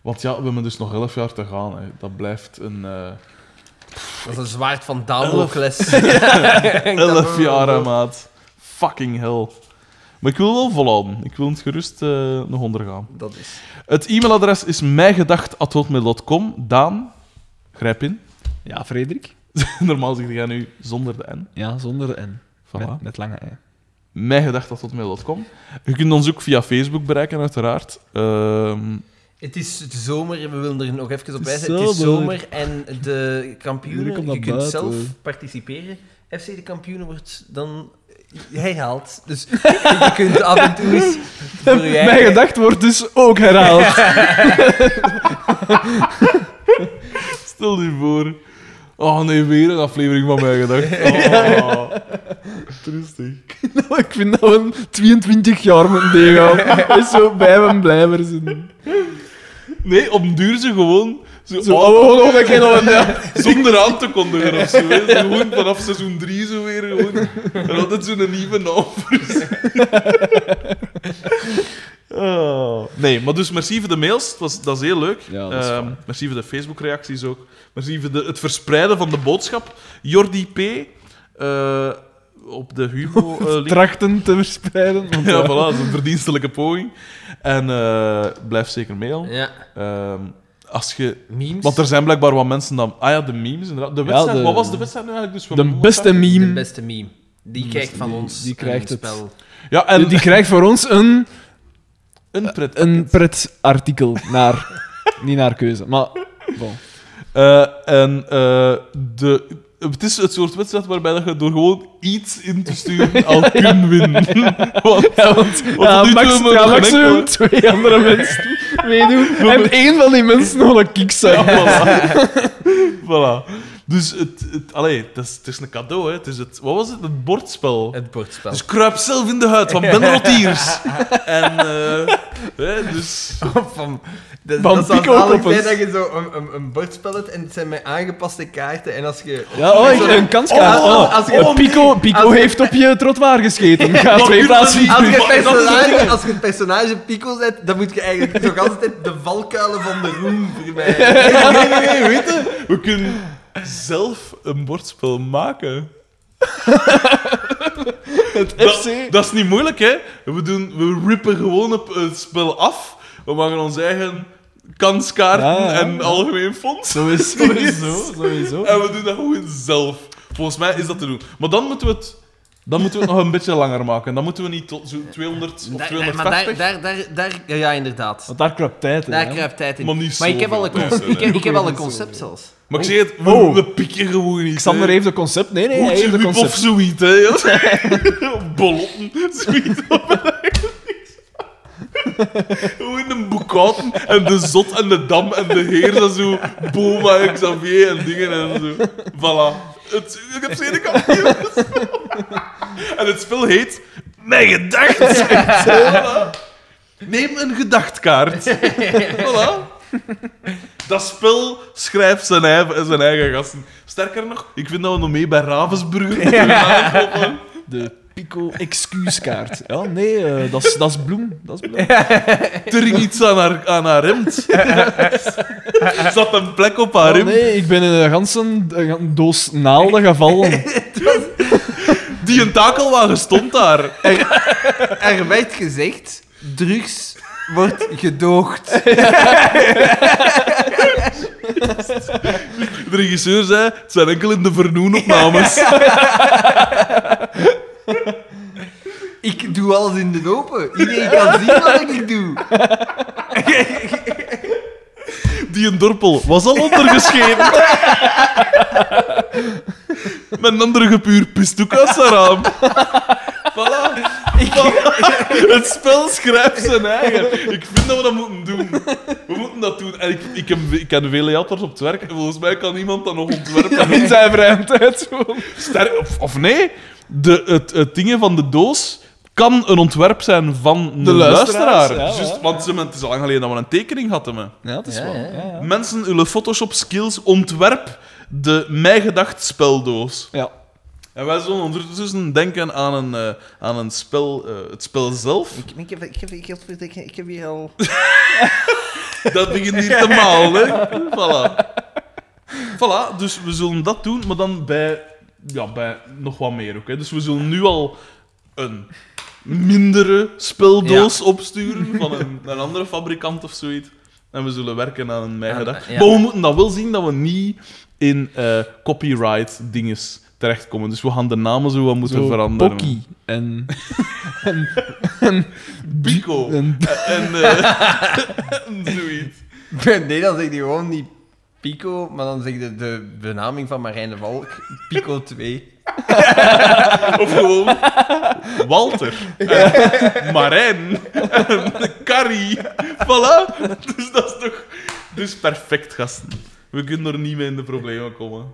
S2: Want ja, we hebben dus nog 11 jaar te gaan. Hè. Dat blijft een eh
S3: Dat is een zwaard van Damocles.
S2: 11 jaar, hè, maat. Fucking hell. Maar ik wil wel volhouden. Ik wil het gerust eh, nog ondergaan.
S3: Dat is.
S2: Het e-mailadres is mijgedacht.hotmail.com. Daan, grijp in.
S1: Ja, Frederik?
S2: Normaal zeg jij nu zonder de N.
S1: Ja, zonder de N.
S2: Voilà.
S1: Met, met lange I.
S2: mijngedachten.mail.com. Je kunt ons ook via Facebook bereiken, uiteraard. Ehm,
S3: Het is de zomer en we willen er nog even op
S1: Het is
S3: wijzen. Het is
S1: zomer.
S3: zomer en de
S1: Jullie
S3: kampioenen,
S1: komen
S3: je
S1: naar
S3: kunt
S1: buiten,
S3: zelf
S1: hoor.
S3: participeren. FC de kampioenen wordt dan herhaald. Dus je kunt af en toe eens voor je eigen-
S1: Mijn gedacht wordt dus ook herhaald.
S2: stel je voor. Oh nee, weer een aflevering van mijn gedachten. Oh. Trustig.
S1: Nou, ik vind dat we een 22 jaar moeten tegenhouden. Is zo bij mijn blijvers. in.
S2: Nee, op duur ze gewoon. Zo,
S1: Zo, oh, oh, oh, we kennen hem, ja.
S2: Zonder aan te kondigen of zo. hè. Zo Gewoon vanaf seizoen 3 zo weer. Gewoon. En altijd zo'n nieuwe naam voor ze. Oh. Nee, maar dus merci voor de mails. Het was, dat is heel leuk.
S1: Ja, dat is
S2: Ehm,
S1: fijn.
S2: merci voor de Facebook-reacties ook. Merci voor de, het verspreiden van de boodschap. Jordi P. eh, op de Hugo-link.
S1: Trachten te verspreiden. Want,
S2: ja,
S1: ja,
S2: voilà, dat is een verdienstelijke poging. En eh, blijf zeker mailen.
S3: Ja,
S2: Ehm, als je
S3: memes.
S2: want er zijn blijkbaar wat mensen dan. Ah ja, de memes inderdaad. De wedstrijd,
S1: de-
S2: wat was de wedstrijd nu eigenlijk? Dus we
S1: de
S2: moeten-
S1: beste
S3: De
S1: meme.
S3: beste meme. Die krijgt van
S1: die-
S3: ons
S1: die krijgt
S3: een
S1: het.
S3: spel.
S2: Ja,
S1: Die,
S2: en
S1: die krijgt voor ons een,
S2: een pret.
S1: een pretartikel. Naar, niet naar keuze, maar... Bon.
S2: Eh, en eh, de, het is het soort wedstrijd waarbij dat je door gewoon iets in te sturen al kunt winnen. Want,
S1: Ja, want
S2: tot
S1: ja,
S2: nu toe
S1: max,
S2: hebben we
S1: ja,
S2: nog
S1: maximum
S2: gemerkt,
S1: twee andere mensen meedoen. En één van die mensen nog een kick
S2: ja,
S1: zijn.
S2: voilà. Voilà. Dus het, het, allee, het, is, het is een cadeau, hè. Het is het, wat was het? Het bordspel.
S3: Het bordspel.
S2: Dus kruip zelf in de huid van Ben Rotiers. en, eh, hè, dus...
S3: Of van, dat,
S1: Van
S3: dat is als
S1: Pico
S3: zalig
S1: Koppers.
S3: zijn dat je zo een, een, een bordspel hebt en het zijn met aangepaste kaarten. En als je...
S1: Ja, oh, ik- een kanskaart.
S3: Oh,
S1: Oh,
S3: als je-
S1: oh, Pico, Pico
S3: als je-
S1: heeft op je trottoir gescheten. Ga twee plaatsen.
S3: Als je,
S2: Maar
S3: het
S2: dat is
S3: personage, als je het personage Pico zet, dan moet je eigenlijk toch altijd de valkuilen van de roem vermijden.
S2: Nee, nee, nee, weet je? We kunnen zelf een bordspel maken.
S1: Het
S2: Dat, dat is niet moeilijk, hè? We, doen, we rippen gewoon op het spel af. We maken ons eigen kanskaarten
S1: Ja, ja.
S2: en algemeen fonds.
S1: Zo is sowieso, sowieso.
S2: En we doen dat gewoon zelf. Volgens mij is dat te doen. Maar dan moeten we het, dan moeten we het nog een beetje langer maken. Dan moeten we niet tot zo'n 200 of 250.
S3: maar daar, daar, daar, daar- ja, ja, inderdaad.
S1: Want daar kruipt tijd in.
S3: Daar
S1: hè.
S3: kruipt tijd in.
S2: Maar niet
S3: ik heb
S2: zoveel
S3: al een,
S2: tijd,
S3: concept,
S2: hè.
S3: ik heb, ik heb al een concept zelfs.
S2: Maar ik zeg het, we,
S1: Oh.
S2: we pikken gewoon niet.
S1: Xander
S2: hè.
S1: heeft een concept. Nee, nee, hij
S2: Hoedje
S1: heeft een
S2: wiep of
S1: concept.
S2: zoiets, hè? Of Ballotten, zoiets. Gewoon een boekhouden en de zot en de dam en de heer, dat zo Boma en Xavier en dingen en zo. Voilà. Het, ik heb zin in kampioen. En het spel heet Mijn Gedacht. Voilà. Neem een gedachtkaart. Voilà. Dat spel schrijft zijn eigen, zijn eigen gasten. Sterker nog, ik vind dat we nog mee bij Ravensburger moeten aankomen.
S1: De Pico excuuskaart. Ja, nee, eh, dat is- dat is bloem. Dat is bloem.
S2: Er ging iets aan haar, aan haar hemd. Er zat een plek op haar
S1: Oh,
S2: hemd.
S1: nee, ik ben in een ganse een doos naalden gevallen.
S2: Die een takelwagen stond daar.
S3: Er werd gezegd, drugs wordt gedoogd.
S2: De regisseur zei, het zijn enkel in de vernoenopnames.
S3: Ik doe alles in de open. Iedereen kan zien wat ik doe.
S2: Die een dorpel was al ondergeschreven. Met een andere gepuur pist ook uit zijn raam. Voilà. Voilà. Het spel schrijft zijn eigen. Ik vind dat we dat moeten doen. We moeten dat doen. En ik, ik, heb, ik ken vele jatters op het werk. En volgens mij kan iemand dat nog ontwerpen.
S1: In zijn vrije tijd. gewoon.
S2: Ster- of, of nee, de, het, het dingen van de doos kan een ontwerp zijn van de luisteraar.
S1: luisteraars, ja,
S2: Juist, want ze- het is al lang geleden dat we een tekening hadden. hè.
S1: Ja, dat is
S9: Ja,
S1: wel.
S9: ja.
S1: ja, ja.
S2: Mensen, uw Photoshop skills ontwerp de mij gedacht speldoos.
S1: Ja.
S2: En wij zullen ondertussen denken aan, een, eh, aan een spel, eh, het spel zelf.
S3: Ik, ik, heb, ik, heb, ik, heb, ik, heb, ik heb hier al...
S2: Dat begint hier te malen. hè. Voilà. Voilà, dus we zullen dat doen, maar dan bij, ja, bij nog wat meer ook. Hè. Dus we zullen nu al een mindere speldoos opsturen van een, een andere fabrikant of zoiets. En we zullen werken aan een
S3: Aan-
S2: mijgedag.
S3: ja.
S2: Maar we moeten dat wel zien dat we niet in eh, copyright dinges terechtkomen. Dus we gaan de namen zo wat moeten
S1: Zo,
S2: veranderen.
S1: Pocky en...
S2: Pico.
S1: en
S2: En eh, zoiets.
S3: Nee, dan zeg je gewoon niet Pico, maar dan zeg je de benaming van Marijn de Valk, Pico 2.
S2: Of gewoon Walter. eh, Marijn. Carrie. Voilà. Dus dat is toch... Dus perfect, gasten. We kunnen er niet mee in de problemen komen.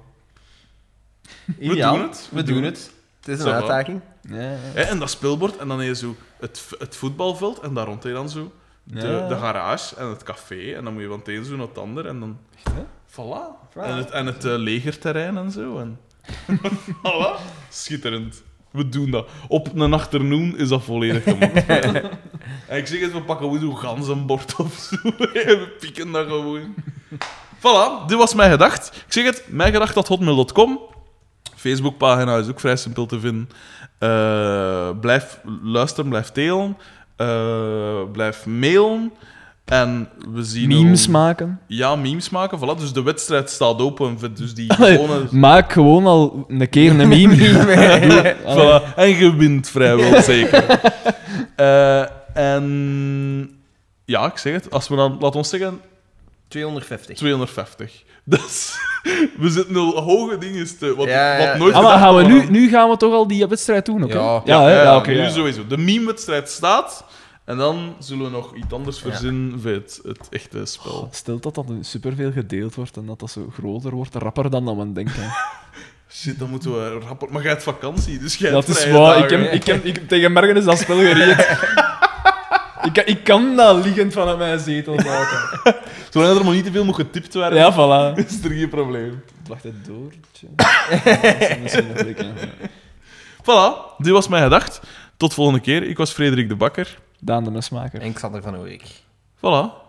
S2: We
S3: Ideaal.
S2: doen het.
S3: We, doen het. Het is een
S2: Ça va.
S3: uitdaging.
S2: Hè, en dat speelbord, en dan heb je zo het, v- het voetbalveld, en daar rond heb je dan zo de, de garage en het café, en dan moet je van het een zo naar het ander, en dan... Voilà. En het, en het eh, legerterrein en zo. En... voilà. Schitterend. We doen dat. Op een achternoon is dat volledig gemaakt. en ik zeg het, we pakken gewoon zo'n ganzenbord of zo. en we pieken dat gewoon. Voilà, dit was mijn gedacht. Ik zeg het, mijn gedacht dat hotmail.com. Facebookpagina is ook vrij simpel te vinden. Eh, blijf luisteren, blijf delen. Eh, blijf mailen. En we zien...
S1: memes
S2: al-
S1: maken.
S2: Ja, memes maken. Voilà, dus de wedstrijd staat open. Dus die
S1: Allee,
S2: gewone...
S1: Maak gewoon al een keer een meme. Doe- allee.
S2: Voilà. En je wint vrijwel zeker. Eh, en ja, ik zeg het. Als we dan, laat ons zeggen,
S3: 250.
S2: 250. Dus we zitten al hoge dingen te. Wat,
S3: Ja, ja.
S2: wat nooit
S1: Ah, maar
S2: gedacht
S1: gaan we
S2: kon.
S1: nu, nu gaan we toch al die wedstrijd doen, oké?
S3: Ja.
S1: ja, hè?
S2: ja,
S1: ja, oké.
S2: nu
S1: ja.
S2: sowieso. De meme-wedstrijd staat. En dan zullen we nog iets anders verzinnen voor het, het echte spel.
S1: Stel dat dat nu superveel gedeeld wordt en dat dat zo groter wordt, rapper dan dat we denken.
S2: Shit, dan moeten we rapper. Maar jij hebt vakantie, dus jij
S1: Dat
S2: hebt
S1: is
S2: vrije
S1: waar. Ik
S2: dagen.
S1: heb, ik heb, ik, tegen morgen is dat spel gereed. ik, kan- ik kan dat liggend vanuit mijn zetel maken.
S2: Zolang er maar niet te veel moet getipt werden,
S1: Ja, voilà.
S2: is er geen probleem.
S1: Wacht het door. tja. Dat is misschien nog lekker.
S2: Voilà, dit was mijn gedacht. Tot volgende keer. Ik was Frederik de Bakker.
S1: Daan de mesmaker.
S3: En Xander van Oerik.
S2: Voilà.